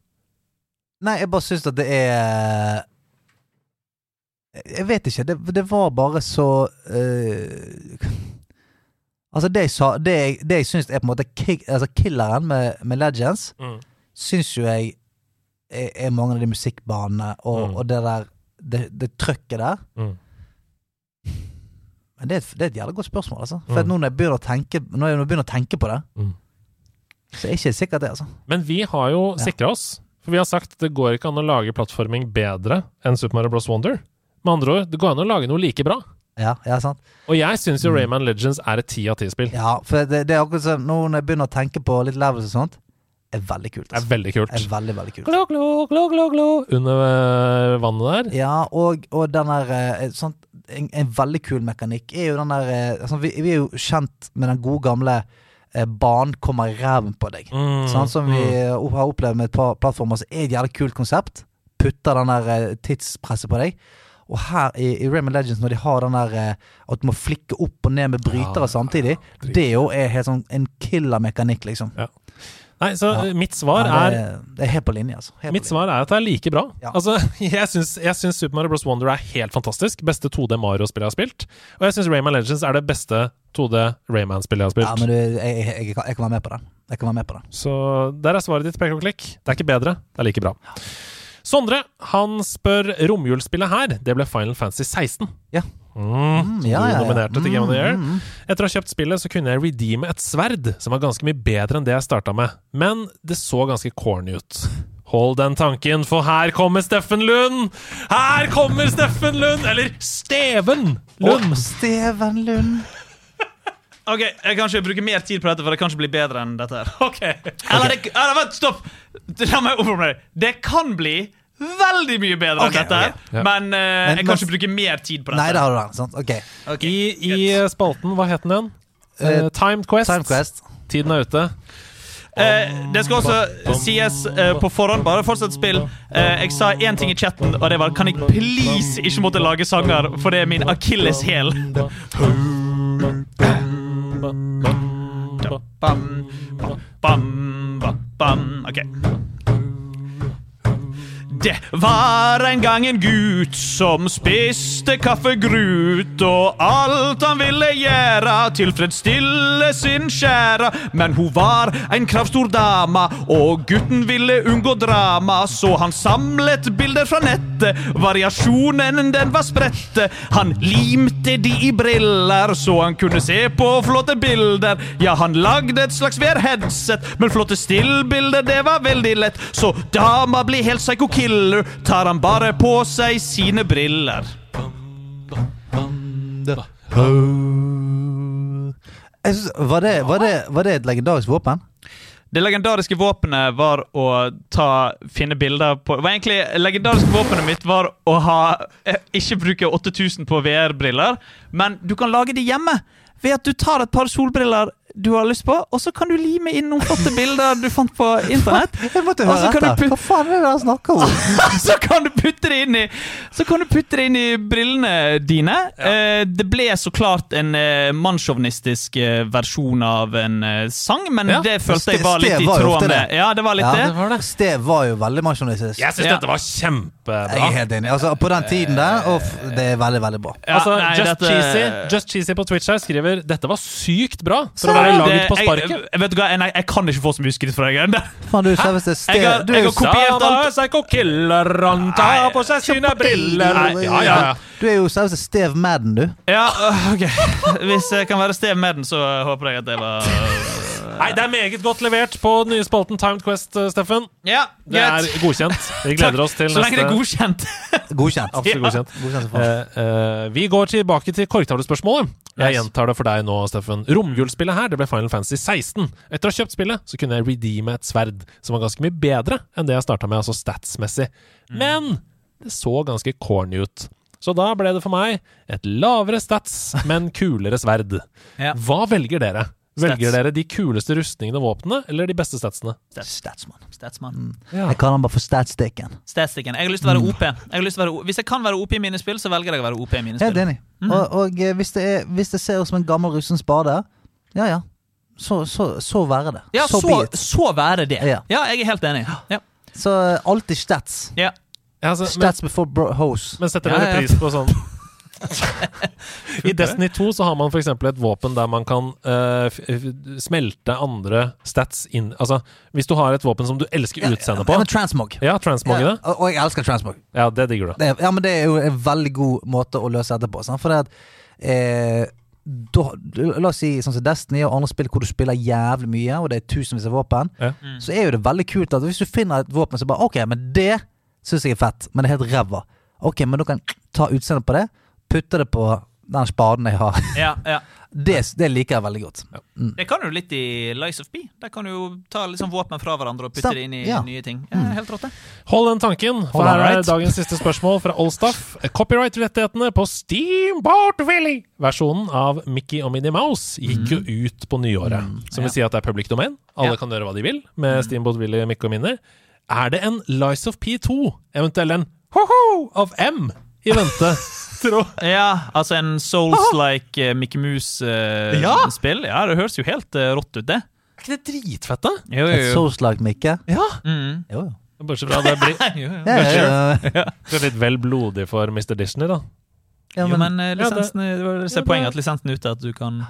Speaker 2: Nei, jeg bare syns at det er Jeg vet ikke. Det, det var bare så eh, Altså, det jeg sa Det jeg, det jeg syns er på en måte kick, altså killeren med, med Legends,
Speaker 4: Mm.
Speaker 2: syns jo jeg er, er mange av de musikkbanene og,
Speaker 4: Mm.
Speaker 2: og det der Det, det trøkket der.
Speaker 4: Mm.
Speaker 2: Men det er, et, det er et jævlig godt spørsmål, altså. For at
Speaker 4: Mm.
Speaker 2: nå når jeg begynner å tenke, når jeg begynner å tenke på det,
Speaker 4: Mm.
Speaker 2: så er jeg ikke sikkert det, altså.
Speaker 4: Men vi har jo sikra oss. For vi har sagt det går ikke an å lage plattforming bedre enn Super Mario Bros. Wonder. Med andre ord, det går an å lage noe like bra.
Speaker 2: Ja, ja sant?
Speaker 4: Og jeg syns jo Rayman Legends er et ti av ti-spill.
Speaker 2: Mm. Ja, for det, det er akkurat sånn Nå når jeg begynner å tenke på litt levels og sånt Er veldig kult
Speaker 4: Det er
Speaker 2: altså.
Speaker 4: veldig kult.
Speaker 2: Er veldig, veldig kult
Speaker 4: Glo, glo, glo, glo, glo. Under eh, vannet der.
Speaker 2: Ja, og, og den der eh, sånn, en, en veldig kul mekanikk Er jo den der eh, sånn, vi, vi er jo kjent med den gode gamle eh, Banen kommer i ræven på deg
Speaker 4: Mm,
Speaker 2: Sånn som vi
Speaker 4: mm.
Speaker 2: eh, opp- har opplevd med et par plattformer Så er det et jævlig kult konsept Putter den der eh, tidspresset på deg og her i, i Rayman Legends Når de har den der eh, At du må flikke opp og ned med brytere
Speaker 4: Ja,
Speaker 2: samtidig
Speaker 4: drit.
Speaker 2: Det jo er helt sånn En killer mekanikk liksom
Speaker 4: Nei, så
Speaker 2: Ja.
Speaker 4: eh, mitt svar
Speaker 2: Ja,
Speaker 4: er
Speaker 2: det, er, det er helt på linje, altså. Helt på
Speaker 4: Mitt
Speaker 2: linje.
Speaker 4: svar er at det er like bra.
Speaker 2: Ja.
Speaker 4: Altså, jeg syns, jeg syns Super Mario Bros. Wonder er helt fantastisk. Beste 2D Mario-spillet jeg har spilt. Og jeg syns Rayman Legends er det beste 2D Rayman-spillet jeg har
Speaker 2: Ja,
Speaker 4: spilt.
Speaker 2: men du, jeg, jeg, jeg, kan- jeg kan være med på den. Jeg kan være med på den.
Speaker 4: Så der er svaret ditt, pek og klikk. Det er ikke bedre, det er like bra. Sondre han spør romjulsspillet her. Det ble Final Fantasy 16.
Speaker 2: Ja.
Speaker 4: Mm, som
Speaker 2: ja,
Speaker 4: du
Speaker 2: ja, ja.
Speaker 4: nominerte til Game of the Year.
Speaker 2: Mm, mm,
Speaker 4: Etter å ha kjøpt spillet, så kunne jeg redeeme et sverd som var ganske mye bedre enn det jeg starta med, men det så ganske corny ut. Hold den tanken, for her kommer Steffen Lund! Her kommer Steffen Lund! Eller Steven Lund!
Speaker 2: Steven Lund.
Speaker 3: Ok, Jeg kan ikke bruke mer tid på dette, for det kan ikke bli bedre enn dette. her Ok Eller, det, eller vent, stopp! La meg omformulere. Det kan bli veldig mye bedre
Speaker 2: Ok,
Speaker 3: enn dette, her
Speaker 4: Ja.
Speaker 3: men eh, jeg
Speaker 2: men-
Speaker 3: kan ikke bruke mer tid på dette.
Speaker 2: Nei, det har du den. sant? Ok.
Speaker 3: Ok,
Speaker 4: I, I eh, spalten, hva het den igjen?
Speaker 2: Eh,
Speaker 4: Eh, Timed Quest.
Speaker 2: Time Quest.
Speaker 4: Tiden er ute.
Speaker 3: Eh, det skal også sies eh, på forhånd. Bare fortsett spill. Eh, jeg sa én ting i chatten, og det var Kan jeg please ikke måtte lage sanger, for det er min akilleshæl. Bam, bam, bam, bam. OK. Det var en gang en gutt som spiste kaffegrut, og alt han ville gjøre, tilfredsstille sin kjære. Men hun var en kravstor dame, og gutten ville unngå drama, så han samlet bilder fra nettet. Variasjonen, den var sprette. Han limte de i briller, så han kunne se på flotte bilder. Ja, han lagde et slags VR-headset, men flotte stillbilder, det var veldig lett. Så dama blir helt psycho-killer, tar han bare på seg sine briller.
Speaker 2: Jeg synes, var, det, var, det, var det et legendarisk våpen?
Speaker 3: Det legendariske våpenet var å ta, finne bilder på var egentlig, Legendariske våpenet mitt var å ha eh, ikke bruke 8000 på VR-briller, men du kan lage de hjemme ved at du tar et par solbriller du har lyst på, og så kan du lime inn noen flotte bilder du fant på internett.
Speaker 2: Jeg måtte
Speaker 3: Og så
Speaker 2: høre
Speaker 3: Altså, kan du
Speaker 2: etter.
Speaker 3: put-
Speaker 2: Hva faen er det han snakker om?
Speaker 3: så kan du putte det inn i Så kan du putte det inn i brillene dine. Eh, det ble så klart en eh, mannssjåvinistisk eh, versjon av en eh, sang, men
Speaker 4: Ja.
Speaker 3: det følte jeg
Speaker 2: Ste-
Speaker 3: var litt
Speaker 2: Ste
Speaker 3: i
Speaker 2: var jo
Speaker 3: tråd
Speaker 2: ofte
Speaker 3: med.
Speaker 2: det.
Speaker 3: Ja, det var litt det.
Speaker 2: var Stev var jo veldig masjonistisk.
Speaker 4: Jeg syns
Speaker 3: Ja.
Speaker 4: dette var
Speaker 2: Jeg er
Speaker 4: kjempebra.
Speaker 2: helt enig. Altså, på den tiden der, og f det er veldig, veldig bra.
Speaker 3: Ja,
Speaker 4: altså,
Speaker 3: nei,
Speaker 4: Just,
Speaker 3: dette-
Speaker 4: cheesy, Just Cheesy på Twitch her skriver Dette var sykt bra for å være
Speaker 3: Det-
Speaker 4: laget på
Speaker 3: Jeg,
Speaker 4: sparket.
Speaker 3: jeg, vet du hva, nei, jeg kan ikke få så mye skryt fra deg.
Speaker 2: Faen, du selveste Ste-
Speaker 3: Jeg har-
Speaker 2: du,
Speaker 3: jeg har
Speaker 2: er-
Speaker 3: kopi- kopiert alt.
Speaker 4: Psycho-killer, han tar på seg sine briller
Speaker 3: Nei,
Speaker 4: Ja, ja, ja.
Speaker 2: du er jo selveste Stev Madden, du.
Speaker 3: Ja, øh, ok Hvis jeg kan være stev med den, så håper jeg at det var
Speaker 4: Nei, det er meget godt levert på den nye spalten Timed Quest, eh, Steffen.
Speaker 3: Ja,
Speaker 4: Det er
Speaker 3: greit.
Speaker 4: godkjent. Vi
Speaker 3: Takk.
Speaker 4: gleder oss til
Speaker 3: Så lenge det er
Speaker 4: neste
Speaker 3: godkjent.
Speaker 2: Godkjent.
Speaker 4: Absolutt godkjent.
Speaker 2: Godkjent som faen.
Speaker 4: Eh, eh, vi går tilbake til korktavlespørsmålet. Jeg
Speaker 3: Yes.
Speaker 4: gjentar det for deg nå, Steffen. Romjulsspillet her det ble Final Fantasy 16. Etter å ha kjøpt spillet så kunne jeg redeeme et sverd som var ganske mye bedre enn det jeg starta med, altså statsmessig.
Speaker 3: Mm.
Speaker 4: Men det så ganske corny ut. Så da ble det for meg et lavere stats, men kulere sverd.
Speaker 3: Ja.
Speaker 4: Hva velger dere? Velger
Speaker 3: Stats.
Speaker 4: dere de kuleste rustningene og våpnene, eller de beste statsene?
Speaker 2: Statsmann.
Speaker 3: Statsmann.
Speaker 2: Jeg kaller han bare for Statsticken.
Speaker 3: Statistikken. Jeg har lyst til å
Speaker 4: Mm.
Speaker 3: være OP. Jeg har lyst til å være, O- hvis jeg kan være OP i mine spill, så velger jeg å være OP i mine
Speaker 2: Helt
Speaker 3: spill.
Speaker 2: enig. Og, og eh, hvis, det er, hvis det ser ut som en gammel russen spade, ja ja. Så, så, så være det.
Speaker 3: Ja,
Speaker 2: så,
Speaker 3: så,
Speaker 2: be it.
Speaker 3: så være det.
Speaker 2: Ja.
Speaker 3: Ja, jeg er helt enig. Ja.
Speaker 2: Så eh, alltid stats.
Speaker 3: Ja.
Speaker 4: Ja, altså, men-
Speaker 2: Stats before bro hose.
Speaker 4: Men setter
Speaker 3: Ja,
Speaker 4: dere
Speaker 3: ja.
Speaker 4: pris på sånn I Destiny 2 så har man f.eks. et våpen der man kan eh, f f smelte andre stats inn Altså, hvis du har et våpen som du elsker utseendet på
Speaker 2: Ja, men transmog.
Speaker 4: Ja, transmoge det.
Speaker 2: Ja, og, og jeg elsker transmog.
Speaker 4: Ja, det digger du.
Speaker 2: Det er, ja, men det er jo en veldig god måte å løse dette på. Sant? For det at eh, da, La oss si sånn som Destiny og andre spill hvor du spiller jævlig mye, og det er tusenvis av våpen,
Speaker 4: Ja.
Speaker 2: så er jo det veldig kult at hvis du finner et våpen som bare OK, men det syns jeg er fett, men det er helt ræva. OK, men du kan ta utseendet på det, putte det på den spaden jeg har.
Speaker 3: Ja, ja.
Speaker 2: Det, det liker jeg veldig godt.
Speaker 3: Det kan du litt i Lies of B. Der kan du jo ta liksom våpen fra hverandre og putte
Speaker 2: Stem-
Speaker 3: det inn i
Speaker 2: ja. Mm.
Speaker 3: nye ting. Ja, helt rått, det.
Speaker 4: Hold den tanken, for
Speaker 2: Hold
Speaker 4: her
Speaker 2: on,
Speaker 4: er
Speaker 2: right.
Speaker 4: dagens siste spørsmål fra Allstaff. Copyright-rettighetene på Steamboat Willy-versjonen av Mickey og Minnie Mouse gikk jo
Speaker 2: Mm.
Speaker 4: ut på nyåret. Som vil si at det er public domain. Alle
Speaker 3: Ja.
Speaker 4: kan gjøre hva de vil med
Speaker 2: Mm.
Speaker 4: Steamboat Willy, Mickey og Minnie. Er det en Lies of P2, eventuelt en Ho-ho of M, i vente? Tro.
Speaker 3: Ja, altså en Souls-like eh, Mickey Mouse-spill.
Speaker 4: Ja.
Speaker 3: ja. det høres jo helt eh, rått ut, det.
Speaker 4: Er ikke det dritfett, da?
Speaker 3: Jo,
Speaker 2: Et soulslag, Mikke.
Speaker 4: Ja.
Speaker 3: Mm.
Speaker 2: Jo, jo.
Speaker 4: Bortsett fra at det blir
Speaker 3: Jo, jo.
Speaker 2: Ja, ja, ja.
Speaker 4: det er litt vel blodig for Mr. Disney, da.
Speaker 2: Ja,
Speaker 3: Jo,
Speaker 2: men,
Speaker 3: men eh,
Speaker 4: Ja, det-
Speaker 3: lisensen er- det var det som er poenget, at lisensen er ute, at du kan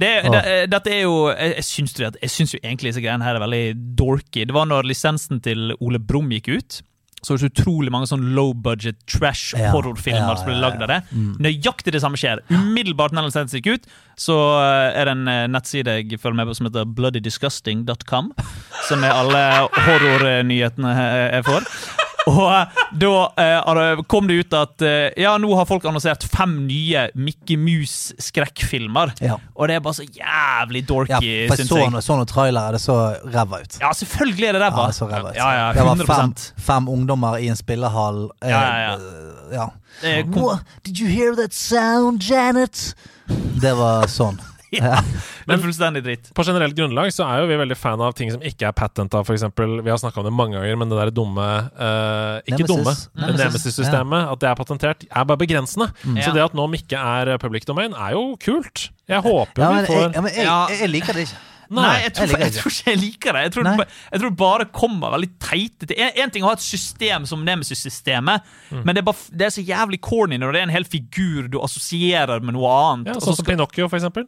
Speaker 3: det,
Speaker 2: Ja.
Speaker 3: det, eh, Dette er jo Jeg, jeg syns jo at- jeg syns jo egentlig disse greiene her er veldig dorky. Det var når lisensen til Ole Brumm gikk ut. så er det så utrolig mange sånn low budget trash
Speaker 2: Ja, ja,
Speaker 3: horrorfilmer som
Speaker 2: ja,
Speaker 3: ble
Speaker 2: Mm.
Speaker 3: lagd av det. Nøyaktig det samme skjer. Umiddelbart når den sendes gikk ut, så eh, er det en eh, nettside jeg følger med på som heter bloodydisgusting.com, som er alle horrornyhetene eh, jeg får. Og eh, da eh, har det- kom det ut at eh, ja, nå har folk annonsert fem nye Mickey Mouse-skrekkfilmer.
Speaker 2: Ja.
Speaker 3: Og det er bare så jævlig
Speaker 2: Ja,
Speaker 3: dorky,
Speaker 2: for jeg
Speaker 3: syns
Speaker 2: så
Speaker 3: jeg.
Speaker 2: noen, så noen trailere, det så ræva ut.
Speaker 3: Ja, selvfølgelig er det ræva.
Speaker 2: Ja, det så ræva ut.
Speaker 3: Ja, ja,
Speaker 2: det var
Speaker 3: 100
Speaker 2: fem, fem ungdommer i en spillehall. eh,
Speaker 3: Ja, ja, ja.
Speaker 2: eh, ja.
Speaker 3: Det er kom-
Speaker 2: Wha- Did you hear that sound, Janet? Det var sånn.
Speaker 3: Ja, det er fullstendig dritt.
Speaker 4: På generelt grunnlag så er jo vi veldig fan av ting som ikke er patenta, f.eks. Vi har snakka om det mange ganger, men det der dumme eh, Ikke
Speaker 2: Nemesis.
Speaker 4: dumme,
Speaker 2: Nemesis.
Speaker 4: men
Speaker 2: Mm.
Speaker 4: Nemesis-systemet, at det er patentert, er bare begrensende. Så
Speaker 3: Ja.
Speaker 4: det at Nom ikke er eh, public domain, er jo kult. Jeg håper
Speaker 2: Ja,
Speaker 4: vi
Speaker 2: men jeg,
Speaker 4: får
Speaker 2: ja, men jeg,
Speaker 3: Ja.
Speaker 2: jeg, jeg liker det ikke.
Speaker 3: Nei, jeg, tror,
Speaker 2: jeg liker
Speaker 3: jeg
Speaker 2: det
Speaker 3: tror ikke jeg liker det. Jeg tror, det
Speaker 2: Nei.
Speaker 3: ba- jeg tror det bare kommer veldig teite til. En, en ting er å ha et system som Nemesis-systemet,
Speaker 2: Mm.
Speaker 3: men det er, bare, f- det er så jævlig corny når det er en hel figur du assosierer med noe annet.
Speaker 4: ja,
Speaker 3: og så
Speaker 4: Sånn som
Speaker 3: skal-
Speaker 4: Pinocchio, for eksempel.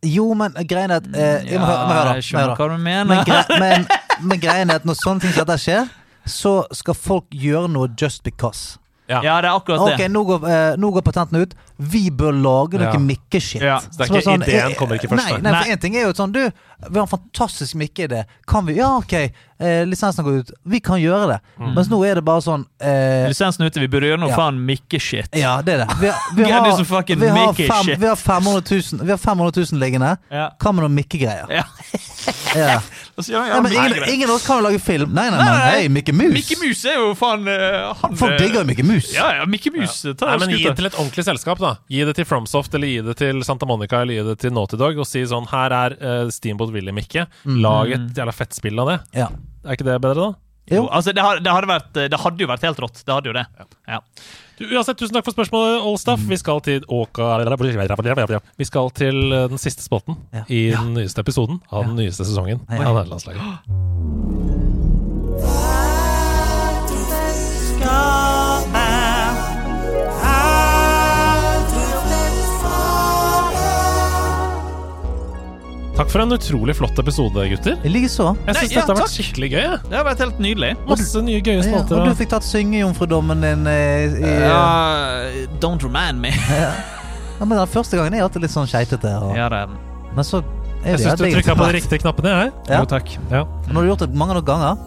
Speaker 2: Jo, men greien er at eh, jeg må høre- må
Speaker 3: Mm,
Speaker 2: høre, da, må
Speaker 3: Ja, jeg
Speaker 2: høre,
Speaker 3: skjønner
Speaker 2: da.
Speaker 3: hva du mener.
Speaker 2: Men, gre men, men greien er at når sånne ting som dette skjer, så skal folk gjøre noe just because.
Speaker 3: ja, det er akkurat
Speaker 2: Ok,
Speaker 3: det.
Speaker 2: nå går, eh, nå går patentene ut. Vi bør lage noe
Speaker 4: Ja.
Speaker 2: mikkeshit.
Speaker 3: Ja,
Speaker 4: så det er
Speaker 2: Som
Speaker 4: ikke- ideen
Speaker 2: eh,
Speaker 4: kommer ikke først,
Speaker 2: Nei,
Speaker 4: nei.
Speaker 2: nei,
Speaker 3: Nei.
Speaker 2: for en ting er jo sånn Du, vi har en fantastisk mikkeidé. Kan vi Ja, OK, eh, lisensen går ut. Vi kan gjøre det. Mens nå er det bare sånn eh,
Speaker 3: Lisensen er ute, vi burde gjøre noe
Speaker 2: Ja.
Speaker 3: faen Mikke-shit.
Speaker 2: ja, det er det. Vi, har- vi,
Speaker 3: Get
Speaker 2: har,
Speaker 3: you some fucking
Speaker 2: vi, har,
Speaker 3: Mickey
Speaker 2: fem,
Speaker 3: shit.
Speaker 2: vi har 500 000, vi har 500 000 liggende.
Speaker 3: Ja.
Speaker 2: Hva med noen mikkegreier?
Speaker 3: Ja. Altså,
Speaker 2: Ja.
Speaker 3: Og så gjør vi
Speaker 2: Ja, men
Speaker 3: andre
Speaker 2: ingen,
Speaker 3: greier.
Speaker 2: ingen av oss kan jo lage film. Nei, nei,
Speaker 3: Nei,
Speaker 2: nei.
Speaker 3: nei, nei.
Speaker 2: Hei, Mikke Mus.
Speaker 3: Mikke Mus er jo faen eh, han,
Speaker 2: Folk
Speaker 3: eh,
Speaker 2: digger jo Mikke Mus.
Speaker 3: Ja, ja, Mikke Mus. eh,
Speaker 4: Nei,
Speaker 3: Ta
Speaker 4: men Gi det
Speaker 3: skuta.
Speaker 4: til et ordentlig selskap. da Gi det til Fromsoft eller gi det til Santa Monica eller gi det til Naughty Dog og si sånn Her er eh, Steamboat Willy-Mikke.
Speaker 2: Mm.
Speaker 4: Lag et jævla fett spill av det.
Speaker 2: Ja.
Speaker 4: Er ikke det bedre, da?
Speaker 2: Jo.
Speaker 3: Jo, altså, det, har, det, hadde vært, eh, det hadde jo vært helt rått. Det hadde jo det. Ja.
Speaker 4: Du, Uansett, tusen takk for spørsmålet, Olstaff. Vi skal til Åka- Vi skal til eh, den siste spotten
Speaker 2: Ja.
Speaker 4: i den nyeste episoden av den nyeste sesongen av Nederlandslaget. Takk for en utrolig flott episode, gutter.
Speaker 2: I like så.
Speaker 4: Jeg
Speaker 3: Nei, ja,
Speaker 4: syns dette har
Speaker 3: takk.
Speaker 4: vært skikkelig gøy. jeg.
Speaker 3: Det har vært helt nydelig.
Speaker 4: Masse nye gøye
Speaker 2: Ja,
Speaker 4: spalter.
Speaker 2: og du
Speaker 4: og-
Speaker 2: fikk tatt syngejomfrudommen din eh, i ja.
Speaker 3: Ja, don't remind me.
Speaker 2: men Den første gangen er jeg alltid litt sånn skeitete. og-
Speaker 3: Ja, det
Speaker 2: Men så er
Speaker 4: Jeg
Speaker 2: det
Speaker 4: syns du trykka på de riktige knappene, jeg.
Speaker 2: Ja.
Speaker 3: takk.
Speaker 4: Ja.
Speaker 2: Når du har gjort det mange nok ganger,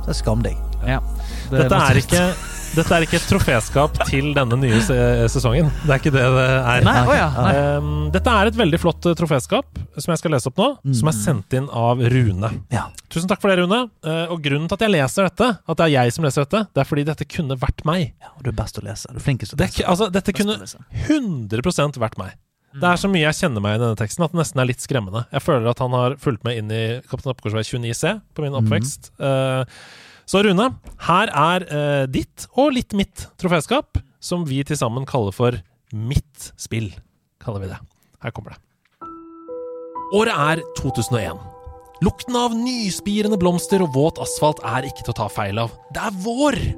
Speaker 2: så er det skam deg.
Speaker 3: Ja.
Speaker 4: Dette er ikke dette er ikke et troféskap til denne nye se eh, sesongen. Det er ikke det det er.
Speaker 3: Nei, åja, nei.
Speaker 4: Ehm, dette er et veldig flott eh, troféskap som jeg skal lese opp nå,
Speaker 3: Mm.
Speaker 4: som er sendt inn av Rune.
Speaker 2: Ja.
Speaker 4: Tusen takk for det, Rune. Eh, og grunnen til at jeg leser dette, at det er jeg som leser dette, det er fordi dette kunne vært meg.
Speaker 2: ja, og du er best til å lese. Du er flinkest til å
Speaker 4: Det, er
Speaker 2: lese.
Speaker 4: ikke- altså, dette kunne
Speaker 3: lese.
Speaker 4: 100 vært meg. Det er så mye jeg kjenner meg i denne teksten at det nesten er litt skremmende. Jeg føler at han har fulgt meg inn i Kaptein Oppgårdsvei 29C på min oppvekst. Eh, så Rune, her er eh, ditt og litt mitt troféskap, som vi til sammen kaller for Mitt spill. Kaller vi det. Her kommer det. Året er 2001. Lukten av nyspirende blomster og våt asfalt er ikke til å ta feil av. Det er vår!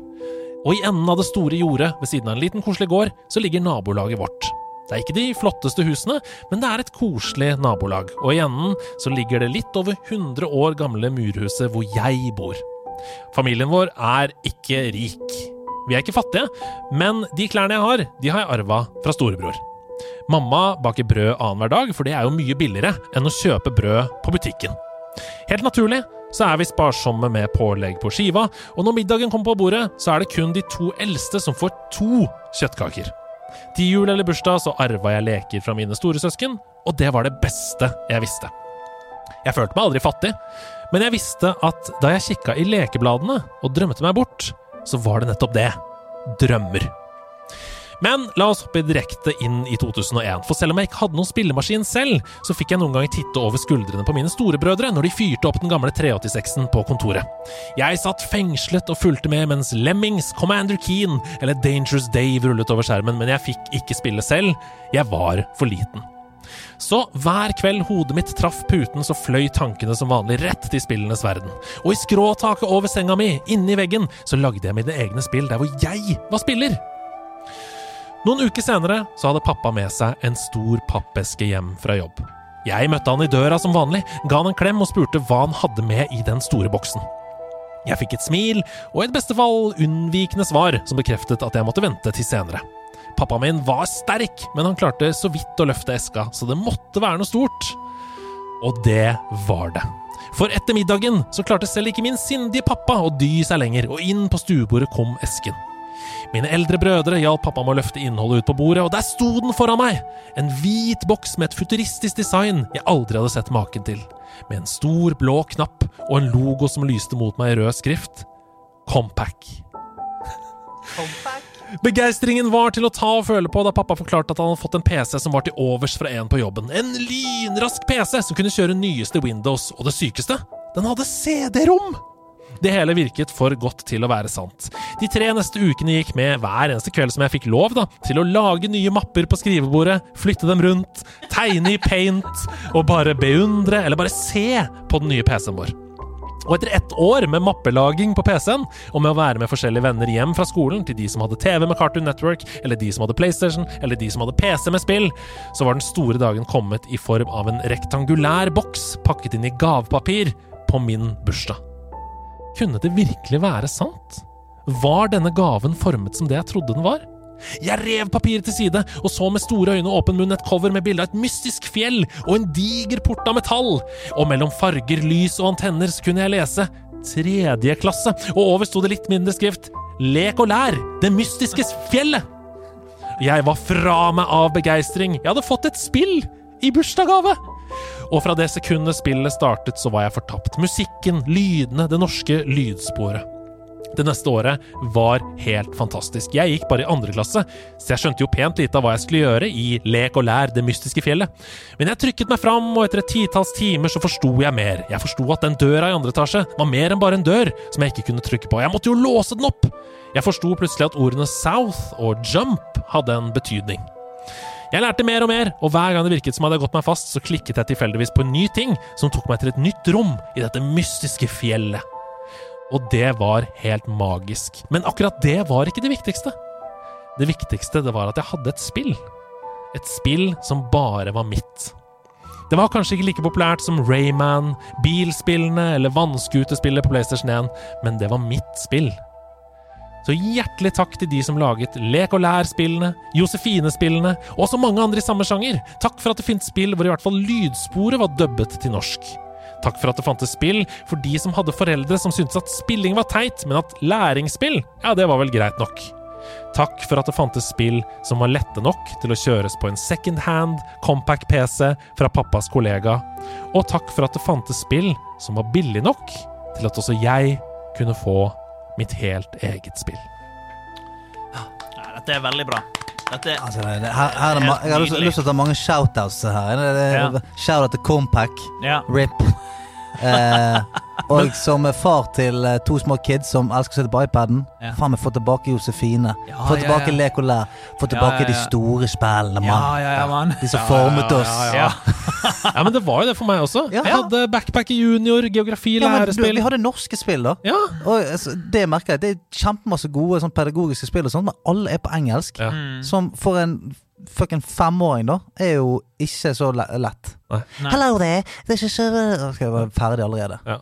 Speaker 4: Og i enden av det store jordet, ved siden av en liten koselig gård, så ligger nabolaget vårt. Det er ikke de flotteste husene, men det er et koselig nabolag, og i enden så ligger det litt over 100 år gamle murhuset hvor jeg bor. Familien vår er ikke rik. Vi er ikke fattige, men de klærne jeg har, de har jeg arva fra storebror. Mamma baker brød annenhver dag, for det er jo mye billigere enn å kjøpe brød på butikken. Helt naturlig så er vi sparsomme med pålegg på skiva, og når middagen kommer på bordet, så er det kun de to eldste som får to kjøttkaker. Til jul eller bursdag så arva jeg leker fra mine storesøsken, og det var det beste jeg visste. Jeg følte meg aldri fattig, men jeg visste at da jeg kikka i lekebladene og drømte meg bort, så var det nettopp det. Drømmer. Men la oss hoppe direkte inn i 2001, for selv om jeg ikke hadde noen spillemaskin selv, så fikk jeg noen ganger titte over skuldrene på mine storebrødre når de fyrte opp den gamle 386-en på kontoret. Jeg satt fengslet og fulgte med mens Lemmings, Commander Keen eller Dangerous Dave rullet over skjermen, men jeg fikk ikke spille selv. Jeg var for liten. Så hver kveld hodet mitt traff puten, så fløy tankene som vanlig rett til spillenes verden. Og i skråtaket over senga mi, inni veggen, så lagde jeg mine egne spill der hvor jeg var spiller. Noen uker senere så hadde pappa med seg en stor pappeske hjem fra jobb. Jeg møtte han i døra som vanlig, ga han en klem og spurte hva han hadde med i den store boksen. Jeg fikk et smil og et beste fall unnvikende svar som bekreftet at jeg måtte vente til senere. Pappaen min var sterk, men han klarte så vidt å løfte eska, så det måtte være noe stort. Og det var det. For etter middagen så klarte selv ikke min sindige pappa å dy seg lenger, og inn på stuebordet kom esken. Mine eldre brødre hjalp pappa med å løfte innholdet ut på bordet, og der sto den foran meg! En hvit boks med et futuristisk design jeg aldri hadde sett maken til. Med en stor, blå knapp og en logo som lyste mot meg i rød skrift. Compac. Begeistringen var til å ta og føle på da pappa forklarte at han hadde fått en PC som var til overs fra en på jobben. En lynrask PC som kunne kjøre nyeste Windows, og det sykeste den hadde CD-rom! Det hele virket for godt til å være sant. De tre neste ukene gikk med hver eneste kveld som jeg fikk lov da, til å lage nye mapper på skrivebordet, flytte dem rundt, tegne i paint og bare beundre, eller bare se, på den nye PC-en vår. Og etter ett år med mappelaging på PC-en, og med å være med forskjellige venner hjem fra skolen til de som hadde TV med Cartoon Network, eller de som hadde PlayStation, eller de som hadde PC med spill, så var den store dagen kommet i form av en rektangulær boks pakket inn i gavepapir på min bursdag. Kunne det virkelig være sant? Var denne gaven formet som det jeg trodde den var? Jeg rev papiret til side og så med store øyne og åpen munn et cover med bilde av et mystisk fjell og en diger port av metall, og mellom farger, lys og antenner så kunne jeg lese tredje klasse, og over sto det litt mindre skrift Lek og lær! Det mystiske fjellet! Jeg var fra meg av begeistring. Jeg hadde fått et spill i bursdagsgave! Og fra det sekundet spillet startet, så var jeg fortapt. Musikken, lydene, det norske lydsporet. Det neste året var helt fantastisk. Jeg gikk bare i andre klasse, så jeg skjønte jo pent lite av hva jeg skulle gjøre i Lek og lær det mystiske fjellet. Men jeg trykket meg fram, og etter et titalls timer så forsto jeg mer. Jeg forsto at den døra i andre etasje var mer enn bare en dør som jeg ikke kunne trykke på. Jeg måtte jo låse den opp! Jeg forsto plutselig at ordene south og jump hadde en betydning. Jeg lærte mer og mer, og hver gang det virket som jeg hadde gått meg fast, så klikket jeg tilfeldigvis på en ny ting som tok meg til et nytt rom i dette mystiske fjellet. Og det var helt magisk. Men akkurat det var ikke det viktigste. Det viktigste det var at jeg hadde et spill. Et spill som bare var mitt. Det var kanskje ikke like populært som Rayman, bilspillene eller vannskutespillet på PlayStation 1, men det var mitt spill. Så hjertelig takk til de som laget Lek og lær-spillene, Josefine-spillene og så mange andre i samme sjanger. Takk for at det finnes spill hvor i hvert fall lydsporet var dubbet til norsk. Takk for at det fantes spill for de som hadde foreldre som syntes at spilling var teit, men at læringsspill, ja, det var vel greit nok. Takk for at det fantes spill som var lette nok til å kjøres på en second hand, compact PC fra pappas kollega. Og takk for at det fantes spill som var billig nok til at også jeg kunne få mitt helt eget spill.
Speaker 3: Nei, dette er veldig bra. Dette
Speaker 2: Altså, det, det, her, her er det, ma- jeg har lyst, lyst til å ta mange shoutouts her. Det, det,
Speaker 3: Ja.
Speaker 2: Shoutout til Compac.
Speaker 3: Ja.
Speaker 2: RIP. Eh, og som er far til eh, to små kids som elsker å sitte på iPaden.
Speaker 3: Ja.
Speaker 2: Faen meg, få tilbake Josefine.
Speaker 3: Ja,
Speaker 2: få
Speaker 3: ja,
Speaker 2: tilbake
Speaker 3: ja.
Speaker 2: Lek og lær. Få
Speaker 3: Ja,
Speaker 2: tilbake
Speaker 3: ja, ja.
Speaker 2: de store spillene, mann.
Speaker 3: ja, ja, mann.
Speaker 2: De som formet oss.
Speaker 3: Ja.
Speaker 4: Ja, men det var jo det for meg også.
Speaker 2: Ja.
Speaker 4: Jeg hadde backpacker junior, geografi,
Speaker 2: Ja, men du,
Speaker 4: lærespill.
Speaker 2: vi hadde norske spill, da.
Speaker 4: Ja,
Speaker 2: Og, altså, det merker jeg. Det er kjempemasse gode sånn, pedagogiske spill, og sånt, men alle er på engelsk.
Speaker 4: Ja.
Speaker 2: Som for en fucking femåring, da, er jo ikke så le- lett.
Speaker 4: Nei.
Speaker 3: Nei.
Speaker 2: Hello there, this is a... Da Skal jeg være ferdig allerede?
Speaker 4: ja.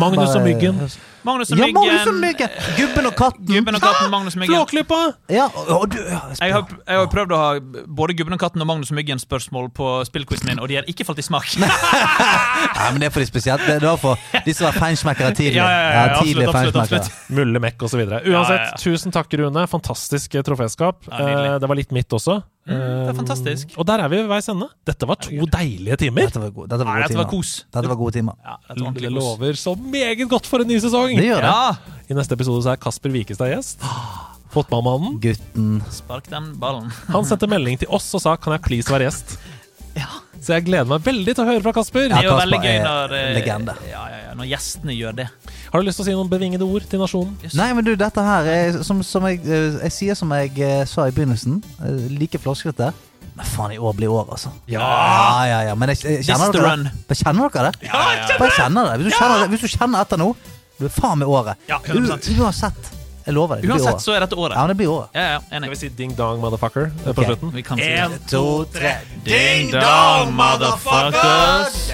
Speaker 4: Magnus og Myggen.
Speaker 3: Magnus og
Speaker 2: Ja,
Speaker 3: Myggen.
Speaker 2: Magnus og Myggen! Gubben og katten.
Speaker 3: Gubben og katten Magnus og Myggen.
Speaker 4: Flåklypa!
Speaker 2: Ja, og, og du ja,
Speaker 3: Jeg har, jeg har prøvd å ha både Gubben og katten og Magnus og Myggen-spørsmål på spillquizen min, og de har ikke falt i smak.
Speaker 2: Nei, men det er for de spesielt. Det er da for de som er feinschmeckere tidlig.
Speaker 3: Ja, ja, ja, ja, absolutt,
Speaker 2: tidlige
Speaker 3: absolutt,
Speaker 2: feinschmeckere.
Speaker 3: absolutt.
Speaker 4: Mulle Mekk osv. Uansett,
Speaker 3: Ja, ja, ja.
Speaker 4: tusen takk, Rune. Fantastisk eh, troféskap.
Speaker 3: Ja, nydelig.
Speaker 4: Eh, det var litt mitt også.
Speaker 3: det er
Speaker 4: Eh,
Speaker 3: fantastisk.
Speaker 4: Og der er vi ved veis ende. Dette var to deilige timer.
Speaker 2: Dette var, god, dette var
Speaker 3: Nei,
Speaker 2: gode
Speaker 3: dette
Speaker 2: timer.
Speaker 3: var kos.
Speaker 2: Dette var gode timer.
Speaker 3: Ja, dette var
Speaker 4: Det
Speaker 3: ordentlig kos.
Speaker 4: lover så meget godt for en ny sesong!
Speaker 2: Det gjør det.
Speaker 3: Ja,
Speaker 4: I neste episode så er Kasper Wikestad gjest. Fotballmannen.
Speaker 2: Gutten.
Speaker 3: spark den ballen.
Speaker 4: Han sendte melding til oss og sa 'Kan jeg please være gjest'? Så jeg gleder meg veldig til å høre fra Kasper.
Speaker 3: Det er jo
Speaker 2: Kasper
Speaker 3: veldig gøy
Speaker 2: er
Speaker 3: når, eh,
Speaker 2: legende.
Speaker 3: Ja, ja, ja, når gjestene gjør det.
Speaker 4: Har du lyst til å si noen bevingede ord til nasjonen?
Speaker 2: Nei, men du, dette her er som, som jeg, eh, jeg sier som jeg eh, sa i begynnelsen. eh, Like floskete. Men faen, i år blir år, altså. Ja, ja, ja. Men jeg, jeg,
Speaker 3: This
Speaker 2: kjenner
Speaker 3: the
Speaker 2: dere
Speaker 3: run.
Speaker 2: det? Bare Kjenner dere det? Ja, Bare kjenner det. Hvis du kjenner, det- hvis du kjenner etter nå, du er faen meg året.
Speaker 3: Ja,
Speaker 2: U-
Speaker 3: 100%.
Speaker 2: Uansett. Jeg lover deg. Det blir
Speaker 3: Uansett
Speaker 2: året.
Speaker 3: så er dette året.
Speaker 2: Ja, men det blir året.
Speaker 3: Ja, ja, enig.
Speaker 4: Skal vi si 'ding dong, motherfucker' eh, på
Speaker 2: Ok.
Speaker 4: slutten?
Speaker 3: Vi kan si det.
Speaker 2: to, tre.
Speaker 3: Ding dong, motherfuckers!